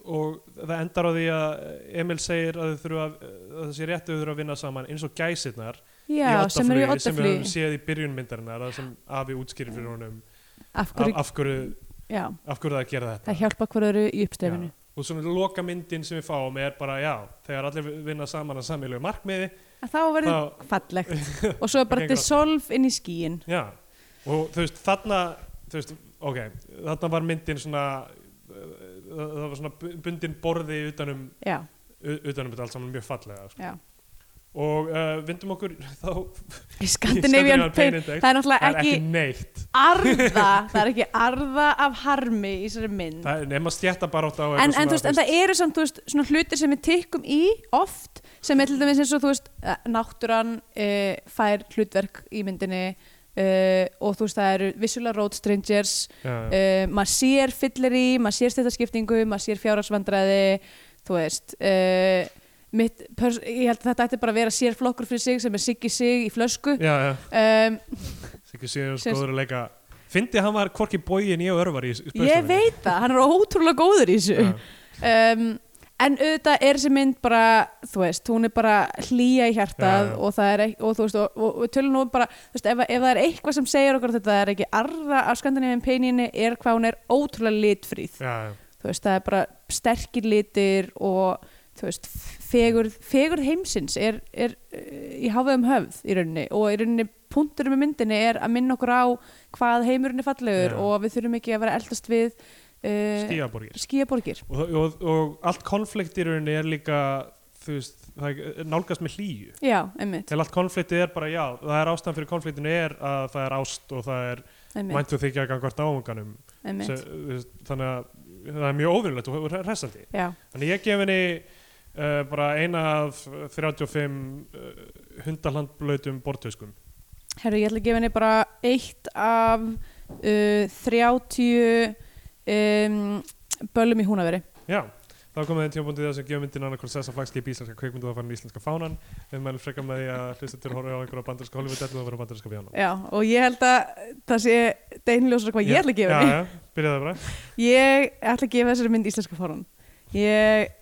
Speaker 2: og það endar á því að Emil segir að þau þurfa að, að þessi réttu þau þurfa að vinna saman eins og gæsirnar
Speaker 3: já
Speaker 2: í
Speaker 3: sem eru
Speaker 2: oddaflugi sem við
Speaker 3: í oddaflugi.
Speaker 2: höfum séð í byrjun myndarinnar það sem afi útskýrir fyrir honum af,
Speaker 3: Af hverju,
Speaker 2: af hverju
Speaker 3: já,
Speaker 2: af hverju það er að gera þetta
Speaker 3: það hjálpa hverju eru í uppstrefinu.
Speaker 2: Já. og svona loka myndin sem við fáum er bara já, þegar allir vinna saman að samílu markmiði,
Speaker 3: Að Þá verður
Speaker 2: þá
Speaker 3: fallegt og svo bara
Speaker 2: Það gengur
Speaker 3: dissolve inn í skíin.
Speaker 2: já, og þú veist þarna, þú veist, ok þarna var myndin svona uh, það það var svona bu- bundin borði utanum,
Speaker 3: Já,
Speaker 2: u- utanum þetta allt saman mjög fallega sko.
Speaker 3: já.
Speaker 2: og uh, vindum okkur þá
Speaker 3: Í Scandinavian Pain, það er
Speaker 2: það
Speaker 3: náttúrulega
Speaker 2: er
Speaker 3: ekki
Speaker 2: ekki neitt
Speaker 3: arða, það er ekki arða af harmi í þessari mynd.
Speaker 2: það er nema stjætta bara átt á
Speaker 3: en, en, þú veist, en það eru samt þú veist, svona hlutir sem við tikkum í oft sem er til dæmis eins og þú veist eh, náttúran uh, fær hlutverk í myndinni uh, og þú veist það eru vissulega road strangers
Speaker 2: já,
Speaker 3: uh, maður sér fylleri, maður sér stættaskiptingu maður sér fjárhagsvandræði þú veist uh, mitt, pers- ég held að þetta ætti bara að vera sér flokkur fyrir sig sem er siggi sig í flösku
Speaker 2: já, já,
Speaker 3: um,
Speaker 2: Siggi Sigurjóns
Speaker 3: Sem-
Speaker 2: góður að leika Fyndi hann var hvorki bógin ég og örvar í spöðstunni
Speaker 3: ég veit það, hann er ótrúlega góður í þessu um, en auðvitað er þessi mynd bara, þú veist, hún er bara hlýja í hjartað
Speaker 2: Já, já.
Speaker 3: og það er ekki, og þú veist, og, og, og tölum nú bara þú veist, ef, ef það er eitthvað sem segir okkur að þetta er ekki arra af skandinavíum peininni er hvað hún er ótrúlega litfríð
Speaker 2: já, já
Speaker 3: þú veist, það er bara sterkir litir og þú veist, fegurð, fegurð heimsins er, er eh, í háfum höfð í rauninni og í rauninni punkturum í myndinni er að minna okkur á hvað heimurinn er fallegur
Speaker 2: Já.
Speaker 3: og við þurfum ekki að vera að eldast við uh,
Speaker 2: stíaborgir
Speaker 3: skíaborgir
Speaker 2: og, og, og allt konflikt í rauninni er líka þú veist, það er eh, nálgast með hlýju
Speaker 3: Já, einmitt,
Speaker 2: til allt konfliktið er bara já það er ástæðan fyrir konfliktinu er að það er ást og það er
Speaker 3: einmitt,
Speaker 2: mæntu þykja gangvart áunganum
Speaker 3: einmitt.
Speaker 2: þannig að það er mjög óvinnlegt og resandi
Speaker 3: Já,
Speaker 2: þannig ég gef henni uh, bara eina af 35 uh, hundalandblöytum bortöskum
Speaker 3: herru, ég ætla að gefa henni bara eitt af uh, 30 um, böllum í húnaveri
Speaker 2: Já, þá komið þeim tímabundið þess að gefa myndin annað hvort sessa flagskip í íslenska kveikmyndu og það fann íslenska fánan við mælum frekar með því að hlusta til að horfa á einhverja bandarinska Hollywood ellu og vera bandarinska bjána
Speaker 3: Já, og ég held að það sé deynljósar hvað ég ætla að gefa
Speaker 2: Já,
Speaker 3: henni
Speaker 2: já, byrjaði það bara
Speaker 3: Ég ætla að gefa þessari mynd íslenska fórun Ég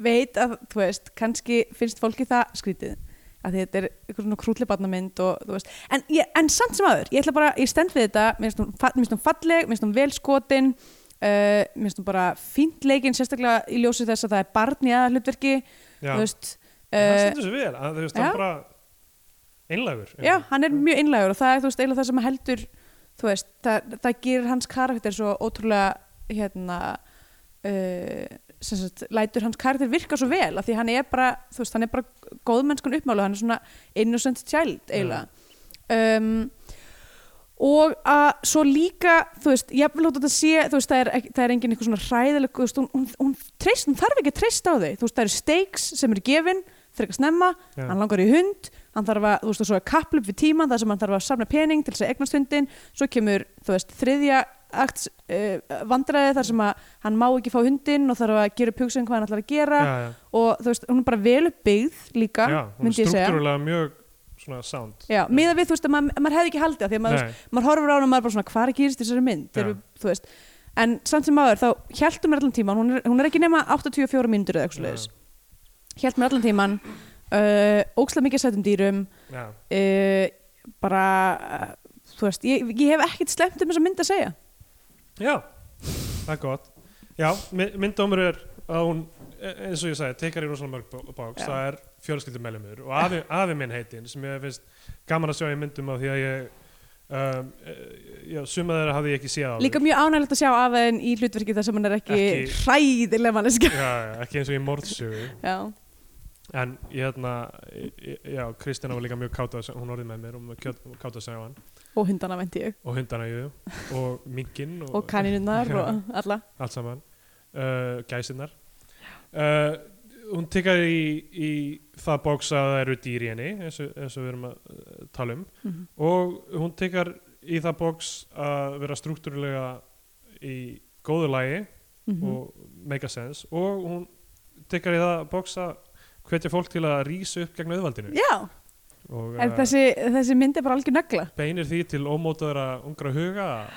Speaker 3: veit að, þú veist, kannski finnst fólki það skrítið að þetta er eitthvað svona krúllibarnamynd og þú veist, en, ég, en samt sem aður ég ætla bara, ég stend við þetta, mér finnst hún fa- mér finnst hún falleg, mér finnst hún velskotin uh, mér finnst hún bara fínt leikinn sérstaklega í ljósi þess að það er barn í aða hlutverki,
Speaker 2: Já,
Speaker 3: þú veist
Speaker 2: það
Speaker 3: uh,
Speaker 2: stendur svo vel að þú veist, það
Speaker 3: já.
Speaker 2: er bara einlægur
Speaker 3: já, hann er mjög innlægur og það er þú veist, eiginlega það sem heldur þú veist, það, það gerir hans karakter svo ótrúlega hérna uh, sem sagt, lætur hans karakter virka svo vel af því hann er bara, þú veist, hann er bara góðmennskun uppmálu, hann er svona innocent child eiginlega um, og að svo líka þú veist, ég vil hóta þetta sé þú veist, það er, ekki- það er engin eitthvað svona hræðileg þú veist, hún, hún, hún, treyst, hún þarf ekki að treysta á þau þú veist, það eru stakes sem eru gefin frekar snemma,
Speaker 2: Já.
Speaker 3: hann langar í hund hann þarf að, þú veist, og svo að kapla upp við tíman þar sem hann þarf að safna pening til þess að egnast hundin svo kemur, þú veist, þriðja akts uh, vandræði þar sem að hann má ekki fá hundin og þarf að gera upp hugsun hvað hann ætlar að gera
Speaker 2: já, já,
Speaker 3: og þú veist, hún er bara vel uppbyggð líka,
Speaker 2: já, hún er
Speaker 3: myndi ég segja
Speaker 2: struktúrulega mjög svona sound
Speaker 3: Já, miða við, þú veist, að maður, maður hefði ekki haldið af því að maður,
Speaker 2: Nei,
Speaker 3: maður horfir á hana og maður bara svona hvað er að gerist í þessari mynd
Speaker 2: Já.
Speaker 3: ja. þú veist en samt sem maður þá hjæltum mér allan tíman hún er, hún er ekki nema 84 mínútur eða eitthvað leðis hjæltum mér allan tíman uh, ókslega mikið sætum dýrum
Speaker 2: já,
Speaker 3: uh, bara uh, þú veist, ég, ég hef ekkert slemt um þessa mynd að segja
Speaker 2: já, það er gott Já, my- myndómur er að hún e, eins og ég sagði, tekar í rosalega mörg bó- bóks
Speaker 3: Já.
Speaker 2: það er fjölskyldum meðlumur og afi, afi minn heitinn sem ég finnst gaman að sjá í myndum af því að ég um, eh, já, suma þeirra hafði ég ekki séð á
Speaker 3: líka mjög ánægilegt að sjá af henn í hlutverki þar sem hann er ekki,
Speaker 2: Ekki-
Speaker 3: hræðilega manneska
Speaker 2: já, já, ekki eins og í morðsögu
Speaker 3: já,
Speaker 2: en ég hérna ég- já, Kristina var líka mjög kátt að sjá- hún orðið með mér og kátt að segja hann
Speaker 3: og hundana vænti ég
Speaker 2: og hundana jú og minkinn og,
Speaker 3: og kaninunnar
Speaker 2: Já.
Speaker 3: og alla
Speaker 2: allt saman uh, gæsinnar uh, hún tekkar í, í það bóks að það eru dýr í henni eins og, eins og við erum að uh, tala um
Speaker 3: Mhm.
Speaker 2: og hún tekkar í það bóks að vera struktúrulega í góðu lagi
Speaker 3: Mhm.
Speaker 2: og make a sense og hún tekkar í það bóks að hvetja fólk til að rísa upp gegn auðvaldinu
Speaker 3: já,
Speaker 2: og
Speaker 3: en
Speaker 2: uh,
Speaker 3: þessi, þessi mynd er bara algjör negla
Speaker 2: beinir því til ómótaðara ungra huga að-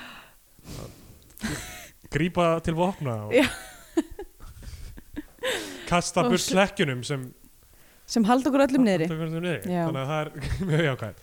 Speaker 2: að grípa til vopna og
Speaker 3: Já.
Speaker 2: kasta
Speaker 3: Og
Speaker 2: burt
Speaker 3: s-
Speaker 2: slekkjunum sem
Speaker 3: sem halda okkur öllum niðri
Speaker 2: Tökum öllum niðri.
Speaker 3: Já.
Speaker 2: þannig að það er mjög jákvæð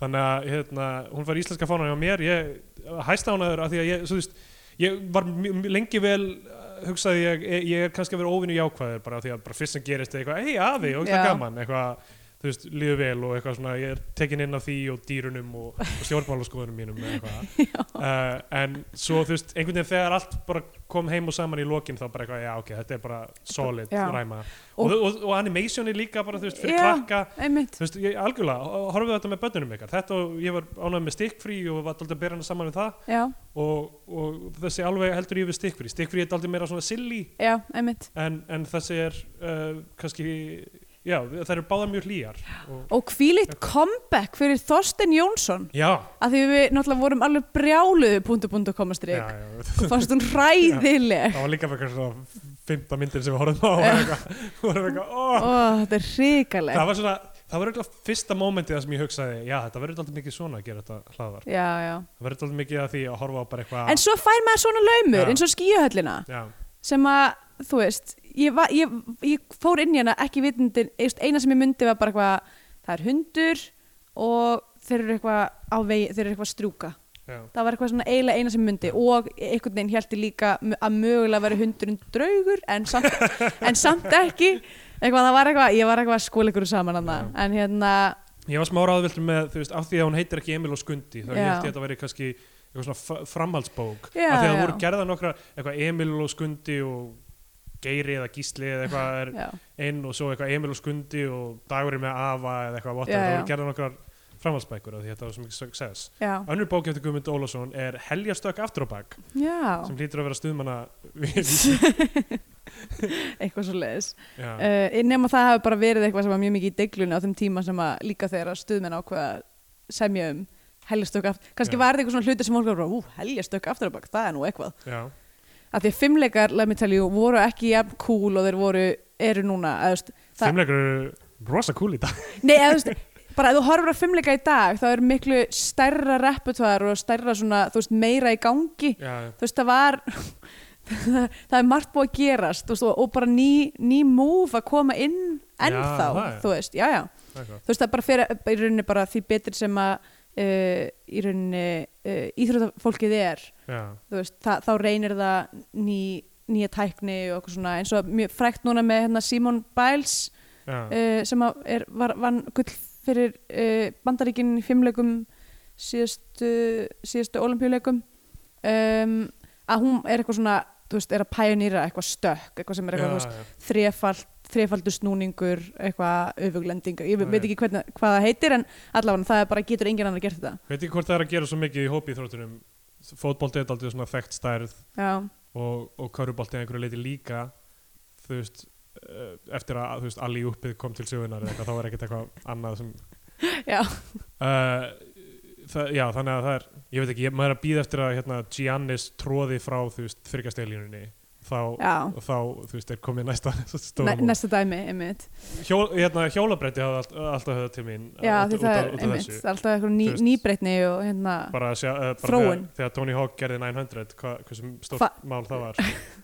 Speaker 2: þannig að hérna, hún fær íslenska fánan hjá mér ég hæsta hún aður af því að ég, svo þú veist, ég var mj- mj- lengi vel uh, hugsaði ég, ég- ég er kannski að vera óvinni jákvæður bara af því að bara fyrst sem gerist er eitthvað, hei afi, og það
Speaker 3: Já.
Speaker 2: gaman eitthvað, þú veist, líður vel og eitthvað svona, ég er tekin inn af því og dýrunum og, og stjórnmálaskoðunum mínum eða eitthvað, uh, en svo þú veist einhvern veginn þegar allt bara kom heim og saman í lokin þá bara eitthvað, já ok, þetta er bara solid
Speaker 3: Já.
Speaker 2: ræma og,
Speaker 3: Og-
Speaker 2: og, og, animation er líka bara, þú veist, fyrir
Speaker 3: Já.
Speaker 2: krakka
Speaker 3: einmitt,
Speaker 2: þú veist, ég, algjörlega, ho- horfið þetta með börnunum ykkar þetta og ég var ánægð með stikkfrí og var daldið að bera hana saman við það
Speaker 3: já,
Speaker 2: og, og þessi alveg heldur ég við stikkfrí stikkfrí er daldið meira svona silly
Speaker 3: já, einmitt
Speaker 2: en, en þessi er uh, kannski, já, það eru báðar mjög hlýjar og,
Speaker 3: og hvílitt comeback fyrir Þorsten Jónsson
Speaker 2: já,
Speaker 3: að því við náttúrulega vorum alveg brjáluðu punktu punktu
Speaker 2: já,
Speaker 3: komastrik
Speaker 2: já
Speaker 3: fannst hún hræðileg
Speaker 2: það var líka fyrir svona fymta myndin sem við horfum á og eitthvað, vorum eitthvað, ó
Speaker 3: ó, þetta er hrikalegt
Speaker 2: það var svona, það var eitthvað fyrsta mómentið það sem ég hugsaði, já, þetta verður daldið mikið svona að gera þetta hlaðar,
Speaker 3: já, já.
Speaker 2: það verður daldið mikið að því að horfa á bara eitthvað
Speaker 3: en svo fær maður svona laumur
Speaker 2: Já.
Speaker 3: eins og skíahöllina
Speaker 2: já,
Speaker 3: sem að, þú veist ég, va, ég, ég fór inn í hana ekki vitundin eina sem ég myndi var bara eitthvað það er hundur og þeir eru eitthvað á vegi, þeir eru eitthvað að strjúka
Speaker 2: já,
Speaker 3: það var eitthvað svona eiginlega eina sem myndi og einhvern veginn hjælti líka m- að mögulega veri hundurinn draugur en samt, en samt ekki eitthvað, það var eitthvað, ég var eitthvað að skóla ykkur saman hana. en hérna,
Speaker 2: Ég var smá ráðvildur með, þú veist, af því að hún heitir ekki Emil og Skundi, þá
Speaker 3: Já.
Speaker 2: ég held ég að þetta væri kannski eitthvað svona fa- framhaldsbók
Speaker 3: Já,
Speaker 2: af því að það
Speaker 3: já.
Speaker 2: voru gerða nokkra, eitthvað Emil og Skundi og Geiri eða Gísli eða eitthvað er
Speaker 3: já,
Speaker 2: inn og svo eitthvað Emil og Skundi og Dagurinn með Ava eða eitthvað
Speaker 3: Já,
Speaker 2: whatever, það
Speaker 3: já.
Speaker 2: voru gerða nokkrar framhaldsbækur af því að þetta var svo mikið success.
Speaker 3: já,
Speaker 2: Önnur bók eftir Guðmund Ólafsson er Heljarstök aftur á bak
Speaker 3: já
Speaker 2: sem hlýtur að vera stuðmanna
Speaker 3: eitthvað svo leiðis
Speaker 2: Já,
Speaker 3: uh, nema það hafi bara verið eitthvað sem var mjög mikið í deglunni á þeim tíma sem að líka þegar að stuðmenn ákveða að semja um heljastökk aftur, kannski
Speaker 2: Já.
Speaker 3: var þetta eitthvað svona hluti sem fólk var bara, ú, heljastökk aftur á bak, það er nú eitthvað
Speaker 2: já,
Speaker 3: að því að fimmleikar, let me tell you, voru ekki jafn cool og þeir voru, eru núna eða, þú veist, það-
Speaker 2: fimmleikur eru rosa cool í dag
Speaker 3: Nei, eða, þú veist, bara ef þú horfir að fimmleika í dag þá er miklu stærra repertoire og stærra svona, þú veist, meira í gangi
Speaker 2: Já,
Speaker 3: þú veist, það var það er margt búið að gerast þú veist, og, og bara ný, ný move að koma inn ennþá,
Speaker 2: það er.
Speaker 3: þú veist, já, já
Speaker 2: það er gott
Speaker 3: þú veist, það bara fyrir, í rauninni bara því betur sem að uh, í rauninni uh, íþrótafólkið er
Speaker 2: Já,
Speaker 3: þú veist, þa þá reynir það ný, nýja tækni og okkur svona eins og mjög frækt núna með hérna Simon Biles
Speaker 2: já,
Speaker 3: uh, sem að er, var, vann gull fyrir uh, bandaríkinn í fimmleikum síðustu, síðustu olimpíuleikum um, að hún er eitthvað svona þú veist, er að pæjonýra eitthvað stökk eitthvað sem er eitthvað, þú veist,
Speaker 2: já,
Speaker 3: þrefald þrefaldu snúningur, eitthvað öfuglendingar, ég
Speaker 2: Já,
Speaker 3: veit
Speaker 2: já.
Speaker 3: ekki hvernig, hvað það heitir en allavega það er bara getur enginn annar gert þetta
Speaker 2: veit ekki hvort það er að gera svo mikið í hópi í þróttunum fótbolti er aldrei svona þekkt stærð
Speaker 3: já,
Speaker 2: og, og körubolti að einhverju leiti líka þú veist eh, eftir að þú veist alli uppið kom til sögunar eða eitthvað, þá var ekkert eitthvað annað sem
Speaker 3: já,
Speaker 2: uh, það, já þannig að það er ég veit ekki, ég, maður er að býða eftir að hérna, Giannis tróði frá þú veist þryggastælínunni þá,
Speaker 3: já.
Speaker 2: og þá þú veist er komið næsta
Speaker 3: Næ,
Speaker 2: stóra
Speaker 3: næsta dæmi, einmitt
Speaker 2: Hjó, hérna, hjólabretti hafði allt, alltaf höfða til mín
Speaker 3: já,
Speaker 2: út-
Speaker 3: því
Speaker 2: út
Speaker 3: það
Speaker 2: af-
Speaker 3: er
Speaker 2: út af
Speaker 3: einmitt,
Speaker 2: þessu.
Speaker 3: það er alltaf eitthvað ný,
Speaker 2: Þú veist.
Speaker 3: nýbreytni og hérna
Speaker 2: bara, að sjá, eh, bara þegar,
Speaker 3: Þróun.
Speaker 2: þegar Tony Hawk gerði 900 hva, hversu stórt
Speaker 3: Fa-
Speaker 2: mál það var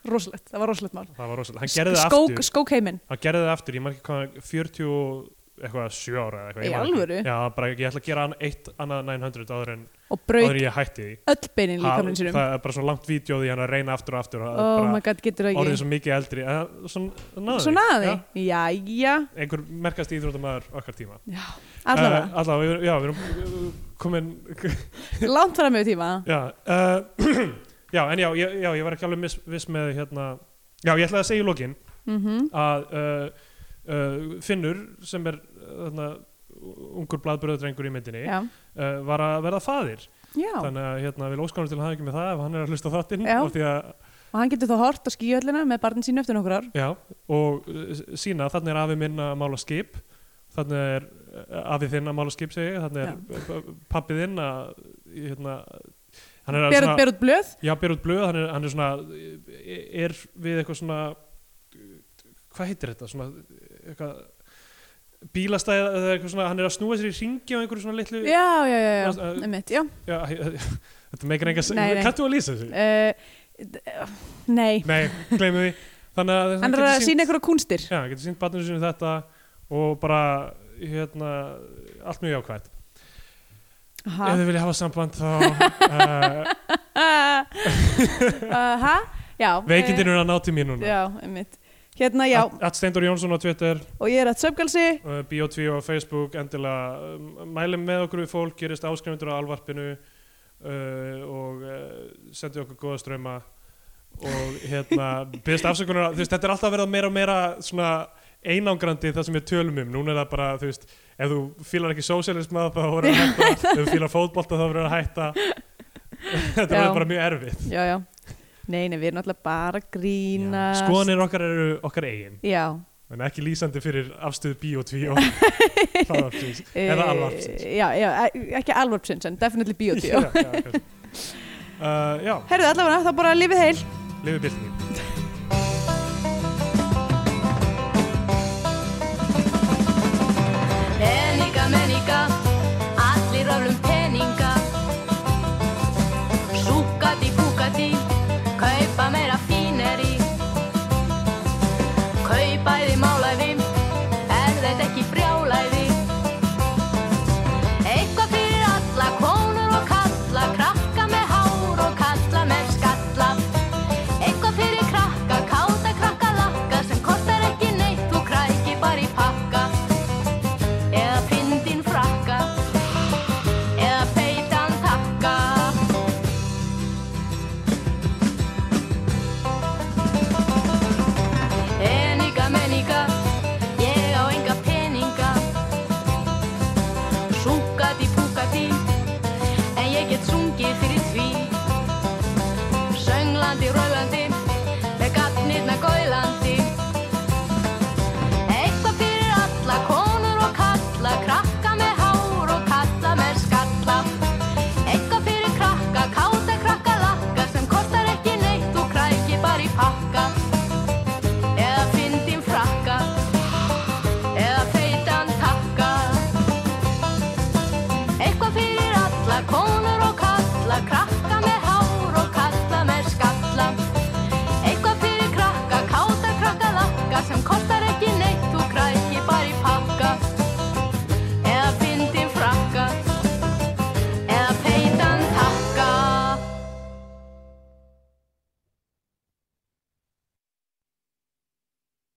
Speaker 3: rosalegt, það var rosalegt mál
Speaker 2: það var rosalega, hann gerði það
Speaker 3: skók,
Speaker 2: aftur
Speaker 3: skók heiminn
Speaker 2: hann gerði það aftur, ég man ekki hvað 40 og eitthvað 7 ára eða eitthvað, ég
Speaker 3: Í
Speaker 2: man ekki.
Speaker 3: alvöru?
Speaker 2: já, bara, ég ætla að gera hann eitt annað 900 áður en,
Speaker 3: og
Speaker 2: áður
Speaker 3: braut
Speaker 2: en ég hætti því
Speaker 3: öll beinin
Speaker 2: Ha-
Speaker 3: líkaminn sínum
Speaker 2: það er bara svo langt vídjóð í hann að reyna aftur og aftur og
Speaker 3: oh my
Speaker 2: bara
Speaker 3: god, getur það
Speaker 2: orðið
Speaker 3: ekki
Speaker 2: svo mikið eldri en svo náði
Speaker 3: svo naði,
Speaker 2: Já,
Speaker 3: já, já
Speaker 2: einhver merkast íþróttamæður okkar tíma
Speaker 3: allavega,
Speaker 2: uh, allavega við, já, við erum uh, komin Eh.
Speaker 3: langt fara með tíma
Speaker 2: já, uh, já, en já, ég- já, ég var ekki alveg miss, viss með hérna, já, ég ætlaði að segja í lokin
Speaker 3: mm -hmm.
Speaker 2: að uh, uh, Finnur sem er uh, þarna, ungur bladbröðdrengur í myndinni uh,
Speaker 3: já,
Speaker 2: var að verða faðir
Speaker 3: já
Speaker 2: þannig að hérna, við lóskanum til að hafa ekki með það ef hann er að hlusta á þáttinn
Speaker 3: Já.
Speaker 2: og, því að,
Speaker 3: og hann getur þá hort á skíöllina með barnin sínu eftir nokkur ár
Speaker 2: já, og uh, sína þannig er afi minn að mála skip þannig er uh, afi þinn að mála skip segi, ég, þannig er já. pappi þinn að hérna, hann er að
Speaker 3: ber, ber út blöð,
Speaker 2: Já, ber út blöð, hann er, hann er svona er við eitthvað svona hvað heitir þetta? Svona eitthvað bílastæð eða eitthvað svona, hann er að snúa sér í ringi á einhverju svona litlu
Speaker 3: já, já, já, já,
Speaker 2: Varst, uh,
Speaker 3: einmitt, já
Speaker 2: Já, þetta meikir enga
Speaker 3: Nei, nei.
Speaker 2: Kannt þú að lýsa þessu?
Speaker 3: uh, d- uh, nei,
Speaker 2: Nei, gleymi því Þannig að
Speaker 3: hann er
Speaker 2: getur
Speaker 3: að
Speaker 2: sýnt-
Speaker 3: sína einhverja kúnstir
Speaker 2: Já, hann getur sínt barninu sinu þetta og bara hérna, allt mjög jákvætt Ef
Speaker 3: ha,
Speaker 2: þið vilja hafa samband þá uh,
Speaker 3: uh, ha? Ah. já eh,
Speaker 2: veikindin eru að ná til mín núna Ah.
Speaker 3: já, einmitt hérna, já,
Speaker 2: At- At Steindor Jónsson á Twitter
Speaker 3: og ég er að söfgalsi
Speaker 2: uh, Biotví og Facebook endilega uh, mælum með okkur við fólk gerist áskrifundur á alvarpinu uh, og uh, sendi okkur góða ströma og hérna byrðist afsökunar, á- þú veist, þetta er alltaf að vera meira og meira svona einangrandi það sem við tölum um, núna er það bara, þú veist ef þú fílar ekki sósialisma þá verður það að hætta, ef þú fílar fótbolta þá verður það að hætta þetta
Speaker 3: Já.
Speaker 2: verður bara mjög erfitt
Speaker 3: já, já, nei, nei, við erum alltaf bara að grína
Speaker 2: Já. skoðanir okkar eru okkar eigin
Speaker 3: já,
Speaker 2: en ekki lýsandi fyrir afstöðu Biotví og hraðvarpsins eða
Speaker 3: Eh,
Speaker 2: alvarpsins
Speaker 3: já, já, e- ekki alvarpsins en definitely biotí
Speaker 2: já, já, kannski. uh, já,
Speaker 3: herruðu, allavega, þá bara lifið heil
Speaker 2: lifið byltingin
Speaker 4: Peninga, meninga, allir öflum peninga Súkati, búkati, kaupa meira fíneri Kaupa yfir má